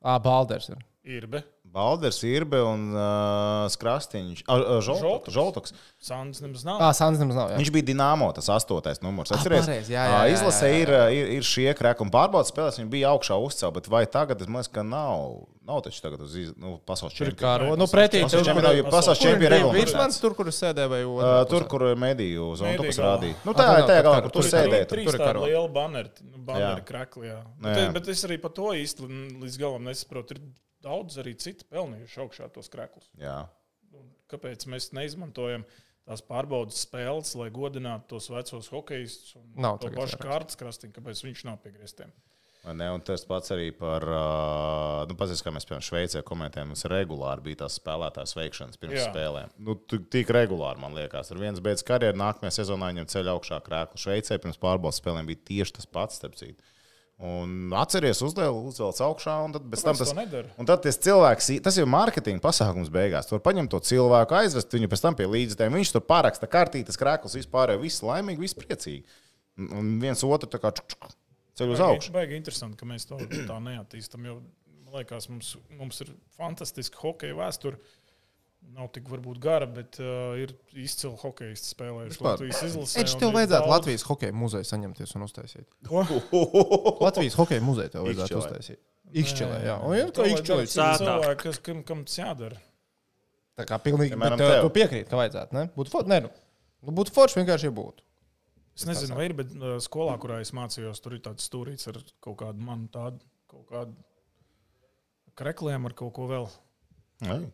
[SPEAKER 4] Ā, Balders ir.
[SPEAKER 6] Irbe.
[SPEAKER 5] Balders, Irbe un uh, Skrastiņš. Uh,
[SPEAKER 6] Žoltoks.
[SPEAKER 5] Žoltoks.
[SPEAKER 6] Sandis nemaz nav.
[SPEAKER 4] Ah, Sandis nemaz nav. Jā.
[SPEAKER 5] Viņš bija Dienāmo, tas astotais numurs.
[SPEAKER 4] Ah,
[SPEAKER 5] Atceries,
[SPEAKER 4] pareizi, jā, jā,
[SPEAKER 5] ā,
[SPEAKER 4] jā,
[SPEAKER 5] Izlasē
[SPEAKER 4] jā,
[SPEAKER 5] ir, ir, ir šie krēki un pārbaudas spēlēs. Viņi bija augšā uzcēlā, bet vai tagad, es domāju, ka nav. Nav taču tagad uz iz- nu, pasaules
[SPEAKER 4] Tur ir
[SPEAKER 5] čempionu.
[SPEAKER 4] kāro.
[SPEAKER 6] Nē,
[SPEAKER 4] Nu, pretī
[SPEAKER 5] Pasaules
[SPEAKER 4] tev
[SPEAKER 6] čempions-
[SPEAKER 5] čempionā, jo pasaules
[SPEAKER 6] Kur ir
[SPEAKER 5] čempionu
[SPEAKER 4] bija
[SPEAKER 5] regulāri.
[SPEAKER 4] virsmans, tur, kur es sēdēju, vai
[SPEAKER 5] Uh,
[SPEAKER 4] otrā
[SPEAKER 5] tur,
[SPEAKER 4] pusē?
[SPEAKER 5] kur mediju zonu
[SPEAKER 6] Mediju
[SPEAKER 5] tas
[SPEAKER 6] galā.
[SPEAKER 5] rādīja.
[SPEAKER 4] Ah,
[SPEAKER 5] Nu,
[SPEAKER 4] tur
[SPEAKER 5] tā ir
[SPEAKER 4] nav,
[SPEAKER 5] tā
[SPEAKER 4] tur
[SPEAKER 5] galā,
[SPEAKER 4] karo.
[SPEAKER 5] kur tu
[SPEAKER 4] Tur ir
[SPEAKER 5] sēdēji. tur.
[SPEAKER 6] nu, Trīs
[SPEAKER 4] tur ir
[SPEAKER 6] tādi
[SPEAKER 4] karo.
[SPEAKER 6] lieli banneri, nu, banneri
[SPEAKER 5] Jā.
[SPEAKER 6] krekli. Jā.
[SPEAKER 5] Nu,
[SPEAKER 6] Bet,
[SPEAKER 5] jā.
[SPEAKER 6] bet es arī par to īsti mm, līdz galam nesaprotu. Ir daudz arī citu pelnījuši augšā tos kreklus.
[SPEAKER 5] Jā.
[SPEAKER 6] Un Kāpēc mēs neizmantojam tās pārbaudas spēles, lai godinātu tos vecos hokeistus un
[SPEAKER 4] Nav
[SPEAKER 6] to
[SPEAKER 4] tagad
[SPEAKER 6] pašu
[SPEAKER 4] vairāk.
[SPEAKER 6] kārtas krastiņu? Kāpēc viņš nav pie griestiem?
[SPEAKER 5] Vai Ne, un tas pats arī par, ā, nu, pats, kā mēs piemēram Šveicē komentējam, mums regulāri bija tās spēlētājas veikšanas pirms Jā.
[SPEAKER 6] Jā.
[SPEAKER 5] spēlēm. Nu, tu- tik regulāri, man liekas, ar viens beidz karjeru, nākamajā sezonā viņam ceļā augšā krēklu. Šveicē pirms pārbaudas spēlēm bija tieši tas pats, starp citu. Un atceries, uzliek, uzvelc augšā, un tad bez tam
[SPEAKER 6] Kāpēc
[SPEAKER 5] tas.
[SPEAKER 6] to nedara?
[SPEAKER 5] Un tad tas cilvēks, tas jau ir mārketinga pasākums beigās. Tur paņem to cilvēku, aizvest viņu pēc tam pie līdzekļiem. Viņš tur pāraksta kartītes, krāklis, vispār jau viss laimīgi, viss priecīgi. Un- Un viens otru tā kā čuk, čuk, ceļ uz augšu.
[SPEAKER 6] Baigi interesanti, ka mēs to [CLEARS THROAT] tā neattīstam. Jo, man liekas, mums, mums ir fantastiska hokeja vēsture. Nav tik varbūt gara, bet uh, ir izcili hokeja spēlējuši.
[SPEAKER 5] Vispār.
[SPEAKER 6] Latvijas izlasē.
[SPEAKER 4] Viņš
[SPEAKER 6] un
[SPEAKER 4] tev
[SPEAKER 6] ir
[SPEAKER 4] vajadzētu
[SPEAKER 6] daudz-
[SPEAKER 4] Latvijas hokeja muzeju saņemties un uztaisīt. Latvijas hokeja muzeju tev vajadzētu
[SPEAKER 5] Ikšķelē.
[SPEAKER 4] uztaisīt. Ikšķelē, jā. Un ir tā ikšķelē.
[SPEAKER 6] cilvēki,
[SPEAKER 1] sātā.
[SPEAKER 6] cilvēki, kas, kam, kam tas jādara.
[SPEAKER 4] Tā kā pilnīgi.
[SPEAKER 5] Piemēram,
[SPEAKER 4] Bet tev,
[SPEAKER 5] tev.
[SPEAKER 4] tu piekrīti, ka vajadzētu, ne? Būtu forši, ne? Nu, nu, būtu forši vienkārši, ja būtu.
[SPEAKER 6] Es nezinu, vai ir, bet uh, skolā, kurā es mācījos, tur ir tāds stūrīts ar kaut kādu manu tādu, kaut kādu krekliem ar kaut ko vēl.
[SPEAKER 5] Ai.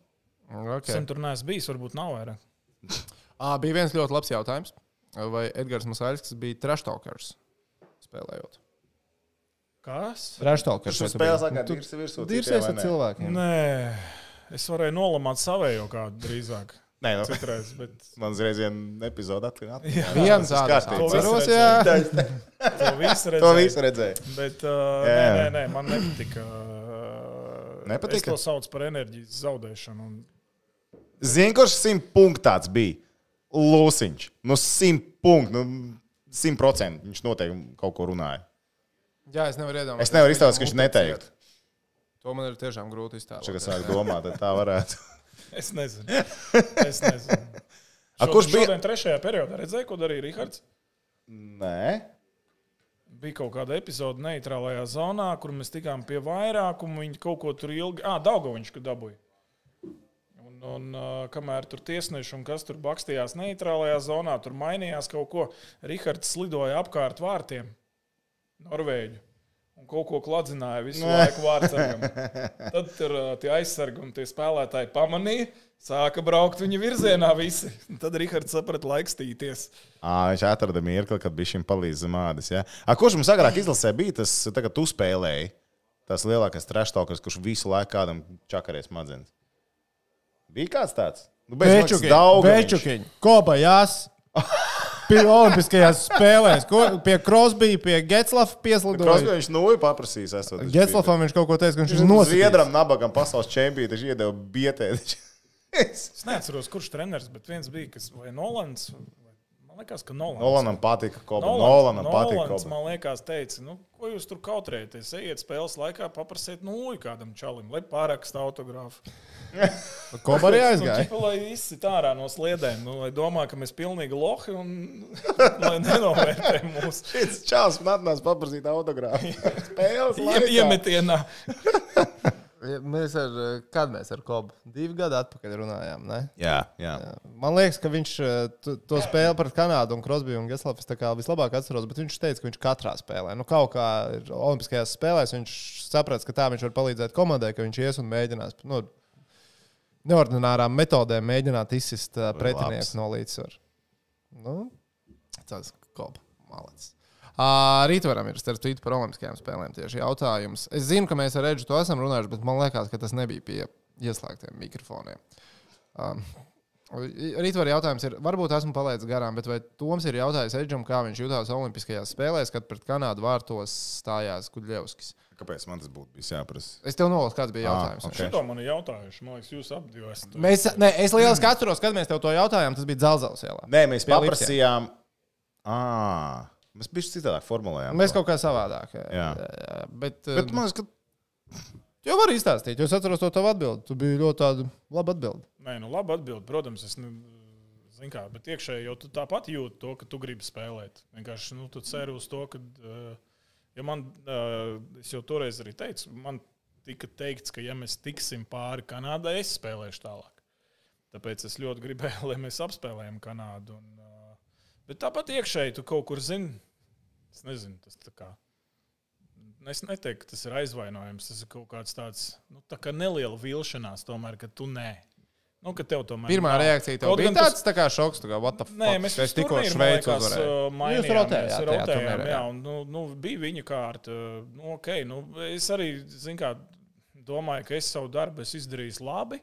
[SPEAKER 6] Okay. Sen
[SPEAKER 4] Okay.
[SPEAKER 6] tur neesmu bijis, varbūt nav vairāk.
[SPEAKER 4] À, bija viens ļoti labs jautājums. Vai Edgars Masāļskis bija trash talkers spēlējot?
[SPEAKER 6] Kas?
[SPEAKER 4] Trash talkers.
[SPEAKER 5] Kurš Nu, tur spēlē zagā, dirsi virsū?
[SPEAKER 4] Dirsies Nu, ar
[SPEAKER 5] Nu,
[SPEAKER 4] cilvēkiem.
[SPEAKER 6] Nē, es varēju nolamāt savējo kādu drīzāk.
[SPEAKER 5] Nē, nu, [LAUGHS]
[SPEAKER 6] Citreiz, bet
[SPEAKER 5] man uzreiz viena epizode atklāja.
[SPEAKER 4] Nu, Viens
[SPEAKER 5] Tas
[SPEAKER 4] zāles
[SPEAKER 5] kārtībā.
[SPEAKER 4] atceros,
[SPEAKER 6] To visu
[SPEAKER 4] jā.
[SPEAKER 6] to
[SPEAKER 5] [LAUGHS]
[SPEAKER 6] visu
[SPEAKER 5] To
[SPEAKER 6] redzēju.
[SPEAKER 5] visu redzēju.
[SPEAKER 6] Bet, uh, nē,
[SPEAKER 5] Jā.
[SPEAKER 6] nē, nē, man nepatika. uh,
[SPEAKER 5] Nepatika?
[SPEAKER 6] Es to sauc par enerģijas zaudēšanu. Un,
[SPEAKER 5] Zini, kurš simt punktāts bija? Lūsiņš. Nu, simt punktu. Nu, simt procentu. Viņš noteikti kaut ko runāja.
[SPEAKER 4] Jā, es nevaru iedomāties.
[SPEAKER 5] Es nevaru iztaust, ka viņš neteiktu.
[SPEAKER 4] To man ir tiešām grūti iztaust.
[SPEAKER 5] Tagad sāk domāt, tad tā varētu.
[SPEAKER 6] es
[SPEAKER 5] [LAUGHS]
[SPEAKER 6] nezinu. Es nezinu.
[SPEAKER 5] A, kurš bija?
[SPEAKER 6] Šodien trešajā periodā redzēju, ko darīja Rihards.
[SPEAKER 5] Nē.
[SPEAKER 6] Bija kaut kāda epizode neitrālajā zonā, kur mēs tikām pie vairākuma. Viņi kaut ko tur ilgi, ah, Daugoviņš, kad dabūja. Un, un uh, kamēr tur tiesneši un kas tur bakstījās neitrālajā zonā, tur mainījās kaut ko. Rihards slidoja apkārt vārtiem, Norvēģi. Un kaut ko kladzināja visu laiku vārtsargam. Tad tur uh, tie aizsargi un tie spēlētāji pamanīja, sāka braukt viņa virzienā visi. Un tad Rihards saprata laikstīties.
[SPEAKER 5] À, viņš atrada mirkli, kad bija šim palīdzējis mādes. Ja? A, kurš mums agrāk izlasē bija tas, tagad tu spēlēji? Tas lielākais trešdaļš, kurš visu laiku kādam čakarēs smadzenes. Bija kāds tāds? Nu, bez maksas Daugaviņš.
[SPEAKER 4] Večukiņš, Kobajās. Olimpiskajās spēlēs, ko, pie Krosbija, pie Getslava
[SPEAKER 5] Krosbī
[SPEAKER 4] pieslidojis.
[SPEAKER 5] viņš nulli paprasīs. Esot,
[SPEAKER 4] Getslavam viņš kaut ko teica, ka viņš ir
[SPEAKER 5] Viņš ir
[SPEAKER 4] noslēdzis.
[SPEAKER 5] Zviedram, nabagam pasaules čempionam, viņš iedeva bietēdi.
[SPEAKER 6] Es neatceros, kurš treneris, bet viens bija, kas vai Nolans. vai- Man liekas, ka Nolans.
[SPEAKER 5] [LAUGHS] Nolanam patika kopa.
[SPEAKER 6] Nolans,
[SPEAKER 5] Nolanam
[SPEAKER 6] Nolans,
[SPEAKER 5] patika kopa.
[SPEAKER 6] man liekas, teica, nu, ko jūs tur kautrēties? Ejiet spēles laikā, paprasiet nulli kādam čalim, lai pāraksta autogrāfu.
[SPEAKER 4] Koba arī
[SPEAKER 6] Nu,
[SPEAKER 4] aizgāja.
[SPEAKER 6] ķipa, lai izsit ārā no sliedēm, nu, lai domā, ka mēs pilnīgi lohi un [LAUGHS] lai nenovērtē mūsu
[SPEAKER 5] Šis čels man atnāca paprasīt autogrāfu.
[SPEAKER 6] [LAUGHS]
[SPEAKER 5] Spēles
[SPEAKER 6] ie-
[SPEAKER 5] laikā.
[SPEAKER 6] iemetienā.
[SPEAKER 4] Mēs ar, kad mēs ar Kobu divu gadu atpakaļ runājām, ne?
[SPEAKER 5] Jā, jā.
[SPEAKER 4] Man liekas, ka viņš eh, tu- to spēli pret Kanādu un Krosbiju un Geslavu es tā kā vislabāk atceros, bet viņš teica, ka viņš katrā spēlē, nu kaut kā ir Olimpiskajās spēlēs, viņš saprata, ka tā viņš var palīdzēt komandai, ka viņš ies un mēģinās nu, neordinārām metodēm mēģināt izsist eh, pretinieku no līdzsvara. Nu, tas kopa malets. Uh, Rītvaram ir starp citu par olimpiskajām spēlēm tieši jautājums. Es zinu, ka mēs ar Reģu to esam runājuši, bet man liekas, ka tas nebija pie ieslēgtiem mikrofoniem. Um, Rītvar jautājums ir, varbūt esmu palaidis garām, bet vai Toms ir jautājis Reģam, kā viņš jutās Olimpiskajās spēlēs, kad pret Kanādu vārtos stājās Gudļevskis?
[SPEAKER 5] Kāpēc man tas būtu bijis jāprasa?
[SPEAKER 4] Es tev nolasu, kāds bija
[SPEAKER 5] Ā,
[SPEAKER 4] jautājums.
[SPEAKER 5] ok.
[SPEAKER 6] Šito man ir jautājuši, man liekas, jūs abi divi esat.
[SPEAKER 4] Mēs, ne, es lieliski atceros, kad mēs tev to jautājām. Tas bija Dzelzceļa ielā.
[SPEAKER 5] Nē, mēs
[SPEAKER 4] Pie
[SPEAKER 5] paprasījām. À, Mēs bijām citādāk formulējām.
[SPEAKER 4] Mēs
[SPEAKER 5] to.
[SPEAKER 4] kaut kā savādāk. Jā,
[SPEAKER 5] Jā.
[SPEAKER 4] jā, jā. Bet,
[SPEAKER 5] Bet man liekas, ka
[SPEAKER 4] Tu jau vari izstāstīt, jo es atceros to tavu atbildi. Tu biji ļoti tāda laba atbilde.
[SPEAKER 6] Nē, nu labi atbild, protams, es ne, zinu kā, bet iekšēji jau tu tāpat jūti to, ka tu gribi spēlēt. Vienkārši, nu, tu ceri uz to, ka, eh, ja man, eh, es jau toreiz arī teicu, man tika teikts, ka ja mēs tiksim pāri Kanādai, es spēlēšu tālāk. Tāpēc es ļoti gribēju, [LAUGHS] lai mēs apspēlējam Kanādu. Un, eh, bet tāpat iekšēji tu kaut kur zini, es nezinu, tas tā kā. Es neteiktu, ka tas ir aizvainojums. Tas ir kaut kāds tāds nu, tā kā neliela vilšanās, tomēr, ka tu nē. Nu, ka tev tomēr
[SPEAKER 4] Pirmā
[SPEAKER 6] nav.
[SPEAKER 4] reakcija tev
[SPEAKER 6] Kaut
[SPEAKER 4] bija
[SPEAKER 6] gan tas-
[SPEAKER 4] tāds tā kā šoks, tā kā what the fuck.
[SPEAKER 6] Nē, mēs
[SPEAKER 4] es
[SPEAKER 6] visi
[SPEAKER 4] tikko
[SPEAKER 6] turnīri, man
[SPEAKER 4] Šveicu
[SPEAKER 6] liekas,
[SPEAKER 4] uzvarēju.
[SPEAKER 6] uh, mainījāmies,
[SPEAKER 4] rotējāt tajā
[SPEAKER 6] rotējām,
[SPEAKER 4] turnīrā,
[SPEAKER 6] jā,
[SPEAKER 4] jā.
[SPEAKER 6] un, nu, nu, bija viņa kārta. Nu, okay, nu, es arī zinu, kā, domāju, ka es savu darbu esmu izdarījis labi.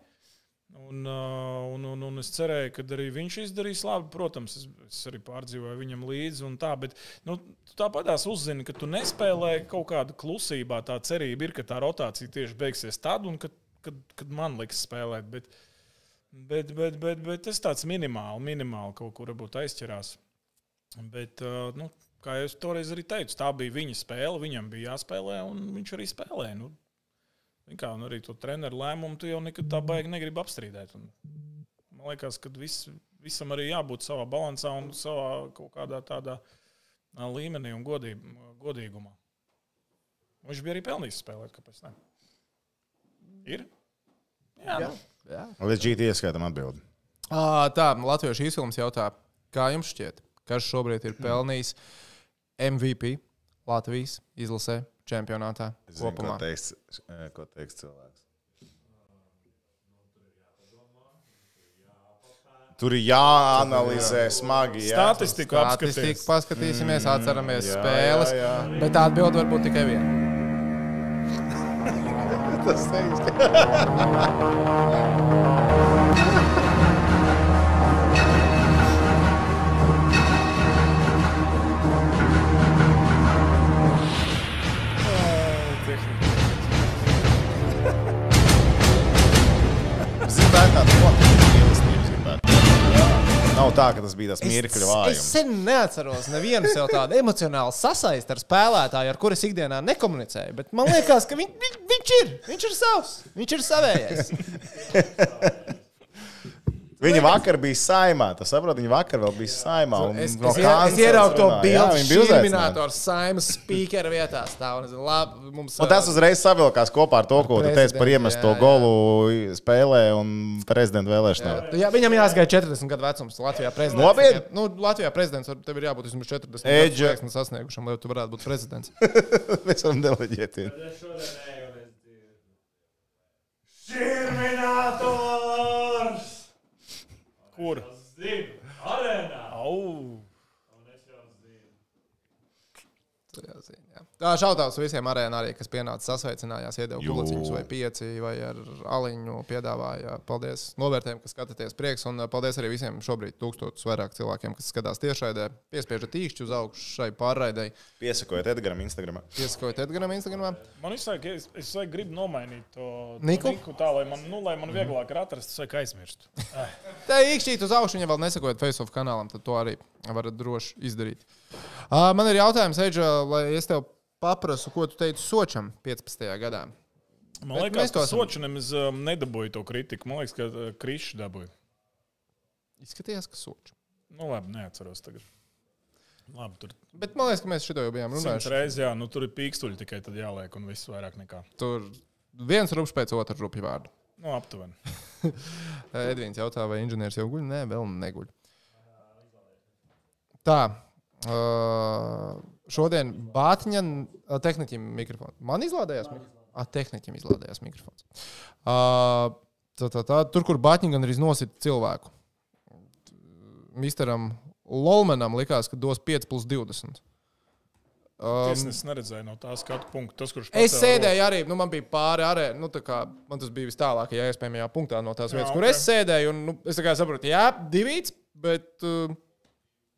[SPEAKER 6] Un, uh, un, un, un es cerēju, ka arī viņš izdarīs labi. Protams, es, es arī pārdzīvoju viņam līdzi. un Tā, bet nu, tu tāpatās uzzini, ka tu nespēlēji kaut kādu klusībā. Tā cerība ir, ka tā rotācija tieši beigsies tad, un kad, kad, kad man liks spēlēt. Bet, Bet, bet, bet, bet tas tāds minimāli, minimāli kaut kur varbūt aizķerās. Bet, uh, nu, kā jau es toreiz arī teicu, tā bija viņa spēle, viņam bija jāspēlē, un viņš arī spēlēja. Nu, zini kā, un arī to treneru lēmumu tu jau nekad tā baigi negribi apstrīdēt. Un, man liekas, ka vis, visam arī jābūt savā balansā un savā kaut kādā tādā ā, līmenī un godīb, godīgumā. Viņš bija arī pelnījis spēlēt, kāpēc ne? Ir? Jā, jā. Nu,
[SPEAKER 5] Leģīti ieskaitam atbildi.
[SPEAKER 4] Ā, Tā, Latviešu izfilms jautā, kā jums šķiet, kas šobrīd ir pelnījis MVP Latvijas izlasē čempionātā
[SPEAKER 5] Es zinu, ko
[SPEAKER 4] kopumā?
[SPEAKER 5] teiks, eh, ko teiks cilvēks. Tur ir jāanalizē smagi. Jā.
[SPEAKER 6] Statistiku
[SPEAKER 4] Statistiku
[SPEAKER 6] apskatīt.
[SPEAKER 4] paskatīsimies, atceramies
[SPEAKER 5] Mm, jā,
[SPEAKER 4] spēles,
[SPEAKER 5] jā, jā.
[SPEAKER 4] bet tā atbilde var būt tikai viena.
[SPEAKER 5] tas teiks. Zinu, tā ir tāda notiekuma ielastības gribētu. Nav tā, ka tas bija tas mirkļa
[SPEAKER 4] es
[SPEAKER 5] vājums.
[SPEAKER 4] sen neatceros nevienu sev tādu emocionālu sasaisti ar spēlētāju, ar kuru es ikdienā nekomunicēju. Bet man liekas, ka viņ, viņ, viņš ir. Viņš ir savs. Viņš ir savējais.
[SPEAKER 5] Viņa vakar bija saimā, tas saprot, viņa vakar vēl bija saimā. un
[SPEAKER 4] Es,
[SPEAKER 5] no
[SPEAKER 4] es, ie- es
[SPEAKER 5] kancels
[SPEAKER 4] ieraugu to
[SPEAKER 5] runāja. Jā,
[SPEAKER 4] bildi.
[SPEAKER 5] viņa bija
[SPEAKER 4] Viņš ir
[SPEAKER 5] uzveicināta.
[SPEAKER 4] minētājs saimnes speaker vietā. Stāv, un, es- labi, mums,
[SPEAKER 5] Un Nu, tas uzreiz savilkās kopā ar to, ko tu teici
[SPEAKER 4] prezidentu,
[SPEAKER 5] par iemesto
[SPEAKER 4] jā, jā.
[SPEAKER 5] golu spēlē un prezidenta vēlēšanām.
[SPEAKER 4] Nu, Jā, viņam jāsagaida 40 gadu vecums. Latvijā prezidents.
[SPEAKER 5] Nopietni?
[SPEAKER 4] Nu, Latvijā prezidents var- tev ir jābūt vismaz 40
[SPEAKER 5] Edža.
[SPEAKER 4] gadu vecumam sasniegušam, lai tu varētu būt prezidents. [LAUGHS]
[SPEAKER 5] [LAUGHS] Mēs varam deleģēt. viņu.
[SPEAKER 2] Terminators!
[SPEAKER 6] Kur?
[SPEAKER 2] Zinu, arēnā!
[SPEAKER 6] Au!
[SPEAKER 4] Jā, zini, jā. Tā šautavs visiem arēnā arī, kas pienāca sasveicinājās, iedeva
[SPEAKER 5] Jū.
[SPEAKER 4] gulciņus vai pieci vai ar aliņu piedāvāja. Paldies novērtējiem, kas skatāties prieks un ā, paldies arī visiem šobrīd tūkstotus vairāk cilvēkiem, kas skatās tiešraidē. Piespiežat īkšķi uz augšu šai pārraidai.
[SPEAKER 5] Piesakojiet Edgars Instagram.
[SPEAKER 4] Ieskojot Edgaram Instagramā.
[SPEAKER 6] Man visu laiku, es, es visu laiku gribu nomainīt to to
[SPEAKER 4] Niku?
[SPEAKER 6] Niku tā, lai man, nu, lai man vieglāk ir atrast, es laiku aizmirstu.
[SPEAKER 4] Tā īkšķīt uz augšu, ja vēl nesakojat Facebook kanālam, tad to arī varat droši izdarīt. Uh, man ir jautājums, Eidža, lai es tev paprasu, ko tu teici Sočam 15. gadā.
[SPEAKER 6] Man
[SPEAKER 4] Bet mēs
[SPEAKER 6] liekas,
[SPEAKER 4] to
[SPEAKER 6] ka
[SPEAKER 4] esam-
[SPEAKER 6] Sočinam es um, nedabūju to kritiku. Man liekas, ka uh, Krišs dabūja.
[SPEAKER 4] Izskatījās, ka Sočs.
[SPEAKER 6] Nu, labi, neatceros tagad. Labi, tur
[SPEAKER 4] Bet man liekas, ka mēs šito jau bijām
[SPEAKER 6] simt
[SPEAKER 4] runājuši.
[SPEAKER 6] reizes, jā, nu, tur ir pīkstuļi tikai tad jāliek un viss vairāk nekā.
[SPEAKER 4] Tur viens rupjš pēc otra rupja vārda.
[SPEAKER 6] Nu, aptuveni.
[SPEAKER 4] Ā, Edvīns jautā, vai inženieris jau guļ? Nē, vēl neguļ. Tā. Uh, šodien Bātiņa ā, tehnikam mikrofons. Man izlādējās mikrofons. Ah, tehnikam izlādējās mikrofons. Uh, tā, tā, tā, tur, kur Bātiņa gan arī nosita cilvēku. Misteram Lolmanam likās, ka dos 5 plus 20.
[SPEAKER 6] Um, es neredzēju no tā skatu punktu, tas, kurš
[SPEAKER 4] Es
[SPEAKER 6] pacēla
[SPEAKER 4] sēdēju arī, nu, man bija pāri arī. Nu, tā kā, man tas bija vistālākajā iespējamajā punktā no tās
[SPEAKER 6] Jā,
[SPEAKER 4] vietas, jā, kur
[SPEAKER 6] ok.
[SPEAKER 4] okay. es sēdēju. Un, nu, es tā kā saprotu, jā, divīts, bet uh,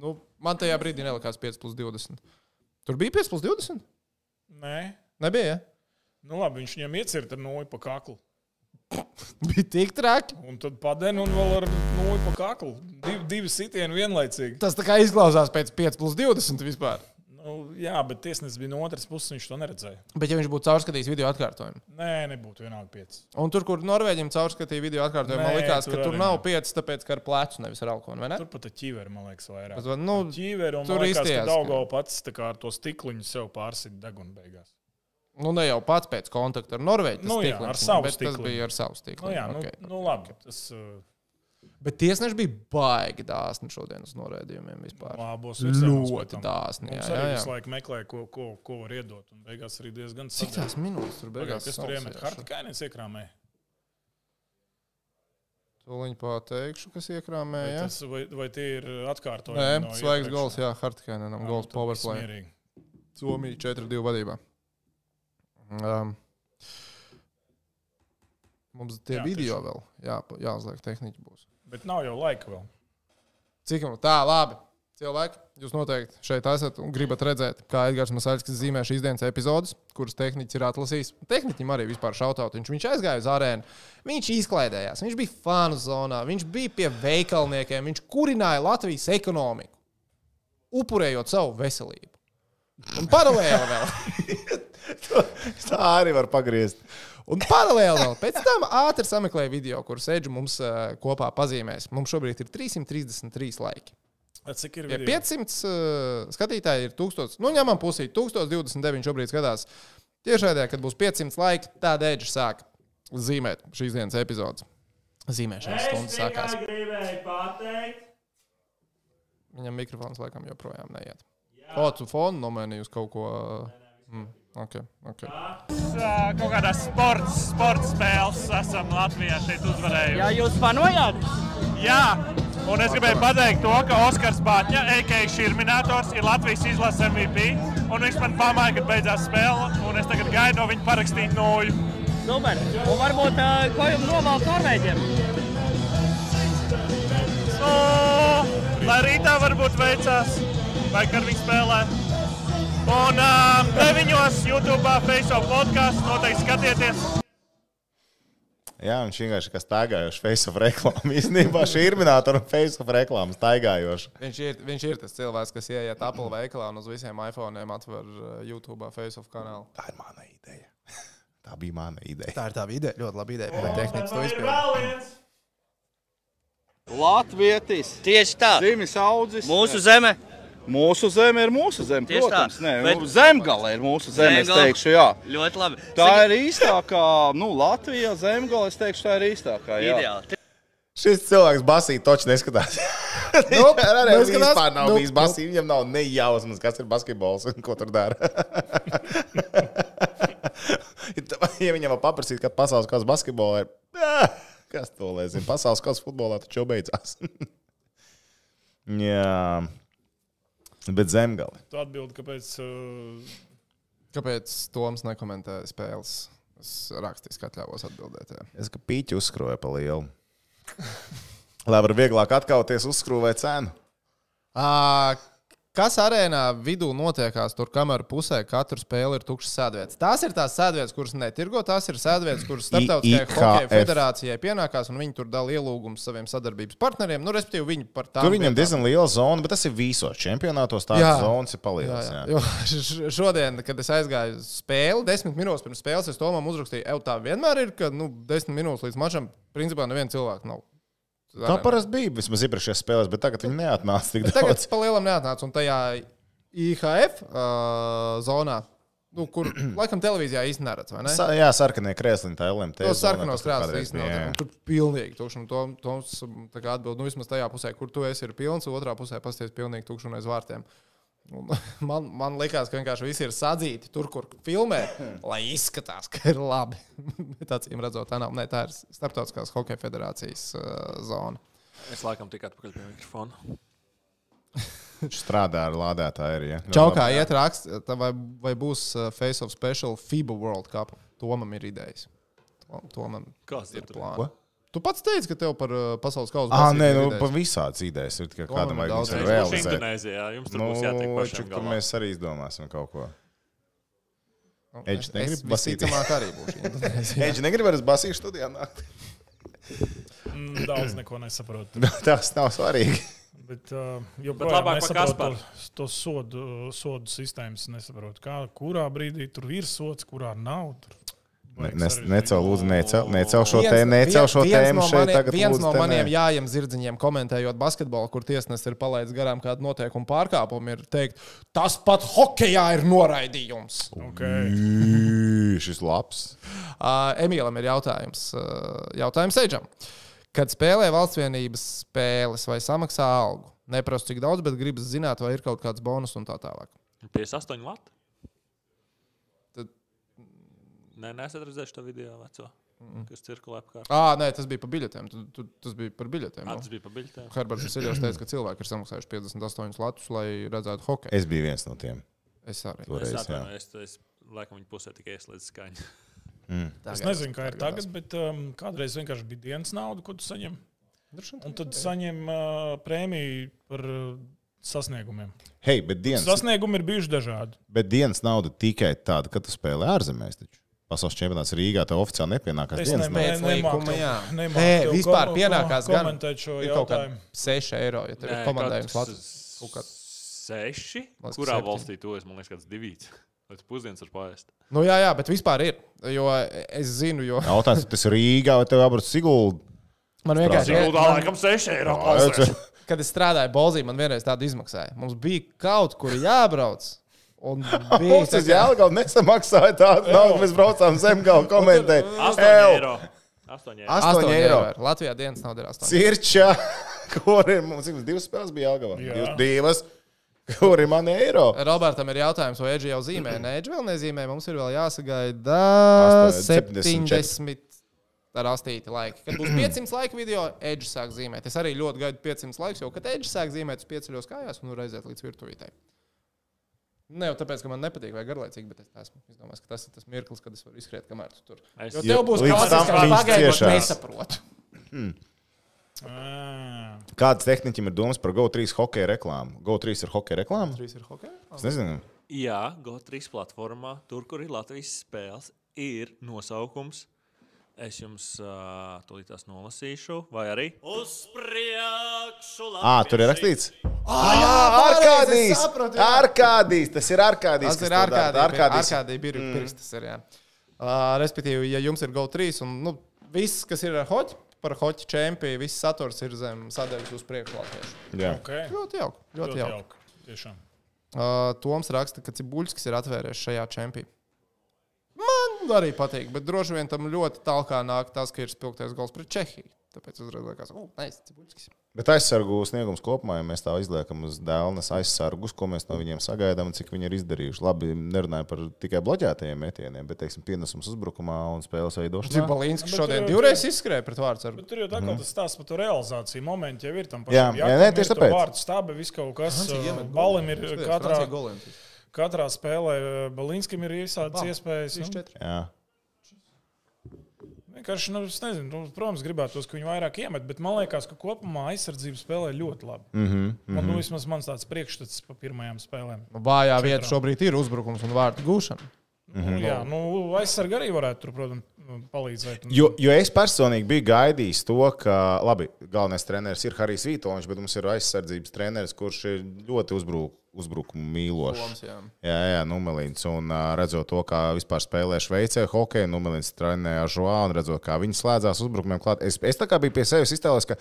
[SPEAKER 4] nu, man tajā brīdī nelikās 5 plus 20. Tur bija 5 plus 20?
[SPEAKER 6] roku. Nē,
[SPEAKER 4] Nebija. Ja? [LAUGHS]
[SPEAKER 6] nu, labi, viņš viņam iecirta ar nūju pa kaklu.
[SPEAKER 4] Bija tik traki.
[SPEAKER 6] Un tad padēna un vēl ar nūju pa kaklu. Div, divi sitieni vienlaicīgi.
[SPEAKER 4] Tas tā kā izklausās pēc 5 plus 20 vispār.
[SPEAKER 6] Nu, jā, bet tiesnesis bija no otras puses, viņš to neredzēja.
[SPEAKER 4] Bet, ja viņš būtu caurskatījis video atkārtojumu,
[SPEAKER 6] Nē, nebūtu vienalga pieci.
[SPEAKER 4] un tur, kur Norvēģim caurskatīja video atkārtojumu, man
[SPEAKER 6] Nē,
[SPEAKER 4] likās,
[SPEAKER 6] tur
[SPEAKER 4] ka tur
[SPEAKER 6] arī
[SPEAKER 4] nav
[SPEAKER 6] nav.
[SPEAKER 4] pieci, tāpēc, ka ar plecu nevis ar alkoholu, vai ne?
[SPEAKER 6] Tur pat ir ķīveri, man liekas, vairāk.
[SPEAKER 4] Bet, nu,
[SPEAKER 6] Ķīveri un
[SPEAKER 4] tur
[SPEAKER 6] tur
[SPEAKER 4] izties,
[SPEAKER 6] īstenībā
[SPEAKER 4] ka-
[SPEAKER 6] Daugava pats tā kā ar to stikliņu sev pārsita deguna beigās.
[SPEAKER 4] nu, ne jau pats pēc kontakta ar Norvēģiju.
[SPEAKER 6] Nu
[SPEAKER 4] tas
[SPEAKER 6] jā,
[SPEAKER 4] stikliņš,
[SPEAKER 6] ar savu
[SPEAKER 4] bet Tas
[SPEAKER 6] stikliņu.
[SPEAKER 4] bija ar savu stiklu.
[SPEAKER 6] Nu, jā, nu, okay. nu labi. Tas uh,
[SPEAKER 4] Bet tiesneši bija baigi dāsni šodien uz norādījumiem vispār.
[SPEAKER 6] labos virzienos pēc
[SPEAKER 4] Ļoti
[SPEAKER 6] tam.
[SPEAKER 4] dāsni.
[SPEAKER 6] Mums
[SPEAKER 4] Jā,
[SPEAKER 6] jā, arī
[SPEAKER 4] jā,
[SPEAKER 6] visu
[SPEAKER 4] jā.
[SPEAKER 6] laiku meklēja, ko, ko, ko var iedot. Un beigās arī diezgan
[SPEAKER 4] Cik
[SPEAKER 6] sadēļ.
[SPEAKER 4] tās minūtes tur
[SPEAKER 6] Pagaid,
[SPEAKER 4] beigās?
[SPEAKER 6] Kas tur iemet? Hartikainens iekrāmē.
[SPEAKER 4] Tūliņ pateikšu, kas iekrāmē.
[SPEAKER 6] Vai,
[SPEAKER 4] Jā,
[SPEAKER 6] tas, vai, vai tie ir atkārtojumi?
[SPEAKER 4] Nē,
[SPEAKER 6] no
[SPEAKER 4] svaigs
[SPEAKER 6] iepriekš?
[SPEAKER 4] gols, jā, Hartkainenam,
[SPEAKER 6] Jā,
[SPEAKER 4] gols
[SPEAKER 6] nu, tad
[SPEAKER 4] powerplay.
[SPEAKER 6] smierīgi.
[SPEAKER 4] Somija 4-2 vadībā. Um, mums tie jā,
[SPEAKER 6] Jā,
[SPEAKER 4] video vēl jā, jāuzliek, tehniķi būs.
[SPEAKER 6] Bet nav jau laika vēl.
[SPEAKER 4] Cik jums tā, labi. Cilvēki, jūs noteikti šeit esat un gribat redzēt, kā Edgars Masāļskis zīmē šīs dienas epizodes, kuras tehnicis ir atlasījis. Tehniķim arī vispār šautaut. Viņš, viņš aizgāja uz arēnu, viņš izklaidējās, viņš bija fanu zonā, viņš bija pie veikalniekiem, viņš kurināja Latvijas ekonomiku, upurējot savu veselību. Un paralēli vēl.
[SPEAKER 5] [LAUGHS] Tā arī var pagriezt.
[SPEAKER 4] Un paralēli vēl pēc tam ātri sameklēju video, kur sēžu mums uh, kopā pazīmēs. Mums šobrīd ir 333 laiki.
[SPEAKER 6] Bet Cik ir
[SPEAKER 4] Pie
[SPEAKER 6] video?
[SPEAKER 4] 500 uh, skatītāji ir 1000. Nu, ņemam pusī, 1029 šobrīd skatās. Tiešraidē, kad būs 500 laiki, tā dēļa sāk zīmēt šīs dienas epizodes. Zīmēšanas stundas sākās.
[SPEAKER 2] gribēju pateikt,
[SPEAKER 4] Viņam mikrofons laikam joprojām neiet. Fotu fonu nomainīju uz kaut ko. Mm, ok, ok.
[SPEAKER 2] kaut kādā sports, sports spēles esam Latvijā šeit uzvarējuši.
[SPEAKER 7] Jā, jūs panojāt?
[SPEAKER 2] Jā, un es gribēju pateikt to, ka Oskars Bāķa, EKI Širminators, ir Latvijas izlases MVP. Un viņš man pamāja, kad beidzās spēle, un es tagad gaidu no viņa parakstīt nulli.
[SPEAKER 7] Super. Un nu varbūt ā, ko jums novēl norvēģiem?
[SPEAKER 2] O, Lai rītā varbūt veicās, vai kad viņi spēlē. Un um, 9. YouTube, Facebook podkāstā noteikti skatieties.
[SPEAKER 5] Jā, viņš vienkārši kā staigājošs face of [LAUGHS] reklāmas. Īstenībā šī ir minēta ar face of reklāmas staigājošu.
[SPEAKER 4] Viņš ir, viņš ir tas cilvēks, kas ienāk Apple veikalā un uz visiem iPhone'iem atver uh, YouTube Facebook kanālu.
[SPEAKER 5] Tā ir mana ideja. [LAUGHS] Tā bija mana ideja.
[SPEAKER 4] Tā ir tā ideja, ļoti laba ideja. Bet tehniski to izpildīt.
[SPEAKER 2] vēl viens!
[SPEAKER 8] Latvijas
[SPEAKER 7] Tieši tā.
[SPEAKER 8] zīmes audzis.
[SPEAKER 7] Mūsu zeme.
[SPEAKER 8] mūsu zeme ir mūsu zeme.
[SPEAKER 7] Tieši tā,
[SPEAKER 8] Protams, nē,
[SPEAKER 7] bet-
[SPEAKER 8] nu, zemgale ir mūsu zeme. Es
[SPEAKER 7] Zemgale.
[SPEAKER 8] teikšu, jā.
[SPEAKER 7] Ļoti labi.
[SPEAKER 8] Tā ir īstākā, nu, Latvija zemgale. Es teikšu, tā ir īstākā. Jā.
[SPEAKER 7] ideāli.
[SPEAKER 5] Šis cilvēks basīja točs neskatās.
[SPEAKER 4] Nu,
[SPEAKER 5] Viņš arī
[SPEAKER 4] nu, skatās.
[SPEAKER 5] vispār nav
[SPEAKER 4] Nu,
[SPEAKER 5] bijis basīja. Viņam nav ne jausmas, kas ir basketbols un ko tur dara. Ja tā- ja viņam vēl paprasīt, kad pasaules kāds basketbolā ir. "Ā, Kas to lai zina? Pasaules kāds futbolā taču jau beidzās. [LAUGHS] Jā. Bet zemgale.
[SPEAKER 6] Tu atbildi, kāpēc. Uh,
[SPEAKER 4] Kāpēc Toms nekomentē spēles? Es rakstiski atļāvos atbildēt. Jā.
[SPEAKER 5] Es kā pīķi uzskrūvēju pa lielu. Lai var vieglāk atkauties, uzskrūvēju cenu.
[SPEAKER 4] Ā, Kas arēnā vidū notiekās tur, kamēr pusē katra spēle ir tukšas sēdvietas? Tās ir tās sēdvietas, kuras netirgo, tās ir sēdvietas, kuras starptautiskajai
[SPEAKER 5] IIKF.
[SPEAKER 4] hokeja federācijai pienākās, un viņi tur dala ielūgumus saviem sadarbības partneriem. Nu, respektīvi, viņi par tām.
[SPEAKER 5] Tur viņam
[SPEAKER 4] vietām-
[SPEAKER 5] diezgan liela zona, bet tas ir visos čempionātos. Tā
[SPEAKER 4] Jā.
[SPEAKER 5] zona ir
[SPEAKER 4] Jā,
[SPEAKER 5] palielināta.
[SPEAKER 4] jā. [LAUGHS] Jo š- šodien, kad es aizgāju uz spēli, desmit minūtes pirms spēles, es tomēr uzrakstīju, ej, tā vienmēr ir, ka nu, desmit minūtes līdz mačam, principā, neviena cilvēka nav.
[SPEAKER 5] Tā parasti bija vismaz iepriekšējās spēlēs, bet tagad viņi neatnāca tik
[SPEAKER 4] Bet tagad
[SPEAKER 5] daudz.
[SPEAKER 4] tas palielam neatnāca. Un tajā IHF uh, zonā, nu,
[SPEAKER 5] [CLEARS THROAT]
[SPEAKER 4] kur laikam televīzijā īstenībā neredz, vai ne?
[SPEAKER 5] Sa, jā, sarkanie krēsliņi, tā LMT.
[SPEAKER 4] To
[SPEAKER 5] zonā,
[SPEAKER 4] sarkanos
[SPEAKER 5] kas tur
[SPEAKER 4] krāsas
[SPEAKER 5] kādreiz bija, jā.
[SPEAKER 4] īstenībā. Tur pilnīgi tukšs. un to- Toms tā kā atbild, nu vismaz tajā pusē, kur tu esi, ir pilns, otrā pusē pasties pilnīgi tukšs un aiz vārtiem. Un [LAUGHS] Man, man liekas, ka vienkārši viss ir sadzīti tur, kur
[SPEAKER 5] [CLEARS THROAT]
[SPEAKER 4] filmē, lai izskatās, ka ir labi. [LAUGHS] Bet acīm redzot, tā nav. Nē, tā ir Startautiskās hokeja federācijas uh, zona.
[SPEAKER 1] Es laikam tikai atpakaļ pie mikrofona.
[SPEAKER 5] Viņš strādā ar lādētāju arī. Ja.
[SPEAKER 4] Čaukā iet raksts, tā vai, vai būs uh, Face of Special FIBA World Cup. Tomam ir idejas. Tom- Tomam
[SPEAKER 1] Kas
[SPEAKER 4] ir
[SPEAKER 1] ir tur?
[SPEAKER 4] plāns.
[SPEAKER 5] Ko?
[SPEAKER 4] Tu pats teici, ka tev par uh, pasaules kausu
[SPEAKER 5] Ah,
[SPEAKER 4] basītu
[SPEAKER 5] nē,
[SPEAKER 4] ir
[SPEAKER 5] nu,
[SPEAKER 4] idejas.
[SPEAKER 5] pa visāds idejas ir, ka
[SPEAKER 4] Domāju,
[SPEAKER 5] kādam vajag
[SPEAKER 4] daudz
[SPEAKER 5] viņus
[SPEAKER 4] idejas.
[SPEAKER 1] Jūs būsiet
[SPEAKER 5] realizēt.
[SPEAKER 1] Indonēzijā, jums tur
[SPEAKER 5] Nu,
[SPEAKER 1] būs jātiek
[SPEAKER 5] čuk,
[SPEAKER 1] pašiem
[SPEAKER 5] tur
[SPEAKER 1] galā.
[SPEAKER 5] mēs arī izdomāsim kaut
[SPEAKER 4] [LAUGHS]
[SPEAKER 5] ko.
[SPEAKER 4] Nu,
[SPEAKER 5] Edž,
[SPEAKER 4] es-
[SPEAKER 5] negribu
[SPEAKER 4] es
[SPEAKER 5] basīt?
[SPEAKER 4] visticamāk arī
[SPEAKER 5] [LAUGHS]
[SPEAKER 4] būšu.
[SPEAKER 5] Eģi, negribu ar basīju studijā nākt. [LAUGHS]
[SPEAKER 6] daudz neko nesaprotu.
[SPEAKER 5] Tas nav svarīgi.
[SPEAKER 6] Bet, uh,
[SPEAKER 1] Bet labāk pa Kasparu.
[SPEAKER 6] to sodu, sodu sistēmas nesaprotu. Kā, kurā brīdī tur ir sots, kurā nav. Tur. vajag sarežģīt.
[SPEAKER 5] Necel, lūdzu, necel, necel šo tēmu, necel šo
[SPEAKER 4] viens
[SPEAKER 5] tēmu
[SPEAKER 4] no
[SPEAKER 5] šeit
[SPEAKER 4] mani-
[SPEAKER 5] tagad.
[SPEAKER 4] Viens
[SPEAKER 5] lūdzu,
[SPEAKER 4] no
[SPEAKER 5] te nē.
[SPEAKER 4] maniem jājiem zirdziņiem, komentējot basketbolu, kur tiesnesis ir palaidis garām kādu noteikumu pārkāpumu, ir teikt, tas pat hokejā ir noraidījums.
[SPEAKER 6] Okay.
[SPEAKER 5] Ī, Šis labs.
[SPEAKER 4] Ā, Uh, Emīlam ir jautājums. ā, Jautājums Eidžam. Kad spēlē valsts vienības spēles vai samaksā algu? Neprasu, cik daudz, bet gribas zināt, vai ir kaut kāds bonus un tā tālāk.
[SPEAKER 1] 58 lat.
[SPEAKER 4] Tad-
[SPEAKER 1] Nē, nesat redzējuši to video veco, kas cirkulē apkārt.
[SPEAKER 4] Ā, nē, tas bija par biļetēm. Tu, tu, tas bija par biļetēm.
[SPEAKER 1] Ats bija pa biļetēm.
[SPEAKER 4] Herberts Ziedants teica, ka cilvēki ir samaksājuši 58 latus, lai redzētu hokeju.
[SPEAKER 5] Es biju viens no tiem.
[SPEAKER 4] Es arī.
[SPEAKER 1] Es
[SPEAKER 5] Toreiz, jā.
[SPEAKER 1] atvainojos, es laikam viņa pusē tikai ieslēdzu skaņu.
[SPEAKER 6] Es nezinu, kā ir tagad, bet um, kādreiz vienkārši bija dienas nauda, ko tu saņem. Un tad saņem uh, prēmiju par uh, sasniegumiem.
[SPEAKER 5] Hei, bet dienas,
[SPEAKER 6] Sasniegumi ir bijuši dažādi.
[SPEAKER 5] bet dienas nauda tikai tāda, ka tu spēlē ārzemēs. Taču. Pasaules čempionāts Rīgā tev oficiāli nepienākās
[SPEAKER 6] Es
[SPEAKER 5] dienas
[SPEAKER 6] nemē-
[SPEAKER 5] nauda.
[SPEAKER 4] Pēc
[SPEAKER 6] nemāku
[SPEAKER 4] līguma,
[SPEAKER 6] tev-
[SPEAKER 4] jā.
[SPEAKER 6] nemāku
[SPEAKER 4] Nē,
[SPEAKER 6] tev
[SPEAKER 4] piemēr
[SPEAKER 6] kom-
[SPEAKER 4] pienākās
[SPEAKER 6] kom-
[SPEAKER 4] gan.
[SPEAKER 6] komentēt šo
[SPEAKER 4] Ir kaut
[SPEAKER 6] jautājumu.
[SPEAKER 4] kāda 6 eiro, ja tev ir komandējums
[SPEAKER 1] kaut
[SPEAKER 4] latus. Kaut kā-
[SPEAKER 1] Eh, Seši?
[SPEAKER 4] Liekas, ka
[SPEAKER 1] Kurā
[SPEAKER 4] septiņi.
[SPEAKER 1] valstī to es, man liekas, kāds divīts. Pēc pusdienas var paēst.
[SPEAKER 4] Nu, jā, jā, bet vispār ir. Jo es zinu, jo
[SPEAKER 5] Jautājums, vai tas ir Rīgā vai tev jābrauc Siguldā?
[SPEAKER 4] man vienkārši ir.
[SPEAKER 1] Guldā laikam seši eiro.
[SPEAKER 4] Kad es strādāju Bolzī, man vienreiz tāda izmaksāja. Mums bija kaut kur jābrauc. Un
[SPEAKER 5] [LAUGHS]
[SPEAKER 4] bija
[SPEAKER 5] Mums
[SPEAKER 4] tā
[SPEAKER 5] tas
[SPEAKER 4] kā-
[SPEAKER 5] jāgalu nesamaksāja tādu naudu, mēs braucām zemgālu komentēt.
[SPEAKER 1] 8
[SPEAKER 5] Ew,
[SPEAKER 1] eiro. 8 eiro.
[SPEAKER 5] 8 eiro.
[SPEAKER 4] ir. Latvijā dienas nav ir 8 eiro.
[SPEAKER 5] Cirča, [LAUGHS] kur ir mums cik mums divas spēles bija jāgalu?
[SPEAKER 6] Jā.
[SPEAKER 5] Divas, divas. Kur ir man eiro?
[SPEAKER 4] Robertam ir jautājums, vai Edži jau zīmē? Nē, Edži vēl nezīmē. Mums ir vēl jāsagaida
[SPEAKER 5] Asto- 74.
[SPEAKER 4] 70 ar astīti laika. Kad būs 500 laika video, Edži sāk zīmēt. Es arī ļoti gaidu 500 laiks, jo kad Edži sāk zīmēt, es pieceļos kājās un varu aiziet līdz virtuvītei. Ne jau tāpēc, ka man nepatīk vai garlaicīgi, bet es esmu izdomājis, ka tas ir tas mirklis, kad es varu izskriet, kamēr tu tur.
[SPEAKER 1] Es-
[SPEAKER 4] Jo tev būs
[SPEAKER 5] līdz
[SPEAKER 4] kaut kas,
[SPEAKER 5] tam
[SPEAKER 4] kas
[SPEAKER 5] viņš
[SPEAKER 4] pagaidot
[SPEAKER 5] ciešās.
[SPEAKER 4] nesaprotu.
[SPEAKER 6] Ā,
[SPEAKER 5] Kāds tehnikam ir domas par GO3 hokeja reklāmu? GO3 ir hokeja reklāma?
[SPEAKER 4] Trīs ir hokeja?
[SPEAKER 5] Es nezinu.
[SPEAKER 1] Jā, GO3 platformā, tur, kur ir Latvijas spēles, ir nosaukums. Es jums uh, tūlīt tās nolasīšu, vai arī.
[SPEAKER 5] Ā, tur ir rakstīts.
[SPEAKER 4] pareizi, es
[SPEAKER 5] Arkādijas!
[SPEAKER 4] sapratu, jā.
[SPEAKER 5] Arkādijas! Tas ir Arkādijas!
[SPEAKER 4] Tas ir
[SPEAKER 5] Arkādijas!
[SPEAKER 4] ārkārtīgi pirksts. Uh, Respektīvi, ja jums ir GO3 un nu, viss, kas ir ar hoci, par hoci čempionu, viss saturs ir zem sadaļas uz priekšu latviešu.
[SPEAKER 5] Jā.
[SPEAKER 6] Okay.
[SPEAKER 4] Ļoti jauki. Ļoti
[SPEAKER 6] Ļoti
[SPEAKER 4] jauki.
[SPEAKER 6] jauki. Tiešām.
[SPEAKER 4] Uh, Toms raksta, ka Cibuļskis ir atvērties šajā čempionā. Man arī patīk, bet droši vien tam ļoti tālāk nāk tas, ka ir spilgtais gals pret Čehiju. Tāpēc uzreiz liekas, ka tas ir Cibuļskis.
[SPEAKER 5] Bet aizsargu sniegums kopumā, ja mēs tā izliekam uz dēlnes aizsargus, ko mēs no viņiem sagaidām un cik viņi ir izdarījuši. Labi, nerunāju par tikai bloķētajiem metieniem, bet, teiksim, pienesums uzbrukumā un spēles veidošanā.
[SPEAKER 4] Cibuļskis
[SPEAKER 6] Nu, bet uh,
[SPEAKER 4] šodien
[SPEAKER 6] tur jau-
[SPEAKER 4] divreiz izskrēja pret vārdu.
[SPEAKER 6] Bet tur jau tā kā tas stāsta par to realizāciju. Momentā jau ir tam
[SPEAKER 5] Mhm. Jā, jā, nē, tieši tāpēc.
[SPEAKER 6] Vārds stāba, viss kaut kas. uh, Balim ir katrā, katrā spēlē, uh, Balinskam ir
[SPEAKER 4] Bal.
[SPEAKER 6] iesācis iespējas. nu,
[SPEAKER 5] Jā,
[SPEAKER 6] Vienkārši, nu, es nezinu, nu, protams, gribētos, ka viņi vairāk iemet, bet man liekas, ka kopumā aizsardzība spēlē ļoti labi. Mm
[SPEAKER 5] Mhm,
[SPEAKER 6] -hmm. Man, nu, vismaz mans tāds priekšstats pa pirmajām spēlēm. Nu,
[SPEAKER 4] Vājā vieta šobrīd ir uzbrukums un vārdu gūšana.
[SPEAKER 6] Mm
[SPEAKER 5] Mhm.
[SPEAKER 6] -hmm. Jā, nu, aizsarga arī varētu tur, protams, nu, palīdzēt.
[SPEAKER 5] Jo, jo es personīgi biju gaidījis to, ka, labi, galvenais treneris ir Harijs Vitoņš, bet mums ir aizsardzības treneris, kurš ir ļoti uzbruk, uzbrukumu mīlošs.
[SPEAKER 4] Toms, jā.
[SPEAKER 5] Jā, jā, Numelīns. Un ā, redzot to, kā vispār spēlē Šveicē, hokeja, Numelīns trenēja žoā un redzot, kā viņi slēdzās uzbrukumiem klāt. Es, es tā kā biju pie sevis iztēlojies, ka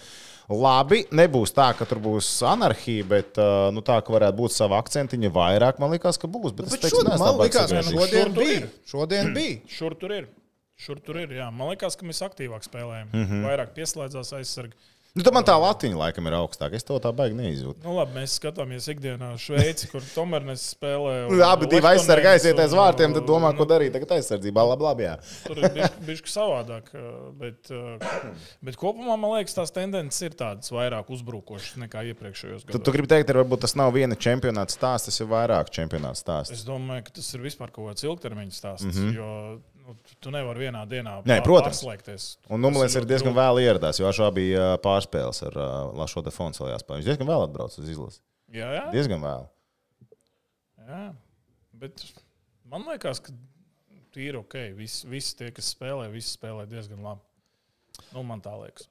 [SPEAKER 5] labi, nebūs tā, ka tur būs anarhija, bet ā, nu, tā, ka varētu būt sava akcentiņa vairāk, man likās, ka būs. Bet, nu,
[SPEAKER 4] Bet šodien, man likās, ka šodien
[SPEAKER 6] nu, Šur tur
[SPEAKER 4] bija.
[SPEAKER 6] ir. [CLEARS THROAT]
[SPEAKER 4] Šodien bija.
[SPEAKER 6] Šur tur ir. Šur tur ir. Jā. Man liekas, ka mēs aktīvāk spēlējam. Mm
[SPEAKER 5] Mhm.
[SPEAKER 6] -hmm. Vairāk pieslēdzās aizsarga.
[SPEAKER 5] Nu, tad man tā latiņa laikam ir augstāka. Es to tā baigi neizjūtu.
[SPEAKER 6] Nu, labi, mēs skatāmies ikdienā Šveici, kur tomēr nespēlē.
[SPEAKER 5] Nu, Abi divi aizsargi aiziet aiz vārtiem, tad domā, ko darīt. Tagad aizsardzībā labi, labi. Jā.
[SPEAKER 6] uh, Tur ir bijis savādāk. uh, Bet, uh, bet kopumā man liekas, tās tendences ir tādas vairāk uzbrukošas nekā iepriekšējos
[SPEAKER 5] Tu, tu
[SPEAKER 6] gados.
[SPEAKER 5] gribi teikt, ka varbūt tas nav viena čempionāta stāsts, tas ir vairāk čempionāta stāsts.
[SPEAKER 6] Es domāju, ka tas ir vispār kaut kāds ilgtermiņa stāsts. Mm -hmm. Jo nu, tu- tu nevari vienā dienā
[SPEAKER 5] Mhm. Nē,
[SPEAKER 6] pār-
[SPEAKER 5] protams.
[SPEAKER 6] pārslēgties.
[SPEAKER 5] Un Numlis
[SPEAKER 6] Tas
[SPEAKER 5] ir
[SPEAKER 6] ļoti
[SPEAKER 5] diezgan
[SPEAKER 6] grūti.
[SPEAKER 5] vēlu ieradās, jo šā bija ā, pārspēles ar ā, Lašo de Fonsu vēl jāspēlē. Viņš diezgan vēlu atbrauc uz izlasi.
[SPEAKER 6] Jā, jā,
[SPEAKER 5] Diezgan vēlu.
[SPEAKER 6] jā. Bet man liekas, ka ir ok. Visi, visi tie, kas spēlē, visi spēlē diezgan labi. Nu, man tā liekas.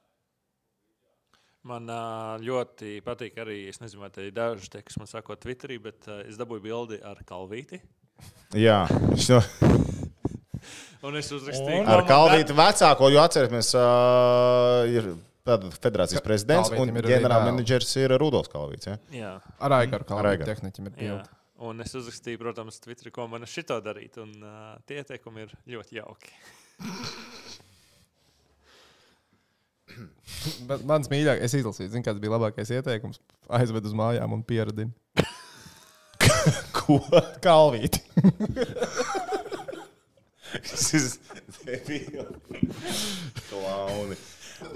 [SPEAKER 1] Man ā, ļoti patīk arī, es nezinu, vai te ir daži tie, kas man sako Twitterī, bet ā, es dabūju bildi ar Kalvīti.
[SPEAKER 5] Jā, viņš no,
[SPEAKER 1] Un es uzrakstīju,
[SPEAKER 5] ar Kalvītu vecāko, jo atcerieties, uh, ir tātad federācijas prezidents un
[SPEAKER 4] Kalvītim ir arī
[SPEAKER 5] ģenerālmenedžers ir Rudolfs Kalvīts. Ja?
[SPEAKER 1] Jā,
[SPEAKER 4] Ar Aigaru kā
[SPEAKER 5] Ar Aigaru.
[SPEAKER 4] tehniķim ir
[SPEAKER 1] jā.
[SPEAKER 4] pieejams.
[SPEAKER 1] Un es uzrakstīju, protams, Twitterī, ko man ar šito darīt. Un uh, tie ieteikumi ir ļoti jauki.
[SPEAKER 4] Mans mīļākais, es izlasīju, zinu, kāds bija labākais ieteikums. Aizved uz mājām un pieradini.
[SPEAKER 5] Ko?
[SPEAKER 4] Kalvīti.
[SPEAKER 5] Tas ir debili. Klauni.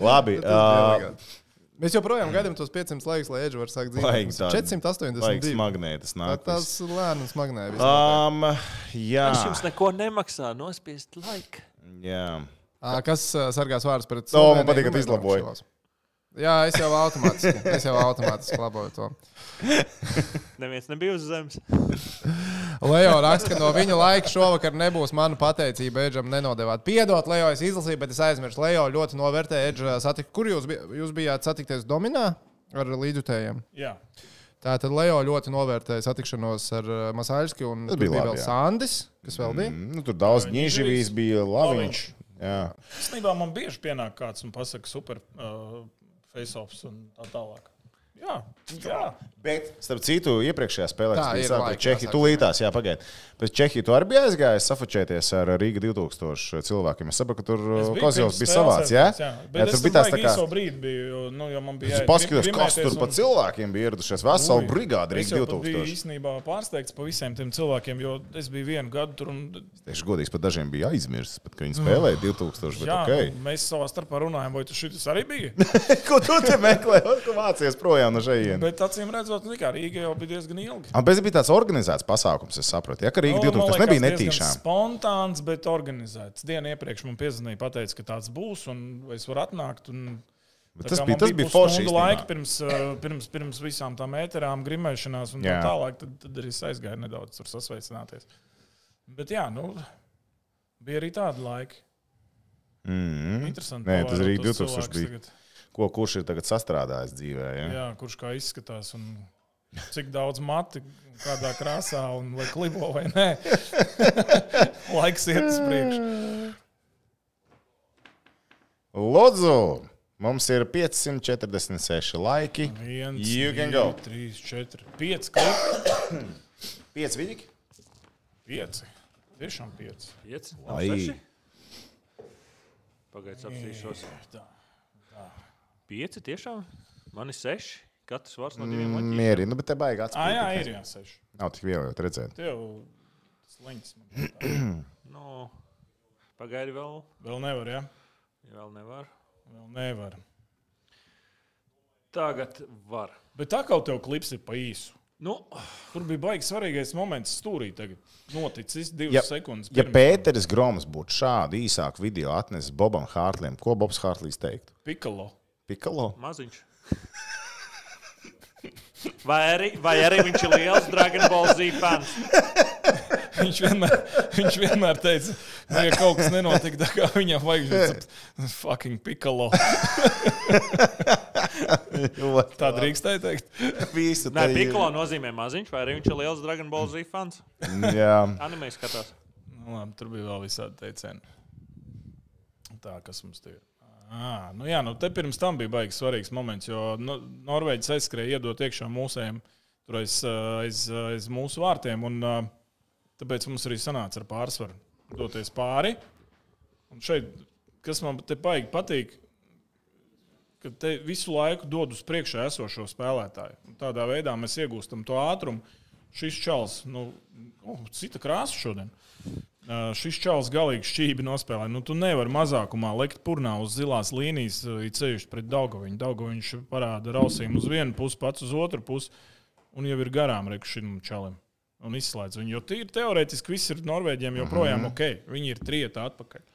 [SPEAKER 5] Labi. Uh,
[SPEAKER 4] Mēs joprojām gaidām tos 500 laikus, lai Edžers sāktu
[SPEAKER 5] Vajag
[SPEAKER 4] dzīvot.
[SPEAKER 5] tādu- Laiks
[SPEAKER 4] 482.
[SPEAKER 5] magnētas
[SPEAKER 4] Tā
[SPEAKER 5] nāk.
[SPEAKER 4] tās lēnas magnēja.
[SPEAKER 5] Um, jā.
[SPEAKER 1] Tas jums neko nemaksā, nospiest laiku.
[SPEAKER 5] jā.
[SPEAKER 4] Kas ā, sargās vārdus pret
[SPEAKER 5] To man
[SPEAKER 4] Sloveniju?
[SPEAKER 5] patīk, ka
[SPEAKER 4] Nu,
[SPEAKER 5] tu izlaboji.
[SPEAKER 4] vienkārši šos. Jā, es jau automātiski, es jau automātiski laboju to.
[SPEAKER 1] [LAUGHS] Neviens nebija uz zemes.
[SPEAKER 4] [LAUGHS] Leo raksta, ka no viņa laika šovakar nebūs mana pateicība Edžam nenodevāt. Piedod, Leo, es izlasīju, bet es aizmirsu. Leo ļoti novērtē Edža satiku. Kur jūs, bij, jūs bijāt satikties Dominā ar līdzutējiem?
[SPEAKER 6] Jā,
[SPEAKER 4] Tātad Leo ļoti novērtēja satikšanos ar uh, Masāļski un
[SPEAKER 5] Tas
[SPEAKER 4] tur
[SPEAKER 5] bija
[SPEAKER 4] bija
[SPEAKER 5] labi,
[SPEAKER 4] vēl
[SPEAKER 5] jā.
[SPEAKER 4] Sandis, kas vēl bija.
[SPEAKER 5] Nu, tur daudz ņēžavīs bija laviņš. Jā.
[SPEAKER 6] īstenībā man bieži pienāk kāds un pasaka, super uh, face-offs un tā tālāk. Jā, jā.
[SPEAKER 5] Bet, starp citu, iepriekšējā spēlē,
[SPEAKER 4] Tā,
[SPEAKER 5] kas bija
[SPEAKER 4] ir
[SPEAKER 5] sākta
[SPEAKER 4] laika
[SPEAKER 5] Čehija,
[SPEAKER 4] jāsāk
[SPEAKER 5] tūlītās, jā, pagaid. Bet Čehija, tu arī biji aizgājis safočēties ar Rīga 2000 cilvēkiem. Es saprotu, ka
[SPEAKER 6] Es
[SPEAKER 5] tur uh,
[SPEAKER 6] biju
[SPEAKER 5] Kozils
[SPEAKER 6] pirms
[SPEAKER 5] bija
[SPEAKER 6] spēles
[SPEAKER 5] savāds, jā?
[SPEAKER 6] aizmirsis, Bet
[SPEAKER 5] Jā,
[SPEAKER 6] es
[SPEAKER 5] tur bija tās tā kā.
[SPEAKER 6] īso brīdi biju, jo, nu, jo man bija
[SPEAKER 5] Es
[SPEAKER 6] jāiet
[SPEAKER 5] paskatījos,
[SPEAKER 6] pim-
[SPEAKER 5] kas tur
[SPEAKER 6] pimēties
[SPEAKER 5] pa
[SPEAKER 6] un-
[SPEAKER 5] cilvēkiem bija ieradušies. Vesela
[SPEAKER 6] Ui,
[SPEAKER 5] brigāde
[SPEAKER 6] es
[SPEAKER 5] Rīga
[SPEAKER 6] jau pat biju
[SPEAKER 5] 2000.
[SPEAKER 6] īstenībā pārsteigts par visiem tiem cilvēkiem, jo es biju vienu gadu tur un
[SPEAKER 5] Es godīgi pat dažiem biju aizmirsis, pat, ka viņi spēlēja 2000. Bet,
[SPEAKER 6] jā,
[SPEAKER 5] okay.
[SPEAKER 6] [LAUGHS] nu, mēs savā starpā runājām, vai tas šis arī
[SPEAKER 5] [LAUGHS]
[SPEAKER 6] bija.
[SPEAKER 5] Ko tu te meklē? Kur tu mācies projām no šejienes?
[SPEAKER 6] Bet acīm redzot, nu, kā Rīga jau bija diezgan ilga.
[SPEAKER 5] Ah, Bet tas bija tāds organizēts pasākums, es saprotu. Jā, ka
[SPEAKER 6] Nu,
[SPEAKER 5] Rīga 2000 tas nebija netīšām.
[SPEAKER 6] Spontāns, bet organizēts. Dienu iepriekš man piezvanīja, pateica, ka tāds būs un vai es varu atnākt. Un...
[SPEAKER 5] Bet
[SPEAKER 6] tā
[SPEAKER 5] tas
[SPEAKER 6] kā
[SPEAKER 5] bija,
[SPEAKER 6] man
[SPEAKER 5] tas bija
[SPEAKER 6] pusstundu
[SPEAKER 5] forši.
[SPEAKER 6] laika
[SPEAKER 5] īstenībā.
[SPEAKER 6] pirms, eh, pirms, pirms visām tām ēterām, grimēšanās un tā
[SPEAKER 5] Jā.
[SPEAKER 6] tālāk. Tad, tad arī es aizgāju nedaudz tur sasveicināties. Bet jā, nu, bija arī tādi laiki.
[SPEAKER 5] Mhm.
[SPEAKER 6] Interesanti.
[SPEAKER 5] Nē, tas
[SPEAKER 6] pavērot
[SPEAKER 5] Rīga
[SPEAKER 6] tos
[SPEAKER 5] 2000
[SPEAKER 6] cilvēkus
[SPEAKER 5] bija.
[SPEAKER 6] tagad.
[SPEAKER 5] Ko kurš ir tagad sastrādājis dzīvē? Ja?
[SPEAKER 6] Jā, kurš kā izskatās un cik daudz mati, kādā krāsā un vai klibo vai nē. [LAUGHS] Laiks iet uz priekšu.
[SPEAKER 5] Lūdzu, mums ir 546 laiki.
[SPEAKER 6] Viens,
[SPEAKER 5] You can
[SPEAKER 6] divi,
[SPEAKER 5] go.
[SPEAKER 6] trīs, četri, pieci klipi.
[SPEAKER 5] 5 viņi?
[SPEAKER 6] Pieci. Tiešām pieci.
[SPEAKER 1] Pieci.
[SPEAKER 5] Ai,
[SPEAKER 1] Pagaidiet, apsīšos.
[SPEAKER 6] tā,
[SPEAKER 1] Pieci tiešām? Man ir seši. Katrs vārds no diviem latviešu.
[SPEAKER 5] mierīgi, nu, bet te baigās.
[SPEAKER 6] Ā, jā, ir jā, seši.
[SPEAKER 5] Nav tik viegli jau redzēt.
[SPEAKER 6] Tev tas links.
[SPEAKER 1] [CLEARS THROAT] Nu, pagaidi vēl,
[SPEAKER 6] Vēl nevar, jā?
[SPEAKER 1] vēl nevar.
[SPEAKER 6] Vēl nevar.
[SPEAKER 1] Tagad var.
[SPEAKER 6] Bet tā kā tev klips ir pa īsu.
[SPEAKER 1] Nu,
[SPEAKER 6] Tur bija baigi svarīgais moments stūrī tagad. Noticis divas
[SPEAKER 5] Ja-
[SPEAKER 6] ja, sekundes.
[SPEAKER 5] Ja
[SPEAKER 6] pirms.
[SPEAKER 5] Pēteris Groms būtu šādu īsāku video atnesis Bobam Hārtlim, ko Bobs Hārtlis teiktu?
[SPEAKER 6] Pikalo.
[SPEAKER 5] Pikalo? [LAUGHS]
[SPEAKER 1] maziņš. [LAUGHS] Vai arī, vai arī viņš ir liels Dragon Ball Z fans?
[SPEAKER 6] Viņš vienmēr, viņš vienmēr teica, ka, ja kaut kas nenotiek tā, kā viņam vajag, tad fucking pikalo. Tā drīkstēja teikt.
[SPEAKER 5] Visu
[SPEAKER 1] Nē,
[SPEAKER 5] te-
[SPEAKER 1] Piklo nozīmē maziņš, vai arī viņš ir liels Dragon Ball Z fans?
[SPEAKER 5] [LAUGHS] Jā.
[SPEAKER 1] Anime skatās.
[SPEAKER 6] Nu, labi, tur bija vēl visādi teicieni. Tā, kas mums te ir. À, nu jā, nu te pirms tam bija baigi svarīgs moments, jo nu, Norvēģis aizskrēja iedot iekšā mūsējiem, tur aiz, uh, aiz, uh, aiz mūsu vārtiem, un uh, tāpēc mums arī sanāca ar pārsvaru doties pāri. Un šeit, kas man te baigi patīk, ka te visu laiku dod uz priekšu esošo spēlētāju. Un tādā veidā mēs iegūstam to ātrumu. Šis čels, nu, oh, cita krāsa šodien. Uh, Šis čels galīgi šķīvi nospēlē. Nu, tu nevari mazākumā likt purnā uz zilās līnijas, uh, it sevišķi pret Daugoviņu. Daugoviņš parāda rausīm uz vienu pusi, pats uz otru pusi, un jau ir garām rekušinam čelim. Un izslēdz viņu. Jo tīri teorētiski viss ir Norvēģiem joprojām ok. Viņi ir trieta atpakaļ.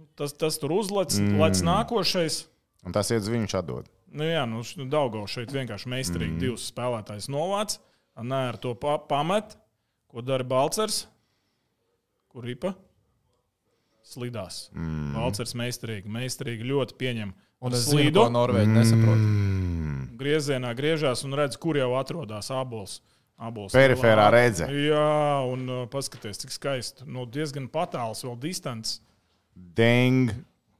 [SPEAKER 6] Nu, Tas, tas tur uzlec, mm. lec nākošais.
[SPEAKER 5] Un tas iedz viņu atdod.
[SPEAKER 6] Nu, jā, nu, Daugaus šeit vienkārši meistarīgi mm. divus spēlētājus novāc. Nē, ar to pa pamet, ko dara Balčers, kur ripa slidās. Mm. Balčers meistarīgi, meistarīgi ļoti pieņem
[SPEAKER 4] Un es zinu,
[SPEAKER 6] Slīdu?
[SPEAKER 4] ko Norvēģi
[SPEAKER 5] Mm.
[SPEAKER 4] nesaprot.
[SPEAKER 6] griezienā griežās un redz, kur jau atrodas abols. abols
[SPEAKER 5] Periferā redze.
[SPEAKER 6] Jā, un uh, paskaties, cik skaisti. No diezgan patāls vēl distance.
[SPEAKER 5] Ding.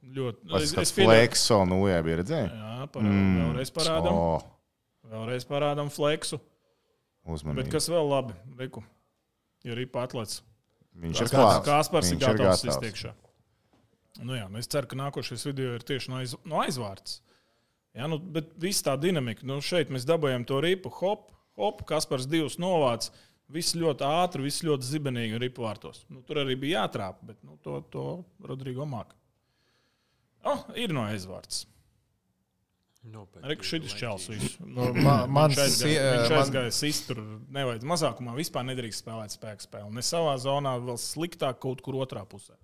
[SPEAKER 6] Ļoti.
[SPEAKER 5] Tas ir
[SPEAKER 6] pieļauju-
[SPEAKER 5] fleks, un nu, jā, bija redzējis.
[SPEAKER 6] Jā, parādām, mm. vēlreiz parādām.
[SPEAKER 5] O,
[SPEAKER 6] Vēlreiz parādām fleksu. Bet
[SPEAKER 5] uzmanīgi.
[SPEAKER 6] kas vēl labi? Reku. Ir arī patlēts.
[SPEAKER 5] Viņš ir klāts.
[SPEAKER 6] Kāspars ir
[SPEAKER 5] Viņš ir
[SPEAKER 6] gatavs
[SPEAKER 5] gatavs.
[SPEAKER 6] iztiekšā. Nu jā, nu es ceru, ka nākošais video ir tieši no, aiz, no aizvārds. Jā, nu, bet viss tā dinamika. Nu, šeit mēs dabūjām to ripu, hop, hop, Kaspars divus novāc. Viss ļoti ātri, viss ļoti zibenīgi un ripu vārtos. Nu, tur arī bija jātrāpa, bet nu, to, to Rodrigo māca. Oh, ir no aizvārds.
[SPEAKER 1] Nopietni.
[SPEAKER 6] Arī šis čels. Viņš
[SPEAKER 4] Nu, ma- mans si- man-
[SPEAKER 6] aizgāja sistru. Nevajag mazākumā vispār nedrīkst spēlēt spēku spēli. Ne savā zonā, vēl sliktāk kaut kur otrā pusē.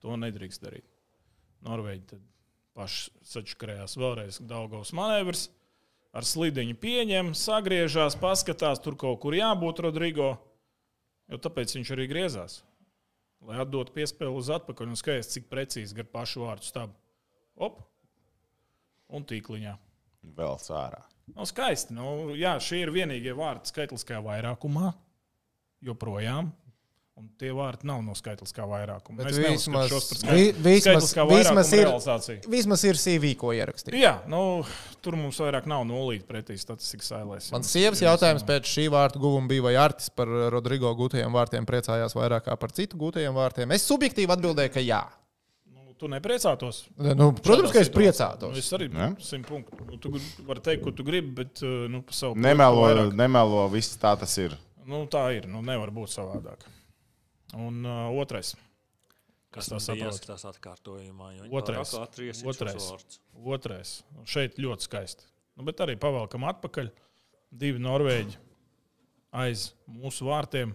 [SPEAKER 6] To nedrīkst darīt. Norvēģi tad paši sačkrējās vēlreiz Daugaus manevrs. Ar slīdiņu pieņem, sagriežās, paskatās, tur kaut kur jābūt Rodrigo. Jo tāpēc viņš arī griezās. Lai atdotu piespēli uz atpakaļ un skaties, cik precīzi gar pašu vārdu stāv. Op! Un tīkliņā.
[SPEAKER 5] Vēl sārā.
[SPEAKER 6] Nu, skaisti. Nu, jā, šie ir vienīgie vārti skaitliskajā vairākumā. Joprojām. Un tie vārti nav no skaitliskā vairākuma.
[SPEAKER 4] Bet
[SPEAKER 6] Es neuzskatu
[SPEAKER 4] vismaz-
[SPEAKER 6] šos par
[SPEAKER 4] vi-
[SPEAKER 6] skait-
[SPEAKER 4] vismaz-
[SPEAKER 6] skaitliskā
[SPEAKER 4] vismaz
[SPEAKER 6] vairākuma
[SPEAKER 4] ir-
[SPEAKER 6] realizāciju.
[SPEAKER 4] Vismaz ir CV, ko ierakstīt.
[SPEAKER 6] Jā, nu, tur mums vairāk nav nulīti pretī statistikas ailēs.
[SPEAKER 4] Mans sievas jautājums pēc šī vārta guvuma bija, vai Artis par Rodrigo gūtajiem vārtiem priecājās vairāk kā par citu gūtajiem vārtiem. Es subjektīvi atbildēju, ka jā.
[SPEAKER 6] Nu, tu nepriecātos.
[SPEAKER 4] Nu, protams, ka es
[SPEAKER 6] Nu,
[SPEAKER 4] priecātos.
[SPEAKER 6] es arī
[SPEAKER 5] Ne?
[SPEAKER 6] simt punktu. Nu, tu gr- vari teikt, ko tu gribi, bet uh, nu, pa savu punktu
[SPEAKER 5] Nemelo,
[SPEAKER 6] vairāk.
[SPEAKER 5] nemelo, viss tā tas ir.
[SPEAKER 6] Nu, tā ir. Nu, nevar būt savādāk. Un uh, otrais.
[SPEAKER 1] Kas
[SPEAKER 6] tā
[SPEAKER 1] tas ir?
[SPEAKER 6] saprot?
[SPEAKER 1] Jāskatās atkārtojumā. jo viņi
[SPEAKER 6] Otrais.
[SPEAKER 1] tā kā atriesīs šos
[SPEAKER 6] Otrais.
[SPEAKER 1] vārdus.
[SPEAKER 6] Otrais. Un Šeit ļoti skaisti. Nu, bet arī pavēlkam atpakaļ. Divi norvēģi aiz mūsu vārtiem.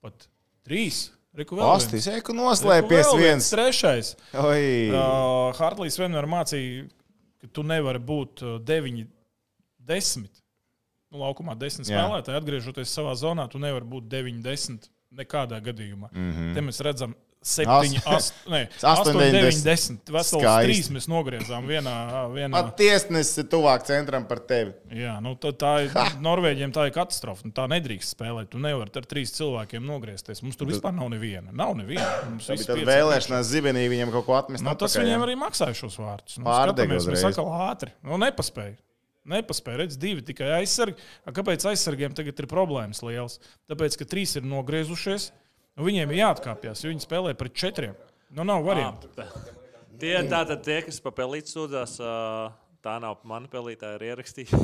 [SPEAKER 6] Pat trīs. Reku vēl viens.
[SPEAKER 5] Ostis, ej, ka noslēpies
[SPEAKER 6] Reku vēl
[SPEAKER 5] viens.
[SPEAKER 6] Trešais.
[SPEAKER 5] Oi.
[SPEAKER 6] Uh, Hartlīs vienmēr mācīja, ka tu nevari būt uh, deviņi, desmit. Nu, laukumā desmit
[SPEAKER 5] Jā.
[SPEAKER 6] spēlētāji, atgriežoties savā zonā, tu nevari būt deviņi, desmit nekādā gadījumā. Mm -hmm. Te mēs redzam, septiņi,
[SPEAKER 5] Mhm. Ast- [LAUGHS]
[SPEAKER 6] ast- nē,
[SPEAKER 5] astoņi,
[SPEAKER 6] astoņi, deviņi,
[SPEAKER 5] deviņi,
[SPEAKER 6] desmit. Vesels
[SPEAKER 5] Skaisti.
[SPEAKER 6] trīs mēs nogriezām vienā. vienā.
[SPEAKER 5] Pat tiesnesis ir tuvāk centram par tevi.
[SPEAKER 6] Jā, nu, tā, tā ir Norvēģiem tā ir katastrofa. Nu, tā nedrīkst spēlēt. Tu nevari ar trīs cilvēkiem nogriezties. Mums tur vispār nav neviena. Nav neviena. Mums
[SPEAKER 5] Tad
[SPEAKER 6] visi
[SPEAKER 5] tad
[SPEAKER 6] pieci-
[SPEAKER 5] vēlēšanās zibenī viņam kaut ko atmest.
[SPEAKER 6] Nu, tas
[SPEAKER 5] atpakaļ,
[SPEAKER 6] viņiem
[SPEAKER 5] ja?
[SPEAKER 6] arī maksāja šos vārdus. Nu,
[SPEAKER 5] Pārdega
[SPEAKER 6] skatāmies, Mēs
[SPEAKER 5] uzreiz.
[SPEAKER 6] sakām, ātri. Nu, nepaspēja. Nepaspēja. Redz, divi tikai aizsargi. A, Kāpēc aizsargiem tagad ir problēmas lielas? Tāpēc, ka trīs ir nogriezušies, un viņiem ir jāatkāpjas, jo viņi spēlē pret četriem. Nu, nav variantu.
[SPEAKER 1] Tie tātad tie, kas pa pelīti sūdzās, ā, tā nav mana pelītā, ir
[SPEAKER 6] [LAUGHS]
[SPEAKER 1] ierakstīta.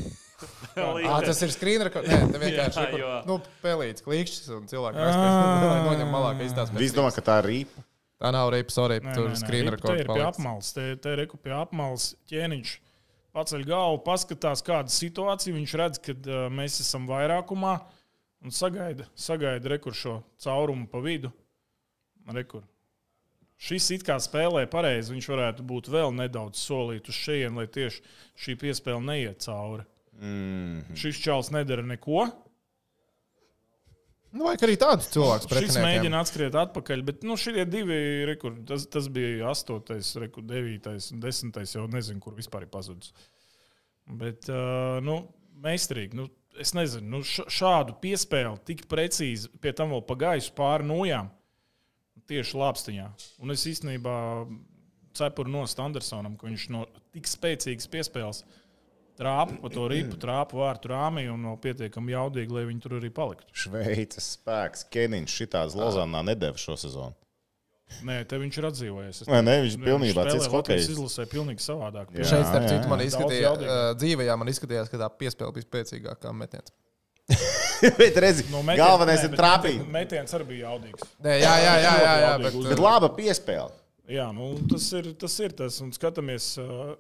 [SPEAKER 4] Ah, tas ir screen record. Nē, tā vienkārši
[SPEAKER 1] Jā,
[SPEAKER 4] ir.
[SPEAKER 1] jo.
[SPEAKER 4] Nu, pēlīts, klikšķis un cilvēks. [LAUGHS] Lai noņem malā, ka izstāsta.
[SPEAKER 5] Viss domā, ka tā ir rīpa.
[SPEAKER 4] Tā nav reiba, sorry, tur screen
[SPEAKER 6] Tā
[SPEAKER 4] record.
[SPEAKER 6] ir pie
[SPEAKER 4] palicis.
[SPEAKER 6] apmales, te, te ir reku pie apmales ķēniņš. Paceļ galvu, paskatās, kāda ir situācija. Viņš redz, ka uh, mēs esam vairākumā un sagaida, sagaida rekur šo caurumu pa vidu. Rekur. Šis it kā spēlē pareizi. Viņš varētu būt vēl nedaudz solīt uz šejienes, lai tieši šī piespēle neiet cauri. Mm -hmm. Šis čels nedara neko.
[SPEAKER 4] Nu, vajag arī tādus cilvēkus
[SPEAKER 6] Šis
[SPEAKER 4] pretiniekiem.
[SPEAKER 6] mēģina atskriet atpakaļ, bet nu, šie divi rekordi, tas, tas bija 8, 9, 10. jau nezinu, kur vispār ir pazudis. Bet, uh, nu, meistarīgi. Nu, es nezinu, nu, š- šādu piespēli tik precīzi, pie tam vēl pagājusi pāri nojām, tieši lāpstiņā. Un es īstenībā cepuru nost Andersonam, ka viņš no tik spēcīgas piespēles trāpa pa to ripu, trāpa vārtu rāmī un vēl pietiekami jaudīgi, lai viņi tur arī paliktu.
[SPEAKER 5] Šveices spēks, Kenins šitās Lozānā nedēva šo sezonu.
[SPEAKER 6] Nē, te viņš ir atdzīvojies. Es
[SPEAKER 5] Vai ne? Viņš
[SPEAKER 6] nezinu,
[SPEAKER 5] pilnībā
[SPEAKER 6] spēlē
[SPEAKER 5] cits
[SPEAKER 6] Latvijas
[SPEAKER 5] hokejs.
[SPEAKER 6] izlasē pilnīgi savādāk.
[SPEAKER 5] Jā,
[SPEAKER 4] Šeit, starp citu,
[SPEAKER 5] jā.
[SPEAKER 4] man
[SPEAKER 6] Daudz
[SPEAKER 4] izskatījās,
[SPEAKER 6] jaudīgāk.
[SPEAKER 4] uh, dzīvē, jā, man izskatījās, ka tā piespēle bija spēcīgākā metienā.
[SPEAKER 5] [LAUGHS] Bet redzi,
[SPEAKER 6] No metiena-
[SPEAKER 5] galvenais
[SPEAKER 6] nē,
[SPEAKER 5] ir
[SPEAKER 6] bet
[SPEAKER 5] trāpīt.
[SPEAKER 6] [LAUGHS] Metiens arī bija jaudīgs.
[SPEAKER 4] Nē, jā, jā, jā, jā, jā
[SPEAKER 6] Ļoti
[SPEAKER 4] bet,
[SPEAKER 6] jaudīgi
[SPEAKER 4] uh,
[SPEAKER 5] Bet laba piespēle.
[SPEAKER 6] Jā, nu, tas, ir, tas ir tas. Un skatāmies, uh,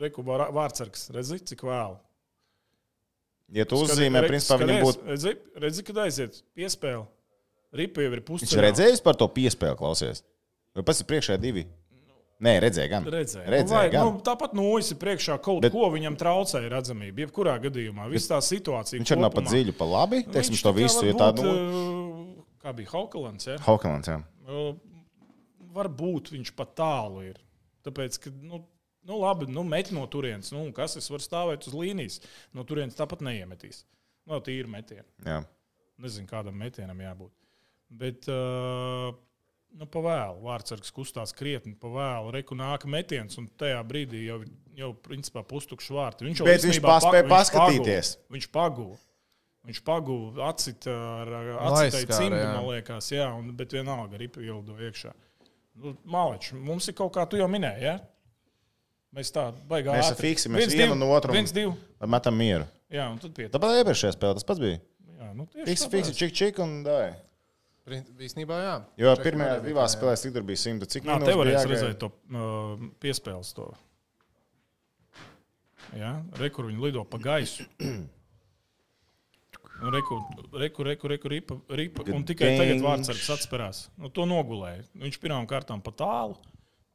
[SPEAKER 6] Rekubā vārdsargs, redzi, cik vēlu.
[SPEAKER 5] Ja tu uzzīmē, principā viņam būtu.
[SPEAKER 6] Redzi, redzi kad aiziet piespēle. Ripa jau ir pusē.
[SPEAKER 5] Viņš redzējis par to piespēli, klausies. Vai pats ir priekšā divi? Nē, redzēja gan.
[SPEAKER 6] Redzēju.
[SPEAKER 5] Redzēja
[SPEAKER 6] nu,
[SPEAKER 5] gan.
[SPEAKER 6] nu, tāpat no ojas ir priekšā kaut
[SPEAKER 5] Bet-
[SPEAKER 6] bet, ko viņam traucēja redzamība. Jebkurā gadījumā, visā tā situācija.
[SPEAKER 5] Viņš ir nav pa
[SPEAKER 6] kopumā. Nu,
[SPEAKER 5] dziļu, pa labi.
[SPEAKER 6] Viņš
[SPEAKER 5] Teiksim, to
[SPEAKER 6] tā kā
[SPEAKER 5] visu, nu- ja
[SPEAKER 6] varbūt,
[SPEAKER 5] tādu.
[SPEAKER 6] uh, Kā bija Haukalans? Ja?
[SPEAKER 5] Haukalans, jā.
[SPEAKER 6] Nu, varbūt viņš pat tālu ir. Tāpēc, ka nu, Nu, labi, nu, met no turienes. Nu, un kas es varu stāvēt uz līnijas? No turienes tāpat neiemetīs. No tīra metiena.
[SPEAKER 5] Jā.
[SPEAKER 6] Nezinu, kādam metienam jābūt. Bet, uh, nu, pavēlu. Vārtsargs kustās krietni, pavēlu. Reku nāk metiens, un tajā brīdī jau, jau principā, pustukšs vārti. Viņš jau
[SPEAKER 5] Bet viņš
[SPEAKER 6] īstenībā
[SPEAKER 5] paspēja
[SPEAKER 6] pagu- viņš
[SPEAKER 5] paskatīties.
[SPEAKER 6] paguva. Viņš pagūda. Viņš pagūda acita ar uh,
[SPEAKER 4] aizskāra,
[SPEAKER 6] acitai cimdu,
[SPEAKER 4] jā.
[SPEAKER 6] man liekas, jā, un, bet vienalga ripa ielido iekšā. Nu, Malič, mums ir kaut kā, tu jau minēji, jā? Mēs tā baigā.
[SPEAKER 5] Mēs
[SPEAKER 6] ātri.
[SPEAKER 5] fiksējamies
[SPEAKER 6] Viens,
[SPEAKER 5] vienu
[SPEAKER 6] divi,
[SPEAKER 5] no otra un-
[SPEAKER 6] Viens, divi.
[SPEAKER 5] Lai metam mieru.
[SPEAKER 6] Jā, un tad pietiek.
[SPEAKER 5] Tāpat iepriekšējā spēlē tas pats bija.
[SPEAKER 6] Jā, nu, tieši
[SPEAKER 5] Fiksi,
[SPEAKER 6] tāpēc.
[SPEAKER 5] fiksi, čik, čik un dai.
[SPEAKER 4] Īsnībā, jā.
[SPEAKER 5] Jo pirmajās divās spēlēs, cik tur bija simta, cik
[SPEAKER 6] Nā,
[SPEAKER 5] minūtes
[SPEAKER 6] te
[SPEAKER 5] bija
[SPEAKER 6] varēs
[SPEAKER 5] jāgaida?
[SPEAKER 6] redzēt to uh, piespēles. To. Ja? Rekur viņi lido pa gaisu. Nu, Un Reku, reku, reku, reku ripa, ripa. Un tikai tagad
[SPEAKER 5] Gadījums.
[SPEAKER 6] vārdsargs atspērās. Nu, to nogulēja. Viņš pirmām kārtām pa tālu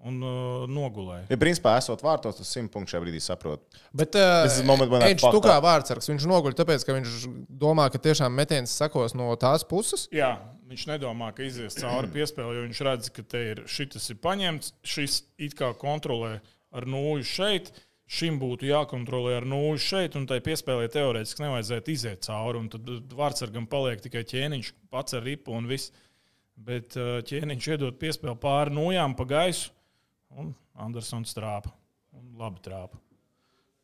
[SPEAKER 6] un uh, nogulēja.
[SPEAKER 5] Ja principā esot vārtos, tas simt punktu šajā brīdī saprot.
[SPEAKER 4] Bet uh,
[SPEAKER 5] This is the moment when I
[SPEAKER 4] viņš
[SPEAKER 5] fucked
[SPEAKER 4] tur kā
[SPEAKER 5] up.
[SPEAKER 4] vārdsargs. Viņš noguļ, tāpēc, ka viņš domā, ka tiešām metiens sakos no tās puses.
[SPEAKER 6] Jā, viņš nedomā, ka izies cauri piespēlē, jo viņš redz, ka te ir šis ir paņemts, šis it kā kontrolē ar nūju šeit. Šim būtu jākontrolē ar nūju šeit, un tai piespēlē teorētiski nevajadzētu iziet cauri. un Tad vārdsargam paliek tikai ķēniņš, pats ar ripu un viss. Bet uh, ķēniņš iedod piespēli pāri nūjām pa gaisu, un Andersons trāpa. Un labi trāpa.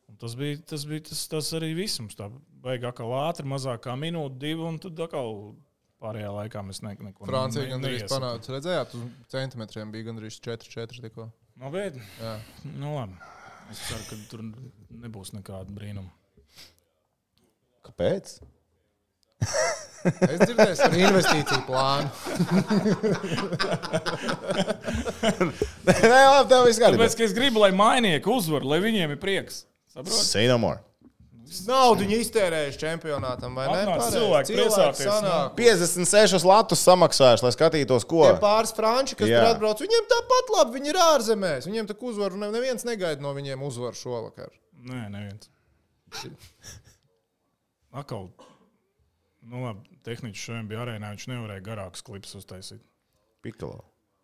[SPEAKER 6] Un tas bija tas, bija tas, tas arī viss. Mums tā baigā kā ātri, mazākā minūte, divi. Un tad atkal pārējā laikā mēs ne, neko
[SPEAKER 4] Francija
[SPEAKER 6] ne-
[SPEAKER 4] gandrīz
[SPEAKER 6] neiesam.
[SPEAKER 4] panāca, redzējāt, uz centimetriem bija gandrīz 4-4 tikko.
[SPEAKER 6] No bēdas.
[SPEAKER 4] Jā.
[SPEAKER 6] Nu, labi. es ceru, ka tur nebūs nekāda brīnuma.
[SPEAKER 5] Kāpēc? [LAUGHS]
[SPEAKER 4] Es dzirdēju, ka ir investīcija plāna.
[SPEAKER 5] Nē, labi, tev viss
[SPEAKER 6] Tāpēc
[SPEAKER 5] kārtībā.
[SPEAKER 6] ka es gribu, lai mainieki uzvar, lai viņiem ir prieks. Saprotiet?
[SPEAKER 5] Say no more.
[SPEAKER 4] [LAUGHS] Naudu viņi iztērējuši čempionātam, vai ne?
[SPEAKER 6] Atnāca
[SPEAKER 4] Pareizi.
[SPEAKER 6] cilvēki priecāties,
[SPEAKER 4] sanāk.
[SPEAKER 5] 56 latus samaksājuši, lai skatītos, ko.
[SPEAKER 4] Tie pāris franči, kas
[SPEAKER 5] Jā.
[SPEAKER 4] tur atbrauc, viņiem tāpat labi, viņi ir ārzemēs. Viņiem tā uzvaru, ne- neviens negaida no viņiem uzvaru šovakar.
[SPEAKER 6] Nē, neviens. Atkal, nu labi, tehniski šodien bija arēnā, viņš nevarēja garākus klips uztaisīt.
[SPEAKER 5] Pikalo.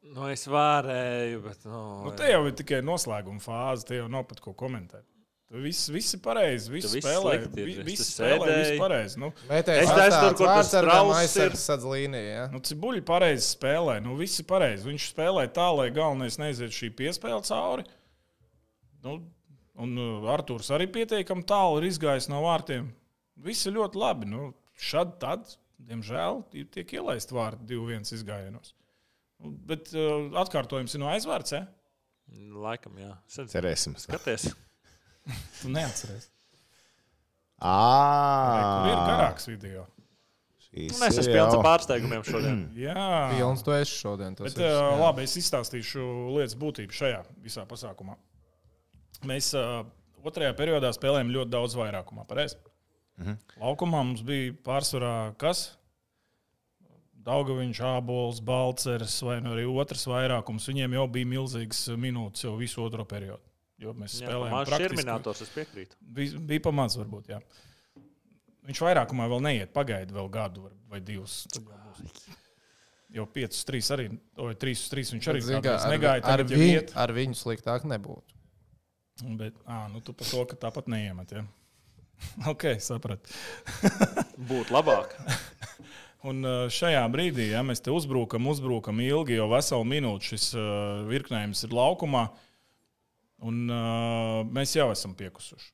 [SPEAKER 1] Nu, es varēju, bet. Nu,
[SPEAKER 6] Nu, te jau ir tikai noslēguma fāze, te jau nav pat ko komentēt. Tu Viss, viss ir pareizi, viss
[SPEAKER 1] Tu viss
[SPEAKER 6] spēlē,
[SPEAKER 1] slikti ir,
[SPEAKER 6] vi-
[SPEAKER 1] es
[SPEAKER 6] viss
[SPEAKER 1] te
[SPEAKER 6] spēlē, viss
[SPEAKER 1] sēdēju.
[SPEAKER 6] pareizi. Nu,
[SPEAKER 4] Mētējs
[SPEAKER 1] Es taisu tur, kur tas
[SPEAKER 4] vārtsargam
[SPEAKER 1] strauss ir.
[SPEAKER 4] aizsargs sadz līniju. Ja?
[SPEAKER 6] nu, cibuļi pareizi spēlē, nu viss ir pareizi. Viņš spēlē tā, lai galvenais neiziet šī piespēle cauri. Nu, un Arthurs arī pietiekami tālu ir izgājis no vārtiem. Viss ir ļoti labi. Nu, šad tad, diemžēl, ir- tiek ielaist vārti 2-1 izgājienos. Nu, Bet uh, atkārtojums ir no eh? aizvārds, ja?
[SPEAKER 1] Laikam, jā. Sen-
[SPEAKER 5] Cerēsim.
[SPEAKER 1] Skaties,
[SPEAKER 6] Tu neatceries. Tur ir
[SPEAKER 5] Ā,
[SPEAKER 6] garāks video.
[SPEAKER 5] šīs
[SPEAKER 1] mēs esam
[SPEAKER 5] ir
[SPEAKER 1] pilni
[SPEAKER 5] Ah. jau-
[SPEAKER 1] ar pārsteigumiem šodien.
[SPEAKER 6] Jā,
[SPEAKER 4] Pilns to es šodien. tas
[SPEAKER 6] Bet,
[SPEAKER 4] ir.
[SPEAKER 6] uh, labi, es izstāstīšu lietas būtību šajā visā pasākumā. Mēs uh, otrajā periodā spēlējām ļoti daudz vairākumā. Mhm. Laukumā mums bija pārsvarā kas? Daugaviņš, Ābols, Balcers vai nu arī otrs vairākums. Viņiem jau bija milzīgs minūtes jau visu otro periodu. Jo mēs spēlējām
[SPEAKER 1] Mākslinieks ir
[SPEAKER 6] praktiski-
[SPEAKER 1] minētos, es piekrītu.
[SPEAKER 6] bija, bija pamats, varbūt. Jā. Viņš vairākumā vēl neiet, pagaidi vēl gadu var- vai divus. tad jau būs. Jo 5, 3 arī, vai 3, 3 viņš arī
[SPEAKER 4] Bet, zini, kā,
[SPEAKER 6] kādreiz
[SPEAKER 4] ar,
[SPEAKER 6] negāja.
[SPEAKER 4] ar,
[SPEAKER 6] Tagad jau
[SPEAKER 4] viņu,
[SPEAKER 6] iet.
[SPEAKER 4] ar viņu sliktāk nebūtu.
[SPEAKER 6] Bet, ā, nu tu par to, ka tāpat neiemet. Ja? [LAUGHS] ok, sapratu. [LAUGHS]
[SPEAKER 1] Būtu labāk.
[SPEAKER 6] Un uh, šajā brīdī, ja mēs te uzbrukam, uzbrukam ilgi, jau veselu minūti šis uh, virknējums ir laukumā, un uh, mēs jau esam piekusuši.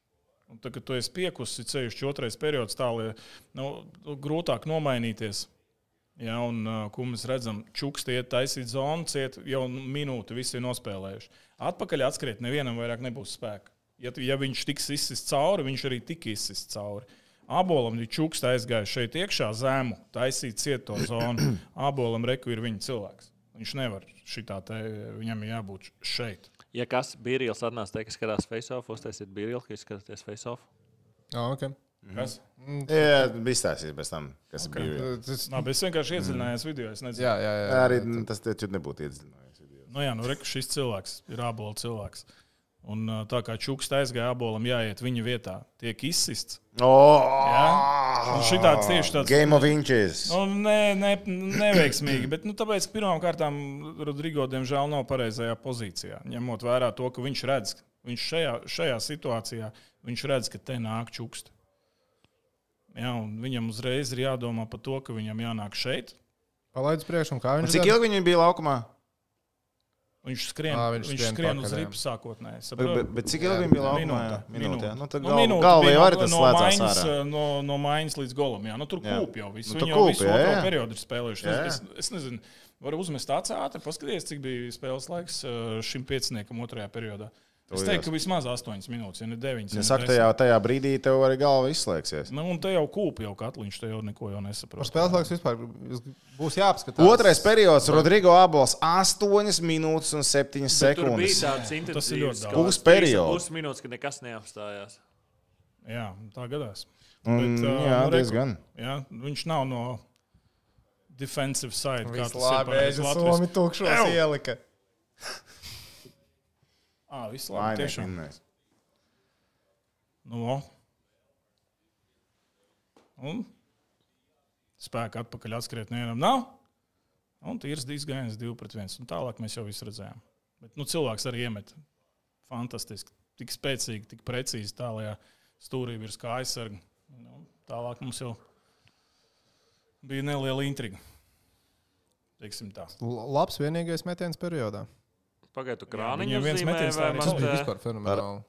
[SPEAKER 6] Un Tad, kad tu esi piekusi, ceļš otrais periods, tā lai nu, grūtāk nomainīties. Ja, un, uh, ko mēs redzam, čukstiet, taisīt zonu, ciet jau minūti, visi ir nospēlējuši. Atpakaļ atskriet, nevienam vairs nebūs spēka. Ja, tu- ja viņš tiks izsists cauri, viņš arī tiks izsists cauri. Abolam ir čuksta aizgājis šeit iekšā zemu, taisīt cieto zonu. [CLEARS THROAT] Abolam reku ir viņa cilvēks. Viņš nevar šitā te, viņam ir jābūt šeit.
[SPEAKER 1] Ja kas bija īrīls, atnāc, teikt, ka skatās face-off, uztaisiet īrīlu, ka skatāties face-off.
[SPEAKER 4] Oh, okay.
[SPEAKER 6] Kas?
[SPEAKER 5] Jā, bija stāstījis bez tam, kas okay. bija.
[SPEAKER 4] Tas,
[SPEAKER 6] Nā, es vienkārši iedziļinājos video. Es nezinu,
[SPEAKER 4] jā, jā, jā.
[SPEAKER 5] Arī n, tas te tur nebūtu iedzinājis.
[SPEAKER 6] Nu, jā, nu, reku, šis cilvēks ir abola cilvēks. Un uh, tā kā čuksta aizgāja abolam, jāiet viņa vietā, tiek izsists.
[SPEAKER 5] Oh!
[SPEAKER 6] Un šitāds tieši Nu, tāds-
[SPEAKER 5] Game of inches.
[SPEAKER 6] Nu, nē, ne, neveiksmīgi. Bet, nu, tāpēc, pirmkārt, Rodrigo, diemžēl, nav pareizajā pozīcijā. Ņemot vērā to, ka viņš redz, Viņš šajā, šajā situācijā viņš redz, ka te nāk čukst. Jā, un viņam uzreiz ir jādomā par to, ka viņam jānāk šeit.
[SPEAKER 4] Palaidis priekšā, kā
[SPEAKER 5] Un
[SPEAKER 6] nu
[SPEAKER 4] viņš
[SPEAKER 5] cik
[SPEAKER 4] dara?
[SPEAKER 5] ilgi viņi bija laukumā?
[SPEAKER 6] Viņš skrien,
[SPEAKER 4] Ā,
[SPEAKER 6] à,
[SPEAKER 4] viņš
[SPEAKER 6] viņš viņš
[SPEAKER 4] skrien
[SPEAKER 6] skrien uz
[SPEAKER 4] pakaļ, jā.
[SPEAKER 6] ripu sākotnēji.
[SPEAKER 5] Bet,
[SPEAKER 6] saproti?
[SPEAKER 5] bet, bet cik ilgi viņi bija laukumā?
[SPEAKER 6] Nu, Minūte.
[SPEAKER 5] Jā, Minūte. jā. Nu, tad
[SPEAKER 6] Nu,
[SPEAKER 5] gal,
[SPEAKER 6] minūte
[SPEAKER 5] galvā
[SPEAKER 6] bija
[SPEAKER 5] jau arī
[SPEAKER 6] no-
[SPEAKER 5] tas
[SPEAKER 6] no
[SPEAKER 5] slēdzās
[SPEAKER 6] maiņas,
[SPEAKER 5] ārā.
[SPEAKER 6] uh, No, no mājas līdz golam. Jā. Nu, tur
[SPEAKER 5] Jā.
[SPEAKER 6] kūp jau viss.
[SPEAKER 5] Nu,
[SPEAKER 6] Nu,
[SPEAKER 5] tur
[SPEAKER 6] Viņi jau
[SPEAKER 5] kūp,
[SPEAKER 6] visu
[SPEAKER 5] jā,
[SPEAKER 6] otro
[SPEAKER 5] jā.
[SPEAKER 6] periodu ir spēlējuši.
[SPEAKER 5] Jā.
[SPEAKER 6] Es, es, es nezinu, varu uzmest tāds ātri, paskatīties, cik bija spēles laiks uh, šim pieciniekam otrajā periodā. Es
[SPEAKER 5] Tuvojās.
[SPEAKER 6] teiktu, ka vismaz 8 minūtes, ja ne 9.
[SPEAKER 5] Ja saka, tajā, tajā brīdī tev arī galva izslēgsies.
[SPEAKER 6] Nu, un te jau kūp jau katliņš, te jau neko jau
[SPEAKER 4] Par
[SPEAKER 6] nesaprot.
[SPEAKER 4] spēles laiku vispār būs jāapskatās.
[SPEAKER 5] Otrais periods - Rodrigo Abols 8 minūtes un 7
[SPEAKER 1] Tur bija
[SPEAKER 5] sekundes.
[SPEAKER 1] tāds
[SPEAKER 6] Tas ir ļoti
[SPEAKER 1] intensīvs
[SPEAKER 6] daudz.
[SPEAKER 5] Būs periods.
[SPEAKER 1] Būs minūtes, kad nekas neapstājās.
[SPEAKER 6] Jā, tā gadās.
[SPEAKER 5] Un,
[SPEAKER 6] Bet, ā,
[SPEAKER 5] Mm, jā,
[SPEAKER 6] nu, re,
[SPEAKER 5] diezgan.
[SPEAKER 6] Jā, viņš nav no defensive side. kā tas ir
[SPEAKER 4] Labi, es
[SPEAKER 6] pareizi Latvijas-
[SPEAKER 4] Somi tukšos ielika.
[SPEAKER 6] Ā, viss labi.
[SPEAKER 5] Vainīgi
[SPEAKER 6] Tiešām.
[SPEAKER 5] vinnēs.
[SPEAKER 6] Nu, o. un spēka atpakaļ atskriet nevienam nav. Un tīrs dizains 2 pret 1. Un tālāk mēs jau visu redzējām. Bet nu, cilvēks arī iemet. Fantastiski. Tik spēcīgi, tik precīzi tālajā stūrī virs kā aizsarga. Nu, tālāk mums jau bija neliela intriga. Teiksim tā.
[SPEAKER 4] L- Labs vienīgais metiens periodā.
[SPEAKER 1] Pagaidu
[SPEAKER 6] viņam
[SPEAKER 1] krāniņu
[SPEAKER 6] viens
[SPEAKER 1] uzzīmē,
[SPEAKER 6] metiens
[SPEAKER 1] vai
[SPEAKER 6] tā arī
[SPEAKER 1] man
[SPEAKER 4] Tas bija
[SPEAKER 1] te
[SPEAKER 4] vispār fenomenāli.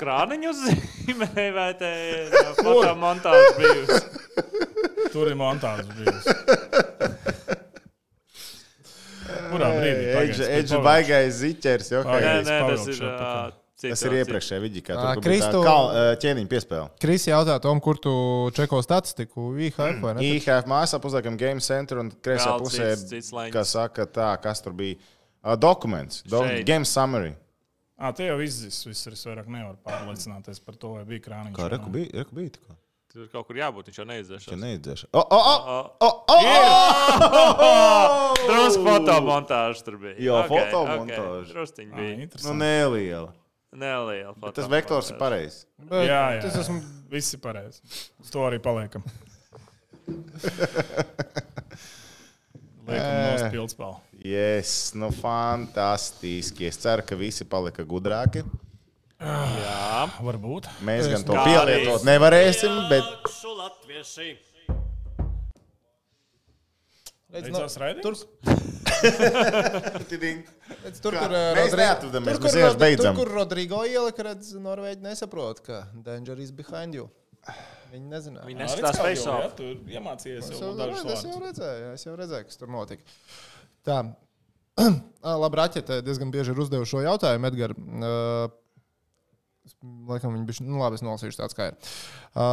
[SPEAKER 1] krāniņu uzzīmē, vai te
[SPEAKER 6] [LAUGHS]
[SPEAKER 1] fotomontāža bijusi?
[SPEAKER 6] Tur ir montāžas bijis. Kurā brīdī? Pagaidzi,
[SPEAKER 5] Edža
[SPEAKER 6] es
[SPEAKER 5] edža
[SPEAKER 6] pavilkšu.
[SPEAKER 5] baigais ziķers. jau kā-
[SPEAKER 6] Pagaid.
[SPEAKER 1] Nē,
[SPEAKER 6] Pagaidzi,
[SPEAKER 1] nē, tas
[SPEAKER 6] pavilkšu
[SPEAKER 1] ir
[SPEAKER 6] atpakaļ.
[SPEAKER 1] ā, cits.
[SPEAKER 5] Tas ir iepriekšējā vidīkā.
[SPEAKER 4] Ā,
[SPEAKER 5] Tur bija
[SPEAKER 4] Kristu-
[SPEAKER 5] tā kā ķēniņa piespēle.
[SPEAKER 4] Kris jautā Tom, kur tu čeko statistiku? IHF vai ne?
[SPEAKER 5] IHF mājaslapā uzliekam Game Center un kreisā
[SPEAKER 1] Vēl
[SPEAKER 5] pusē,
[SPEAKER 1] cits- cits
[SPEAKER 5] ir,
[SPEAKER 1] laiņas.
[SPEAKER 5] kā saka, tā, kas tur bija. Ā, Dokuments, do,
[SPEAKER 1] Šeit.
[SPEAKER 5] game summary.
[SPEAKER 6] Ah, tie jau izzīs. Viss ir es vairāk nevaru pārliecināties par to, vai bija krāniņš. vai nav.
[SPEAKER 5] bija, reku bija tikko.
[SPEAKER 1] Tur kaut kur jābūt, viņš jau neizdzēšās.
[SPEAKER 5] neizdzēšu. O, o, o, o, o, o!
[SPEAKER 1] [LAUGHS] Drusku fotomontāža tur bija.
[SPEAKER 5] Jā,
[SPEAKER 1] Ok,
[SPEAKER 5] fotomontāža.
[SPEAKER 1] ok, Drusciņi
[SPEAKER 6] Ah,
[SPEAKER 1] bija.
[SPEAKER 5] Nu,
[SPEAKER 6] interesanti.
[SPEAKER 5] neliela.
[SPEAKER 1] Neliela.
[SPEAKER 5] Bet tas vektors ir pareizs.
[SPEAKER 4] Bet
[SPEAKER 6] [LAUGHS] jā, jā,
[SPEAKER 4] Es esmu
[SPEAKER 6] Viss ir pareizi. Uz to arī paliekam. [LAUGHS] Liekam, nos pilspālu.
[SPEAKER 5] Yes, nu fantastiski. Es ceru, ka visi palika gudrāki.
[SPEAKER 6] Varbūt.
[SPEAKER 5] Mēs gan to
[SPEAKER 1] Kā
[SPEAKER 5] pielietot
[SPEAKER 1] reiz.
[SPEAKER 5] nevarēsim, bet
[SPEAKER 6] Beidzās
[SPEAKER 4] Nu,
[SPEAKER 6] raidījums.
[SPEAKER 4] redz, tur,
[SPEAKER 5] Kā?
[SPEAKER 4] kur eh,
[SPEAKER 5] Mēs
[SPEAKER 4] Rodri-
[SPEAKER 5] neatradamies,
[SPEAKER 4] tur,
[SPEAKER 5] mēs
[SPEAKER 4] kur
[SPEAKER 5] vienkārši
[SPEAKER 4] Rodri-
[SPEAKER 5] beidzam.
[SPEAKER 4] Tur, kur Rodrigo ielika, redz, Norvēģi nesaprot, ka danger is behind you. Viņi nezināja.
[SPEAKER 1] Viņa neskatās face
[SPEAKER 6] jau, jā,
[SPEAKER 1] off.
[SPEAKER 6] tu iemācījies
[SPEAKER 4] Es
[SPEAKER 6] jau
[SPEAKER 4] jau,
[SPEAKER 6] dažus
[SPEAKER 4] redz, es jau
[SPEAKER 6] vārdus.
[SPEAKER 4] redzēju, jā, es jau redzēju, kas tur notika. Tā. [CLEARS THROAT] Ā, Labi, Raķete diezgan bieži ir uzdevusi šo jautājumu, Edgars. Laikam viņš bija. Nu, labi, es nolasīšu tāds, kā ir. Ā,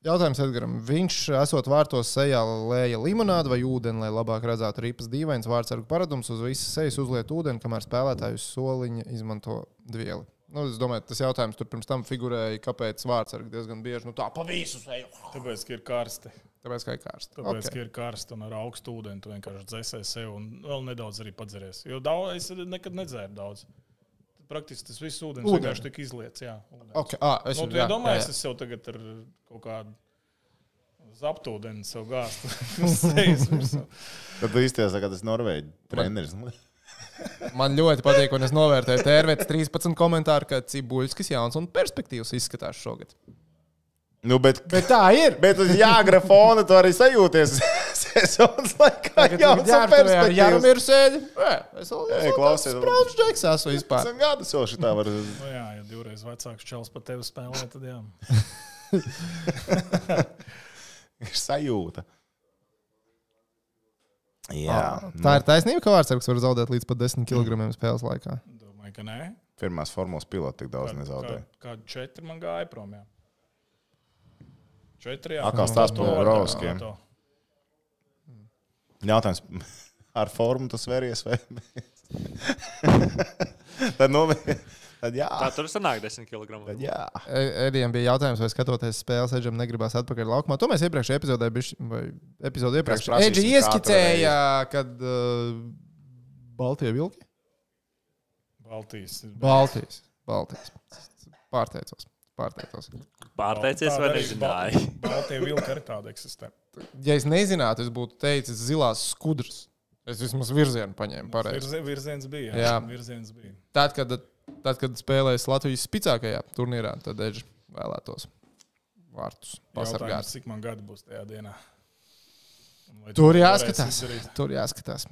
[SPEAKER 4] Jautājums Edgars. Viņš, esot vārtos sejā, lēja limonādu vai ūdeni, lai labāk redzētu ripas dīvains vārdsargu paradums. Uz visas sejas uzliet ūdeni, kamēr spēlētājs soliņa izmanto vielu. Nu, es domāju, tas jautājums tur pirms tam figurēja, kāpēc vārdsargi diezgan bieži nu, tā pa visu seju.
[SPEAKER 6] Tāpēc, ka ir karsti.
[SPEAKER 4] Tāpēc, ka ir karsti.
[SPEAKER 6] Tāpēc,
[SPEAKER 4] Ok.
[SPEAKER 6] okay. ka ir karsta un ar augstu ūdeni, tu vienkārši dzēsēji sev un vēl nedaudz arī padzeries. Jo daudz, es arī nekad nedzēru daudz. Praktiski tas viss ūdens
[SPEAKER 4] Ūdeni.
[SPEAKER 6] vienkārši tika izlietis. Jā, ūdens.
[SPEAKER 4] Okay, ah, es
[SPEAKER 6] Nu,
[SPEAKER 4] jau-
[SPEAKER 6] tu jau
[SPEAKER 4] jā, jā,
[SPEAKER 6] domāji,
[SPEAKER 4] jā.
[SPEAKER 6] es sev tagad ar kaut kādu zaptūdeni sev gāstu.
[SPEAKER 4] [LAUGHS]
[SPEAKER 6] uz [LAUGHS] sejas virsū.
[SPEAKER 5] tad īstenībā tas ir Norvēģis treneris.
[SPEAKER 4] Man ļoti patīk, un es novērtēju tērvetes 13 komentāru, ka Cibuļskis jauns un perspektīvs izskatās šogad.
[SPEAKER 5] Nu, bet,
[SPEAKER 4] Bet tā ir!
[SPEAKER 5] bet uz jāgra fona tu arī sajūties [LAUGHS] sezonas laikā. Jā,
[SPEAKER 4] Tagad
[SPEAKER 5] tas ir
[SPEAKER 4] ir
[SPEAKER 5] perspektīvs.
[SPEAKER 4] Jānis Sēdi. Es vēl
[SPEAKER 5] Ei, klausies,
[SPEAKER 4] Sprauts Džeks esmu vispār.
[SPEAKER 5] 15 gadus jau šitā var.
[SPEAKER 6] nu, jā, ja divreiz vecāks čels par tevi spēlē, tad jā.
[SPEAKER 5] ir sajūta. Jā, nu,
[SPEAKER 4] Tā ir taisnība, ka Vārtsargs var zaudēt līdz pat 10 kg spēles laikā.
[SPEAKER 6] Domāju, ka nē.
[SPEAKER 5] pirmās formulas pilota tik daudz nezaudēja.
[SPEAKER 6] Kādu četri man gāja prom. Jā. Četri jā.
[SPEAKER 5] Atkal
[SPEAKER 6] Nu,
[SPEAKER 5] stāsts
[SPEAKER 6] to
[SPEAKER 5] par
[SPEAKER 6] var-
[SPEAKER 5] Brauskiem.
[SPEAKER 6] to.
[SPEAKER 5] Jautājums, [LAUGHS] ar formu tas vēries vai [LAUGHS] nē? tad, nu, [LAUGHS] tad jā,
[SPEAKER 1] Tā tur sanāk 10 kg.
[SPEAKER 5] tad jā.
[SPEAKER 4] E- Edijam bija jautājums, vai skatoties spēles, Edžam negribās atpakaļ laukumā. To mēs iepriekšējā epizodē, bišķi- vai epizodē iepriekš,
[SPEAKER 5] prasīsim
[SPEAKER 4] Edži
[SPEAKER 5] katru
[SPEAKER 4] ieskicēja, kad uh, Baltie vilki.
[SPEAKER 6] Baltijas.
[SPEAKER 4] Baltijas. Baltijas. Pārteicos. Pārteicos.
[SPEAKER 1] Pārteicies vai nezināji?
[SPEAKER 6] Baltijas vilka arī tāda eksistē.
[SPEAKER 4] Ja es nezinātu, es būtu teicis zilās skudras. Es vismaz virzienu paņēmu pareizi.
[SPEAKER 6] Virzi- Virziens bija.
[SPEAKER 4] Jā.
[SPEAKER 6] Virziens bija.
[SPEAKER 4] Tad, kad, tad, kad spēlēs Latvijas spēcīgākajā turnīrā, tad Edžers vēlētos vārtus
[SPEAKER 6] Jautājums,
[SPEAKER 4] pasargāt.
[SPEAKER 6] cik man gadu būs tajā dienā? Un vai tu
[SPEAKER 4] Tur
[SPEAKER 6] varēsi
[SPEAKER 4] jāskatās.
[SPEAKER 6] izdarīt?
[SPEAKER 4] Tur jāskatās.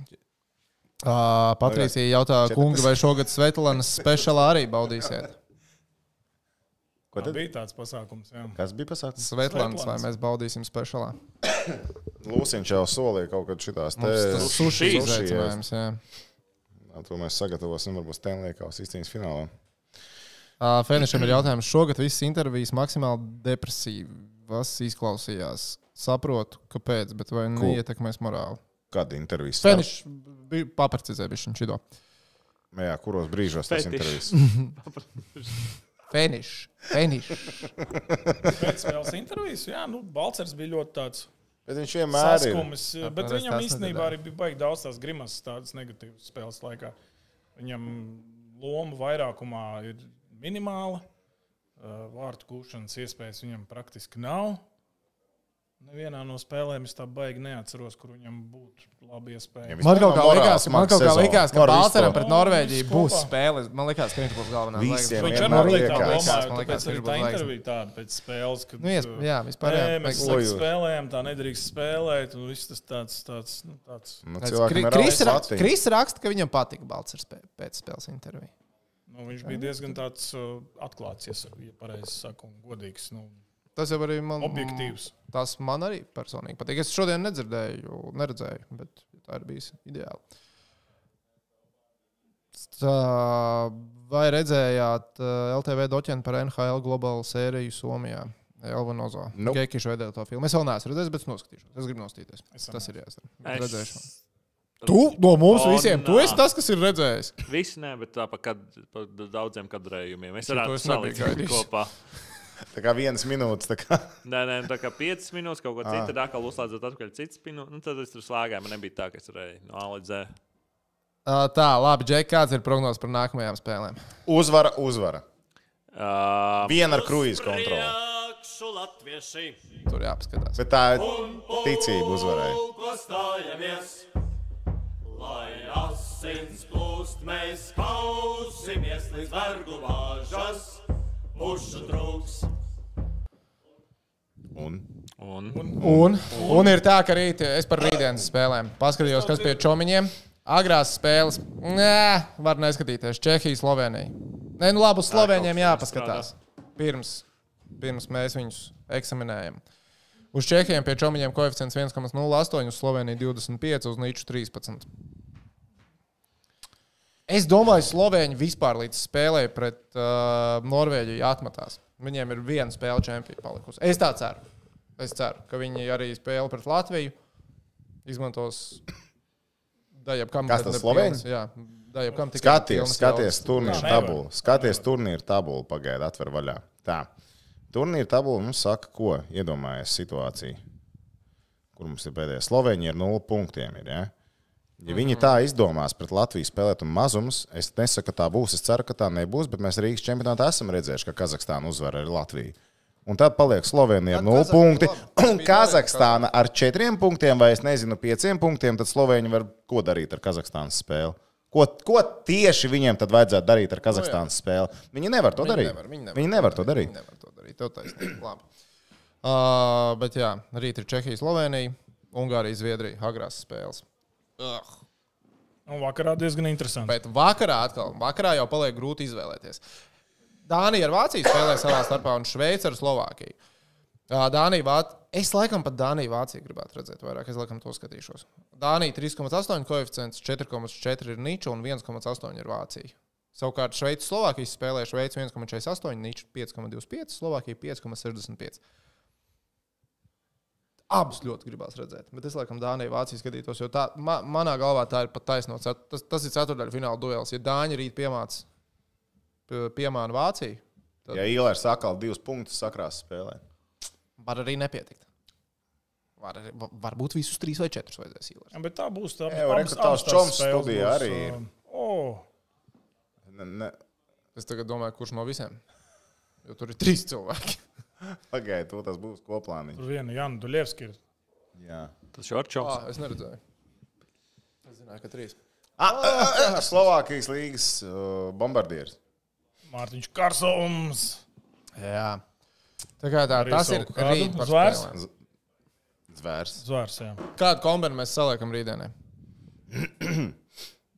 [SPEAKER 4] Uh, Patricija jautā, kungi, vai šogad Svetlānas speciālā arī baudīsiet?
[SPEAKER 5] Ko
[SPEAKER 6] Tā
[SPEAKER 5] tad?
[SPEAKER 6] bija tāds pasākums. Jā.
[SPEAKER 5] Kas bija pasākums?
[SPEAKER 4] Svetlānas, vai mēs baudīsim speciālā?
[SPEAKER 5] Lūsiņš jau solīja kaut kad šitās
[SPEAKER 4] Mums tas
[SPEAKER 5] tēmas.
[SPEAKER 4] suši
[SPEAKER 5] sushi,
[SPEAKER 4] izaicinājums. jā.
[SPEAKER 5] To mēs sagatavosim varbūt Stenlīkaus izcīņas finālā.
[SPEAKER 4] Ā, Fēnišam ir jautājums. Šogad visas intervijas maksimāli depresīvas izklausījās. Saprotu, kāpēc, bet vai
[SPEAKER 5] Ko?
[SPEAKER 4] neietekmēs morāli?
[SPEAKER 5] Kad intervijas?
[SPEAKER 4] Fēnišs bija paprecizējis viņa šido.
[SPEAKER 5] Nu Jā, kuros brīžos tas
[SPEAKER 3] Fetišs.
[SPEAKER 5] intervijas?
[SPEAKER 4] Fēnišs, Fēnišs.
[SPEAKER 6] Pēc spēles intervijas, jā, nu, Balcers bija ļoti tāds
[SPEAKER 5] Bet viņš vienmēr ir.
[SPEAKER 6] saskumis. eh, Bet
[SPEAKER 4] Tāpēc
[SPEAKER 6] viņam
[SPEAKER 4] tās
[SPEAKER 6] īstenībā
[SPEAKER 4] nedara.
[SPEAKER 6] arī bija baigi daudz tās grimases, tādas negatīvas spēles laikā. Viņam loma vairākumā ir minimāla. Uh, Vārtu kūšanas iespējas viņam praktiski nav. Nevienā no spēlēm es tā baigi neatceros, kur viņam būtu labi iespēja.
[SPEAKER 5] Viņam
[SPEAKER 4] [LAUGHS] Man kaut kā
[SPEAKER 5] morāls
[SPEAKER 4] likās, man
[SPEAKER 5] smags
[SPEAKER 4] kaut kā
[SPEAKER 5] sezona.
[SPEAKER 4] likās ka
[SPEAKER 5] Var visu
[SPEAKER 4] Balceram
[SPEAKER 5] to.
[SPEAKER 4] pret Norvēģiju būs spēle. Man likās, ka viņš būs galvenais.
[SPEAKER 5] Visiem
[SPEAKER 6] Viņš
[SPEAKER 5] vienmēr
[SPEAKER 6] arī
[SPEAKER 5] Man
[SPEAKER 6] bija tā
[SPEAKER 5] liekas,
[SPEAKER 6] domāja,
[SPEAKER 4] man
[SPEAKER 6] tāpēc
[SPEAKER 4] liekas,
[SPEAKER 6] arī
[SPEAKER 4] viņš
[SPEAKER 6] tā
[SPEAKER 4] būs laiks.
[SPEAKER 6] intervija tāda pēc spēles, kad
[SPEAKER 4] Nu, ies- jā, vispār jā,
[SPEAKER 6] Nē, mēs
[SPEAKER 4] vajag-
[SPEAKER 6] saka,
[SPEAKER 5] Ojoj.
[SPEAKER 6] spēlējām, tā nedrīkst spēlēt, un viss tas tāds, tāds, nu, tāds
[SPEAKER 5] Nu,
[SPEAKER 4] Redz,
[SPEAKER 5] cilvēkam
[SPEAKER 4] Kri-
[SPEAKER 5] ir
[SPEAKER 4] Kris
[SPEAKER 5] Kris
[SPEAKER 4] ra- Kris raksta, ka viņam patika Balcers pē- pēc spēles interviju.
[SPEAKER 6] nu, viņš bija diezgan tāds uh, atklāts, ja tā- ja pareizi saku, un godīgs, nu,
[SPEAKER 4] Tas jau arī man
[SPEAKER 6] objektīvs.
[SPEAKER 4] Tas man arī personīgi patīk. Es šodien nedzirdēju, neredzēju, bet tā ir bijusi ideāli. Tā, vai redzējāt eh, LTV doķēnu par NHL globālu sēriju Somijā? Elvinozo.
[SPEAKER 5] Nope.
[SPEAKER 4] Gekīšu veidoja to filmu. Es vēl neesmu redzējis, bet es noskatīšos. Es gribu nostīties.
[SPEAKER 6] Es arī
[SPEAKER 4] Tas ir jāizdara.
[SPEAKER 3] Es-
[SPEAKER 4] Redzēšu. Tu no mums
[SPEAKER 3] O,
[SPEAKER 4] visiem. Tu esi
[SPEAKER 3] nā.
[SPEAKER 4] tas, kas ir redzējis.
[SPEAKER 3] Visi nē, bet tā pa, kad, pa daudziem kadrējumiem. Es
[SPEAKER 4] Šito
[SPEAKER 3] varētu
[SPEAKER 4] es nebiju
[SPEAKER 3] salikt
[SPEAKER 4] gaidījis.
[SPEAKER 3] kopā.
[SPEAKER 5] Tā kā vienas minūtes. tā kā- [LAUGHS]
[SPEAKER 3] Nē, nē, tā kā 5 minūtes kaut ko citu, tad atkal uzslēdzot atpakaļ citu spinu. Nu, tad es tur slēgāju, man nebija tā, ka es varēju no A līdz Z.
[SPEAKER 4] Uh, tā, labi, Džek, kāds ir prognozes par nākamajām spēlēm?
[SPEAKER 5] Uzvara, uzvara.
[SPEAKER 3] Uh,
[SPEAKER 5] Viena ar kruīzu kontroli.
[SPEAKER 9] Priekšu latvieši,
[SPEAKER 4] Tur jāpaskatās.
[SPEAKER 5] Bet tā ir ticība uzvarai.
[SPEAKER 9] ko stājamies, lai asins plūst, mēs pausimies līdz vergu vāžas, pušu trūks.
[SPEAKER 5] Un
[SPEAKER 3] un
[SPEAKER 4] Un, un ir tā, ka rīt, es par rītdienas spēlēm paskatījos, kas pie čomiņiem. Agrās spēles, nē, var neskatīties. Čehija, Slovenija. Nē, nu labi, uz Sloveniem jāpaskatās. Pirms, pirms mēs viņus eksaminējam. Uz Čehijiem pie čomiņiem koeficients 1,08, uz Sloveniju 25, uz Nīču 13. Es domāju, Slovēņi vispār līdz spēlē pret uh, Norvēģiju atmetās. Viņiem ir viena spēle čempionu palikusi. Es tā ceru. Es ceru, ka viņi arī spēli pret Latviju izmantos. [COUGHS] Dajab, kam,
[SPEAKER 5] Kas
[SPEAKER 4] bet
[SPEAKER 5] tas,
[SPEAKER 4] ne pilnas,
[SPEAKER 5] Slovēņi?
[SPEAKER 4] Jā, dajab, kam tikai
[SPEAKER 5] skaties,
[SPEAKER 4] pilnas
[SPEAKER 5] skaties
[SPEAKER 4] jaudas.
[SPEAKER 5] turnīru
[SPEAKER 6] nevar.
[SPEAKER 5] tabulu. Skaties turnīru tabulu, pagaidi, atver vaļā. Tā. Turnīra tabula mums saka, ko iedomājas situācija, kur mums ir pēdējais. Slovenija ar nulli punktiem. Ir, ja? Ja viņi tā izdomās pret Latviju spēlēt un mazums, es nesaku, ka tā būs. Es ceru, ka tā nebūs, bet mēs Rīgas čempionātā esam redzējuši, ka Kazahstāna uzvar ar Latviju. Un tad paliek Slovenija ar
[SPEAKER 4] Tad
[SPEAKER 5] 0
[SPEAKER 4] Kazahstāna
[SPEAKER 5] punkti.
[SPEAKER 4] labi.
[SPEAKER 5] Un Kazahstāna ar 4 punktiem, vai es nezinu, 5 punktiem, tad Slovenija var ko darīt ar Kazahstānas spēli. Ko, ko tieši viņiem tad vajadzētu darīt ar Kazahstānas spēli? Viņi nevar to
[SPEAKER 4] Nu Viņi
[SPEAKER 5] darīt.
[SPEAKER 4] nevar, viņi nevar,
[SPEAKER 5] Viņi nevar to darīt.
[SPEAKER 4] Viņi nevar to darīt. Tev taisnība. Labi. Uh, bet jā, rīt ir Čehija, Slovenija, Ungārija, Zviedrija, agrās spēles.
[SPEAKER 6] Un Nu, vakarā diezgan interesanti.
[SPEAKER 4] Bet vakarā atkal, vakarā jau paliek grūti izvēlēties. Dānija ar Vāciju spēlē savā starpā, un Šveice ar Slovākiju. Ā, Dānija, Vāc... Es laikam pat Dāniju, Vāciju gribētu redzēt vairāk, es laikam to skatīšos. Dānija 3,8 koeficients, 4,4 ir Nīča un 1,8 ir Vācija. Savukārt Šveice, Slovākija spēlē Šveice 1,48, Nīča 5,25, Slovākija 5,65. Abas ļoti gribās redzēt. Bet es laikam Dāniju, Vāciju skatītos, jo tā, ma, manā galvā tā ir pat taisnots. Tas, tas ir ceturtdaļa fināla duels. Ja Dāņi rīt piemāca, p- piemāna Vāciju,
[SPEAKER 5] Ja Ilērs atkal divus punktus sakrās spēlē.
[SPEAKER 4] var arī nepietikt. Var arī, va- varbūt visus trīs vai četrus vajadzēs īlēt.
[SPEAKER 6] Jā, bet tā būs tā.
[SPEAKER 5] Ej, re,
[SPEAKER 6] abas-
[SPEAKER 5] ka tavs
[SPEAKER 6] abas tās
[SPEAKER 5] čoms
[SPEAKER 6] spēles
[SPEAKER 5] studijā
[SPEAKER 6] būs,
[SPEAKER 5] arī ir.
[SPEAKER 6] uh, O,
[SPEAKER 5] Ne, ne,
[SPEAKER 4] Es tagad domāju, kurš no visiem. Jo tur ir trīs cilvēki. [LAUGHS]
[SPEAKER 5] Pagaidiet, to tas būs koplāniņš.
[SPEAKER 6] tur viena Jana Duļevska ir.
[SPEAKER 5] Jā.
[SPEAKER 3] tas šorčs.
[SPEAKER 4] Ah, es neredzēju. Nezināju, ka trīs.
[SPEAKER 5] Ah, ah, ah, Slovākijas līnijas uh, bombardieris.
[SPEAKER 6] Mārtiņš Karsons.
[SPEAKER 4] Jā. Tā kā tā,
[SPEAKER 6] Arī
[SPEAKER 4] tas ir
[SPEAKER 6] savu kādu
[SPEAKER 4] rīt par
[SPEAKER 6] zvērs?
[SPEAKER 4] spēlēm.
[SPEAKER 5] Zvērs.
[SPEAKER 6] Zvērs, jā.
[SPEAKER 4] Kādu kombinu mēs saliekam rītdienai?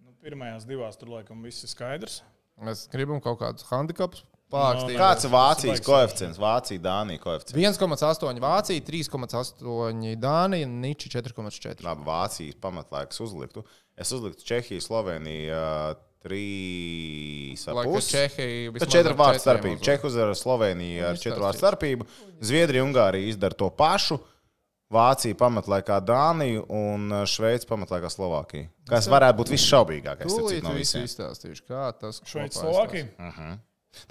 [SPEAKER 6] Nu, pirmajās divās tur laikam viss ir skaidrs.
[SPEAKER 4] Mēs gribam kaut kādus handikapus
[SPEAKER 6] Nu,
[SPEAKER 4] pārākstīt.
[SPEAKER 5] Kāds ir Vācijas
[SPEAKER 6] Svaigs.
[SPEAKER 5] koeficients? Vācija, Dānija koeficients.
[SPEAKER 4] 1,8 Vācija, 3,8 Dānija, Niči 4,4.
[SPEAKER 5] Labi, Vācijas pamatlaiks uzliktu. Es uzliktu Čehiju, Sloveniju ā, trīs ar
[SPEAKER 4] Lai, ka
[SPEAKER 5] pusi.
[SPEAKER 4] Čehija
[SPEAKER 5] Tas
[SPEAKER 4] vismaz
[SPEAKER 5] četru
[SPEAKER 4] ar
[SPEAKER 5] vārdu
[SPEAKER 4] četriem
[SPEAKER 5] starpība.
[SPEAKER 4] uzvar.
[SPEAKER 5] Čehu uzvar Sloveniju ar
[SPEAKER 4] izstāstīja.
[SPEAKER 5] četru vārdu starpību. Zviedrija, Ungārija izdara to pašu. Vācija pamatlaikā Dāniju un ā, Šveice pamatlaikā Slovākiju. Kas varētu būt visšaubīgākais starp citu,
[SPEAKER 4] Tūlīt
[SPEAKER 5] no
[SPEAKER 4] visu
[SPEAKER 5] visiem.
[SPEAKER 4] izstāstīšu. Kā tas
[SPEAKER 6] Šveice,
[SPEAKER 4] kopā
[SPEAKER 6] Slovākija.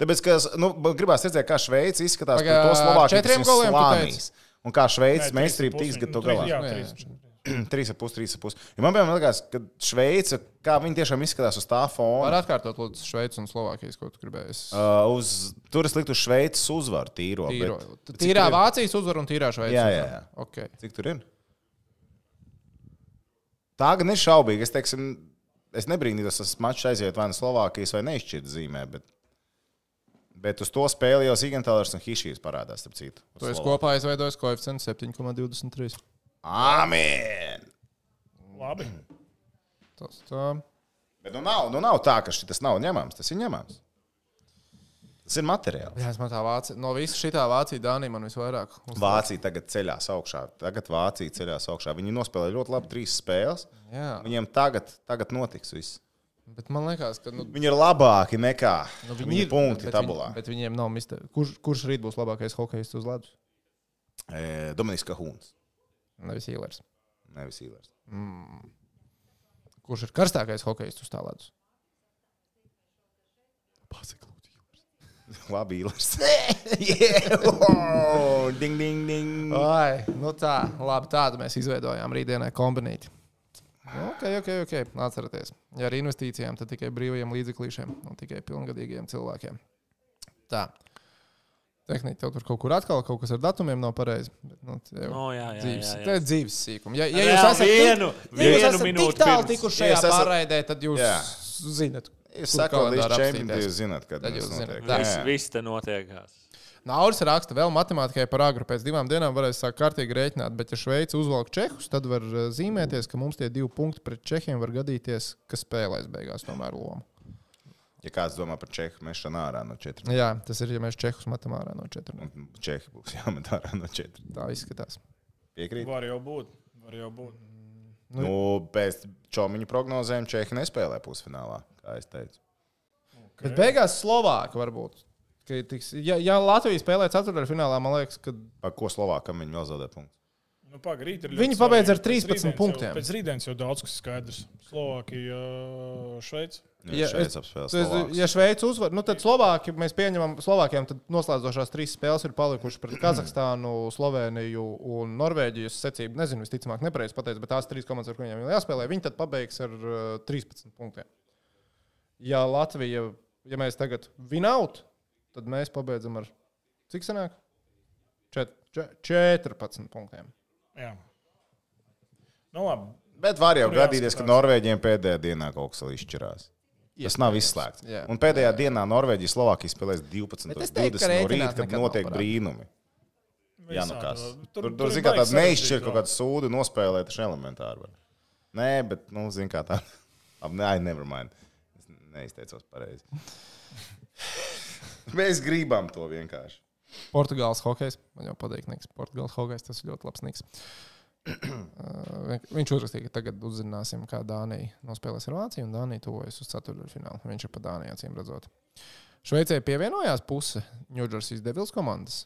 [SPEAKER 5] Tāpēc, ka nu, gribēs redzēt, kā Šveice izskatās pret
[SPEAKER 4] Pagā-
[SPEAKER 5] to Slovākiju.
[SPEAKER 4] četriem
[SPEAKER 5] kas
[SPEAKER 4] goliem tu
[SPEAKER 5] viņus slānīs. Un kā Šveices meistarība tiks
[SPEAKER 6] Nu,
[SPEAKER 5] gatava
[SPEAKER 6] trīs-
[SPEAKER 5] galā.
[SPEAKER 6] Jā,
[SPEAKER 4] Jā.
[SPEAKER 6] trīs.
[SPEAKER 5] [CLEARS THROAT] Trīs ar pus, trīs ar pus. Ja man vienmēr liekas, ka Šveice, kā viņi tiešām izskatās uz tā
[SPEAKER 4] Var
[SPEAKER 5] fona,
[SPEAKER 4] atkārtot, lūdzu, Šveices un Slovākijas, ko tu gribēji. Es
[SPEAKER 5] uh, uz, tur es liktu Šveices uzvaru tīro.
[SPEAKER 4] tīro.
[SPEAKER 5] Bet, cik
[SPEAKER 4] Tīrā
[SPEAKER 5] tur ir?
[SPEAKER 4] Vācijas uzvaru un tīrā Šveices.
[SPEAKER 5] Jā, jā, jā.
[SPEAKER 4] uzvaru. Okay.
[SPEAKER 5] Cik tur ir? Tā gan ir šaubīga. Es, teiksim, es nebrīnītos, tas mačs aiziet vai nu Slovākijas vai neizšķirt zīmē. Bet, bet uz to spēli jau Zigantālers un Hišijas parādās, starp citu. uz
[SPEAKER 4] Tu esi
[SPEAKER 5] Slovākiju.
[SPEAKER 4] kopā izveidojis koeficientu 7,23.
[SPEAKER 5] Āmen!
[SPEAKER 6] Labi.
[SPEAKER 4] Tas tā.
[SPEAKER 5] Bet nu nav, nu nav tā, ka šis nav ņemams. Tas ir ņemams. Tas ir materiāls.
[SPEAKER 4] Jā, es man tā Vācija, no visa šitā Vācija Dānija man visvairāk. uztrauc.
[SPEAKER 5] Vācija tagad ceļās augšā. Tagad Vācija ceļās augšā. Viņi nospēlēja ļoti labi trīs spēles.
[SPEAKER 4] Jā,
[SPEAKER 5] Viņiem tagad, tagad notiks viss.
[SPEAKER 4] bet man liekas, ka nu,
[SPEAKER 5] Viņi ir labāki nekā nu,
[SPEAKER 4] nu,
[SPEAKER 5] viņi ir, punkti
[SPEAKER 4] bet
[SPEAKER 5] tabulā.
[SPEAKER 4] Viņi, bet viņiem nav mistē. Kurš, kurš rīt būs labākais hokejists uz ledus?
[SPEAKER 5] E, Dominiks Kahūns,
[SPEAKER 4] Nevis Ilers.
[SPEAKER 5] nevis Ilers.
[SPEAKER 4] Kurš ir karstākais hokejists uz tā ledus?
[SPEAKER 5] [LAUGHS] Labi,
[SPEAKER 4] [LAUGHS]
[SPEAKER 5] Ilers. yeah! oh! Ding, ding,
[SPEAKER 4] [LAUGHS]
[SPEAKER 5] ding.
[SPEAKER 4] Ai, nu tā, labi, tādu mēs izveidojām rītdienai kombinīti. Nu, Ok, ok, ok. Atcerieties, ja ar investīcijām, tad tikai brīvajiem līdzeklīšiem un tikai pilngadīgiem cilvēkiem. Tā. Tehniski tev tur kaut kur atkal kaut kas ar datumiem nav pareizi. bet, Nu, tā jau
[SPEAKER 1] No, jā, jā,
[SPEAKER 4] dzīves,
[SPEAKER 1] jā, jā.
[SPEAKER 4] tā ir dzīves sīkuma. Ja, ja
[SPEAKER 1] Reāli
[SPEAKER 4] jūs esat tik-
[SPEAKER 1] vienu-
[SPEAKER 4] ja jūs
[SPEAKER 1] vienu
[SPEAKER 4] esat
[SPEAKER 1] minūti
[SPEAKER 4] tik tālu
[SPEAKER 1] pirms.
[SPEAKER 4] tikuši
[SPEAKER 5] Ja
[SPEAKER 4] šajā
[SPEAKER 5] jūs esat-
[SPEAKER 4] pārraidē, tad jūs
[SPEAKER 5] Jā.
[SPEAKER 4] zinat.
[SPEAKER 5] Es
[SPEAKER 4] kur
[SPEAKER 5] saku, līdz
[SPEAKER 4] kalendāra
[SPEAKER 5] čempionam
[SPEAKER 4] apstīties.
[SPEAKER 5] jūs zināt, kad
[SPEAKER 4] Tad
[SPEAKER 5] tas
[SPEAKER 4] jūs zināt. Tā.
[SPEAKER 5] notiek. Jā,
[SPEAKER 1] Viss,
[SPEAKER 5] jā.
[SPEAKER 1] viss te notiekās.
[SPEAKER 4] Nauris raksta, vēl matemātikai par agru. Pēc divām dienām varēs sākt kārtīgi rēķināt, bet, ja Šveice uzvelk čehus, tad var eh, zīmēties, ka mums tie divi punkti pret čehiem var gadīties, ka spēlēs beigās tomēr lomu.
[SPEAKER 5] Ja kāds domā par čehu mešanu ārā no četriem,
[SPEAKER 4] Jā, tas ir, ja mēs čehus metam ārā no četriem.
[SPEAKER 5] un Nu, čehi būs [LAUGHS] jāmet ārā no četriem.
[SPEAKER 4] Tā izskatās. Nu,
[SPEAKER 5] Piekrīt?
[SPEAKER 6] Var jau būt. Var jau būt.
[SPEAKER 5] Nu, pēc čomiņa prognozēm čehi nespēlē pusfinālā, kā es teicu.
[SPEAKER 4] Okay. Bet beigās Slovāki varbūt. ka Tiks, ja, ja Latvija spēlē ceturtdaļfinālā, man liekas, ka
[SPEAKER 5] Par ko Slovākam viņi vēl zaudē punktu?
[SPEAKER 6] Nu, pagrīt,
[SPEAKER 4] Viņi pabeidz ar 13 punktiem.
[SPEAKER 6] Pēc rītdienas jau daudz kas skaidrs. Slovākija, Šveice.
[SPEAKER 5] Jā,
[SPEAKER 4] Ja
[SPEAKER 5] šeit
[SPEAKER 4] es-
[SPEAKER 5] apspēlēsim.
[SPEAKER 4] Es- Ja Šveice uzvar, nu tad Slovāki, mēs pieņemam, Slovākiem tad noslēdzošās trīs spēles ir palikušas pret Kazahstānu, Sloveniju un Norvēģiju. Es secību nezinu, visticamāk, nepareizi pateicu, bet tās trīs komandas, ar kurām ir jāspēlē, viņi tad pabeigs ar uh, 13 punktiem. Ja Latvija, ja mēs tagad vinaut, tad mēs pabeidzam ar cik sanāk? Čet, čet, 14 punktiem.
[SPEAKER 6] Jā. Nu, labi.
[SPEAKER 5] Bet var jau
[SPEAKER 6] Tur
[SPEAKER 5] gadīties, ka
[SPEAKER 6] jāskatās.
[SPEAKER 5] Norvēģiem pēdējā dienā kaut kas vēl izšķirās. Tas nav izslēgts.
[SPEAKER 4] jā.
[SPEAKER 5] Un pēdējā dienā Norvēģija Slovākija spēlēs 12.
[SPEAKER 4] Bet es teiktu, ka
[SPEAKER 5] 20. no rīta,
[SPEAKER 4] rēķināt
[SPEAKER 5] kad
[SPEAKER 4] nekad nav
[SPEAKER 5] notiek
[SPEAKER 4] parādi.
[SPEAKER 5] brīnumi. Jā, nu
[SPEAKER 6] Visādi
[SPEAKER 5] kas.
[SPEAKER 6] vēl.
[SPEAKER 5] Tur, tur,
[SPEAKER 6] ir
[SPEAKER 5] tur zin, kā
[SPEAKER 6] baigi
[SPEAKER 5] tāda neizšķir
[SPEAKER 6] sarežģīti
[SPEAKER 5] kaut
[SPEAKER 6] vēl.
[SPEAKER 5] kādu sūdu nospēlēt, tas elementāri var. Nē, bet, nu, zin, kā tā. [LAUGHS] Ab, nē, never mind. Es neizteicos
[SPEAKER 4] [LAUGHS]
[SPEAKER 5] pareizi. Mēs gribam to vienkārši.
[SPEAKER 4] Portugāles hokejs. Man jau patīk, Niks. Portugāles hokejs tas ir ļoti labs Niks. [CLEARS THROAT] Uh, viņš uzrakstīja, ka tagad uzzināsim, kā Dānija nospēlēs ar Vāciju, un Dānija tuvojas uz ceturdaļfinālu. Viņš ir pa Dānijā, acīm redzot. Šveicē pievienojās puse Ņūdžersijas Devils komandas.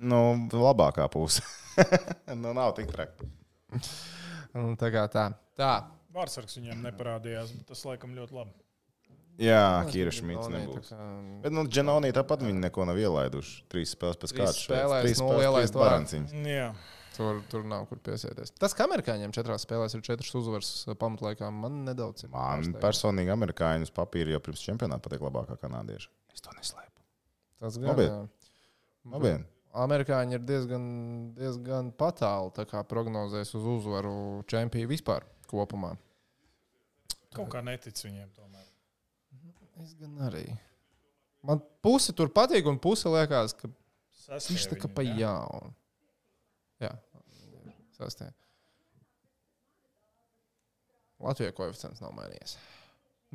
[SPEAKER 5] Nu, labākā puse. [LAUGHS] nu, nav tik traki.
[SPEAKER 4] Un Tā kā tā. Tā.
[SPEAKER 6] Vārsargs viņiem neparādījās. bet Tas laikam ļoti labi.
[SPEAKER 5] Jā, Kīra Šmits
[SPEAKER 4] Dānija, tā
[SPEAKER 5] nebūs.
[SPEAKER 4] kā- um,
[SPEAKER 5] Bet, nu, Dženonī tāpat viņi neko nav ielaiduši. Trīs spēles pēc
[SPEAKER 4] Trīs
[SPEAKER 5] kārtas. šeit.
[SPEAKER 4] spēlēs,
[SPEAKER 5] Trīs
[SPEAKER 4] nu,
[SPEAKER 5] spēles,
[SPEAKER 4] ielaist
[SPEAKER 5] trīs
[SPEAKER 4] vairāk.
[SPEAKER 5] balanciņas.
[SPEAKER 6] Jā.
[SPEAKER 4] Tur, tur nav kur piesieties. Tas, ka amerikāņiem četrās spēlēs ir četras uzvaras eh, pamatlaikā, man nedaudz ir
[SPEAKER 5] Man
[SPEAKER 4] pārsteigums.
[SPEAKER 5] personīgi amerikāņu uz papīra jau pirms čempionāta patīk labākā kanādieša. Es to neslēpu. Nu,
[SPEAKER 4] Tas gan
[SPEAKER 5] Nopietni.
[SPEAKER 4] jā. Nu,
[SPEAKER 5] Labdien!
[SPEAKER 4] Amerikāņi ir diezgan, diezgan patāli tā kā prognozēs uz uzvaru čempionu vispār kopumā.
[SPEAKER 6] Kaut kā netic viņiem. Tomēr.
[SPEAKER 4] Es gan arī. Man pusi tur patīk, un pusi liekas, ka
[SPEAKER 6] Sastie
[SPEAKER 4] viņš tā kā
[SPEAKER 6] viņi,
[SPEAKER 4] pa
[SPEAKER 6] jā.
[SPEAKER 4] jaunu. Jā, sastie. Latvijai koeficients nav mainījies.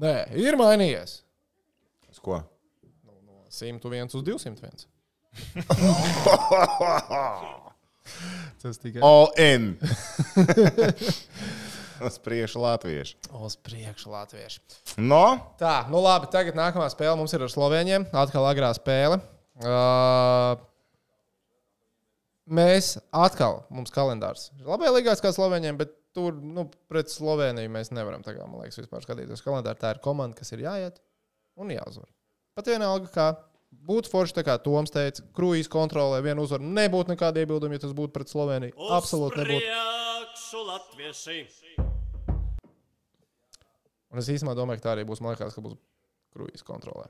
[SPEAKER 4] Nē, ir mainījies.
[SPEAKER 5] Uz ko?
[SPEAKER 4] 101 uz 201. Tas tikai
[SPEAKER 5] ON. [LAUGHS] Uz priekšu latviešu.
[SPEAKER 4] uz priekšu latviešu.
[SPEAKER 5] No?
[SPEAKER 4] Tā, nu labi, tagad nākamā spēle mums ir ar Sloveniem. Atkal agrā spēle. Uh, mēs atkal, mums kalendārs ir labvēlīgāks kā Sloveniem, bet tur nu, pret Sloveniju mēs nevaram tagad, man liekas, vispār skatīties uz kalendāru. Tā ir komanda, kas ir jāiet un jāuzvar. Pat vienalga, kā būtu forši, tā kā Toms teica, kruīz kontrolē vienu uzvaru. Nebūtu nekāda iebilduma, ja tas būtu pret Sloveniju. Absolūti nebūtu.
[SPEAKER 9] Priekšu latvieši!
[SPEAKER 4] Un es īstenībā domāju, ka tā arī būs. Man liekas, ka būs kruīz kontrolē.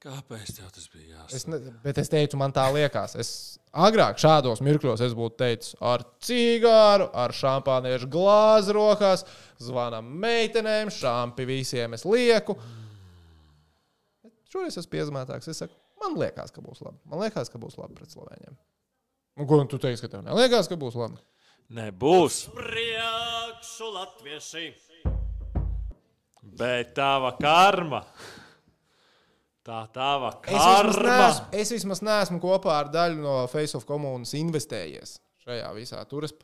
[SPEAKER 1] Kāpēc tev tas bija jāsaka?
[SPEAKER 4] Es ne, bet es teicu, man tā liekas. Es agrāk šādos mirkļos es būtu teicis, ar cigāru, ar šāpāniešu glāzi rokās, zvanām meitenēm, šāpi visiem es lieku. Bet Šoreiz esmu piezīmētāks. Es saku, man liekas, ka būs labi. Man liekas, ka būs labi pret slovēņiem. Un ko tu teiksi, ka tev neliekas, ka būs labi?
[SPEAKER 1] Nebūs.
[SPEAKER 9] Priekšu latvieši!
[SPEAKER 1] Bet tava karma. Tā tava
[SPEAKER 4] Es vismaz,
[SPEAKER 1] karma.
[SPEAKER 4] neesmu, es vismaz neesmu kopā ar daļu no Face of Communes investējies šajā visā. Tur es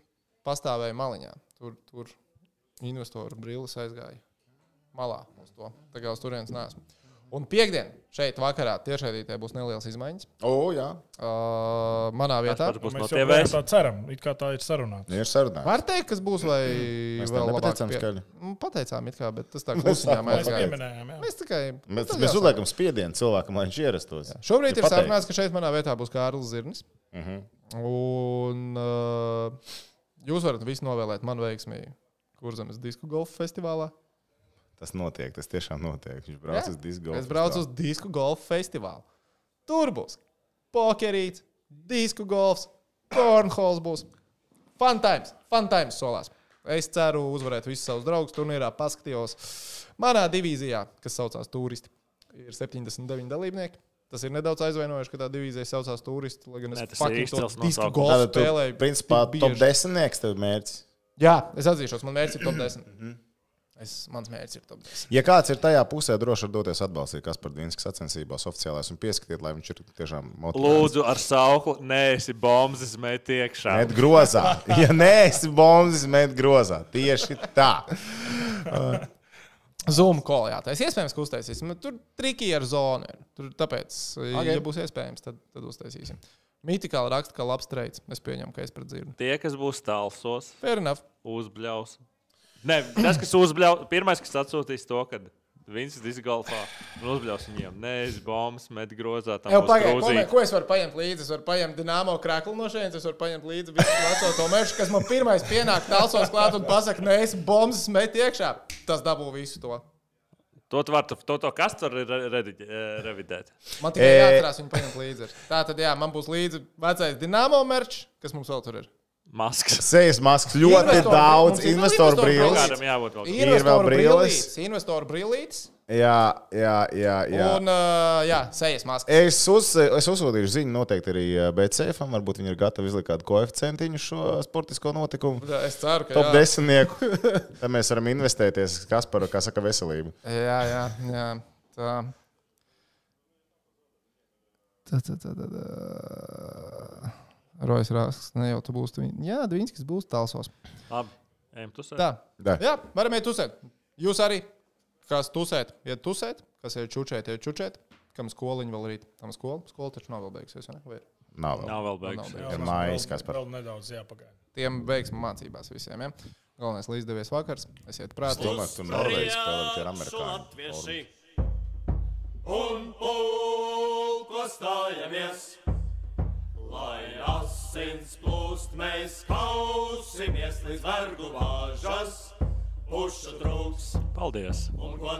[SPEAKER 4] pastāvēju maliņā. Tur, tur investoru brīvs aizgāja malā uz to. Tagad uz turienes neesmu. Un piekdien šeit vakarā tiešraidītē būs nelielas izmaiņas.
[SPEAKER 5] O, jā.
[SPEAKER 4] Uh, manā vietā.
[SPEAKER 1] Kaspars būs no
[SPEAKER 6] Mēs jau
[SPEAKER 1] TV.
[SPEAKER 6] tā ceram, it kā tā ir sarunāta.
[SPEAKER 5] Ir sarunā.
[SPEAKER 4] Var teikt, kas būs, vai
[SPEAKER 5] Mēs
[SPEAKER 4] vēl
[SPEAKER 5] tam
[SPEAKER 4] labāk
[SPEAKER 5] nepateicām skaļi.
[SPEAKER 4] Nu, Pateicām, it kā, bet tas tā
[SPEAKER 5] [LAUGHS]
[SPEAKER 4] klusumā
[SPEAKER 5] sākumā
[SPEAKER 6] Mēs
[SPEAKER 4] aizgāja.
[SPEAKER 6] pieminējām, jā.
[SPEAKER 4] Mēs tikai.
[SPEAKER 5] Mēs,
[SPEAKER 4] tas
[SPEAKER 5] mēs
[SPEAKER 4] jāsaka.
[SPEAKER 5] uzliekam spiedienu cilvēkam, lai viņš ierastos.
[SPEAKER 4] Šobrīd
[SPEAKER 5] Tu
[SPEAKER 4] ir
[SPEAKER 5] pateici.
[SPEAKER 4] sarunāts, ka šeit manā vietā būs Kārlis Zirnis. Uh -huh. Un uh, jūs varat visu novēlēt man veiksmīgi. Kurzemes disku golfa festivālā?
[SPEAKER 5] Tas notiek, tas tiešām notiek. Viņš brauc uz disku.
[SPEAKER 4] Es braucu uz disku golfa festivālu. Tur būs pokerīts, disku golfs, cornholes būs. Fantāms, fantāms solās. Es ceru uzvarēt visus savus draugus turnīrā. Paskatījos manā divīzijā, kas saucās Turisti. Ir 79 dalībnieki. Tas ir nedaudz aizvainojoši, ka tā divīzija saucās Turisti. Lai gan
[SPEAKER 1] Nē,
[SPEAKER 4] es
[SPEAKER 1] tas ir
[SPEAKER 4] fucking to
[SPEAKER 1] izcils
[SPEAKER 4] disku
[SPEAKER 1] nosaukums.
[SPEAKER 4] golfu
[SPEAKER 5] Tātad, tu,
[SPEAKER 4] spēlēju.
[SPEAKER 5] principā,
[SPEAKER 4] tik
[SPEAKER 5] top
[SPEAKER 4] bieži.
[SPEAKER 5] 10 tev mērķis.
[SPEAKER 4] Jā, es atzīšos, man mērķis ir top
[SPEAKER 5] Mhm.
[SPEAKER 4] 10. Es, mans mērķis ir top 10.
[SPEAKER 5] Ja kāds ir tajā pusē, droši var doties atbalstīt Kasparu Dienas sacensībās oficiālās un pieskatīt, lai viņš ir tiešām motivēts.
[SPEAKER 1] Lūdzu, ar sauklu, nē, esi bombas met iekšā.
[SPEAKER 5] Met grozā. [LAUGHS] Ja nē, esi bombas, met grozā. Tieši tā.
[SPEAKER 4] Zoom kolā tas iespējams, ka uztaisīsim. Tur triki ar zonu. Ir. Tur, tāpēc, okay.
[SPEAKER 5] Ok.
[SPEAKER 4] ja būs iespējams, tad, tad uztaisīsim. Mitikāli raksta, ka labs treids. Es pieņemu, ka es predzirdu.
[SPEAKER 1] Tie, kas būs tālsos,
[SPEAKER 4] Fair enough.
[SPEAKER 1] uzbļaus. Nē, tas, kas uzbļaus, pirmais, kas atsūtīs to, kad viņš ir disgolfā un uzbļaus viņiem. Nē, es bombas met grozā. Tam
[SPEAKER 4] Jau
[SPEAKER 1] būs
[SPEAKER 4] pagaidi, ko,
[SPEAKER 1] grūzīt.
[SPEAKER 4] mē- ko es varu paņemt līdzi? Es varu paņemt dīnāmo krāklu no šejienes, es varu paņemt līdzi visu veco to mežu, kas man pirmais pienāk tālsos klāt un pasaka, nē, es bombas met iekšā. Tas dabū visu to.
[SPEAKER 1] To tu vari, to, to, to kas tur ir re- rediģ- eh, revidēt.
[SPEAKER 4] Man tikai
[SPEAKER 5] E.
[SPEAKER 4] jāatcerās, viņu paņemt līdzi. ir. Tā tad, jā, man būs līdzi vecais dīnāmo merčs, kas mums vēl tur ir.
[SPEAKER 1] Maskas.
[SPEAKER 5] Sejas maskas ļoti
[SPEAKER 4] Investoru- mums
[SPEAKER 5] daudz,
[SPEAKER 4] ir vēl
[SPEAKER 5] investoru
[SPEAKER 4] investoru
[SPEAKER 5] brīvs.
[SPEAKER 4] programma.
[SPEAKER 1] Kādam jābūt vēl.
[SPEAKER 5] vēl
[SPEAKER 4] Investoru
[SPEAKER 5] brilles.
[SPEAKER 4] brillītes, Investoru brīvlītes.
[SPEAKER 5] Jā, jā, jā. jā.
[SPEAKER 4] Un, uh, jā, sejas maska.
[SPEAKER 5] Es, uz, es uzsūtīšu ziņu noteikti arī eh, BCF-am. Varbūt viņi ir gatavi izlikt kādu koeficientiņu šo sportisko notikumu.
[SPEAKER 4] Es ceru, ka
[SPEAKER 5] E-
[SPEAKER 4] jā.
[SPEAKER 5] Top desmitnieku. Tad mēs varam investēties Kasparu, kā saka, veselību.
[SPEAKER 4] Jā, jā, jā. Tā. Tā, tā, tā, tā, tā. Rojas Rāsks, ne jau tu būsi. tu viņ- Jā, Dvīnskis būs tālsos.
[SPEAKER 1] Labi, ejam tu sēdi.
[SPEAKER 4] Tā. Jā, varam iet tusēt. Jūs arī, kas tusēt, iet tusēt, kas ir čučēt, iet čučēt, kam skoliņa vēl rīt. Tam skola, skola taču nav vēl beigusies, vai ne? Vai ir?
[SPEAKER 5] Nav vēl.
[SPEAKER 1] Nav vēl beigusies.
[SPEAKER 6] Jā,
[SPEAKER 5] Ir
[SPEAKER 6] mums
[SPEAKER 5] mājas,
[SPEAKER 6] vēl-
[SPEAKER 5] Kaspar.
[SPEAKER 6] Vēl nedaudz jāpagaida.
[SPEAKER 4] Tiem beigs mācībās visiem, jā. Galvenais, lai izdevies vakars, esiet prātīgi.
[SPEAKER 5] Tomēr tu Norvēģi spēlē, tie ir amerikāņi.
[SPEAKER 9] latvieši! Un pulko stājamies, lai asins plūst, mēs kausimies līdz vergu vāžas, puša trūks
[SPEAKER 1] Paldies!
[SPEAKER 9] un ko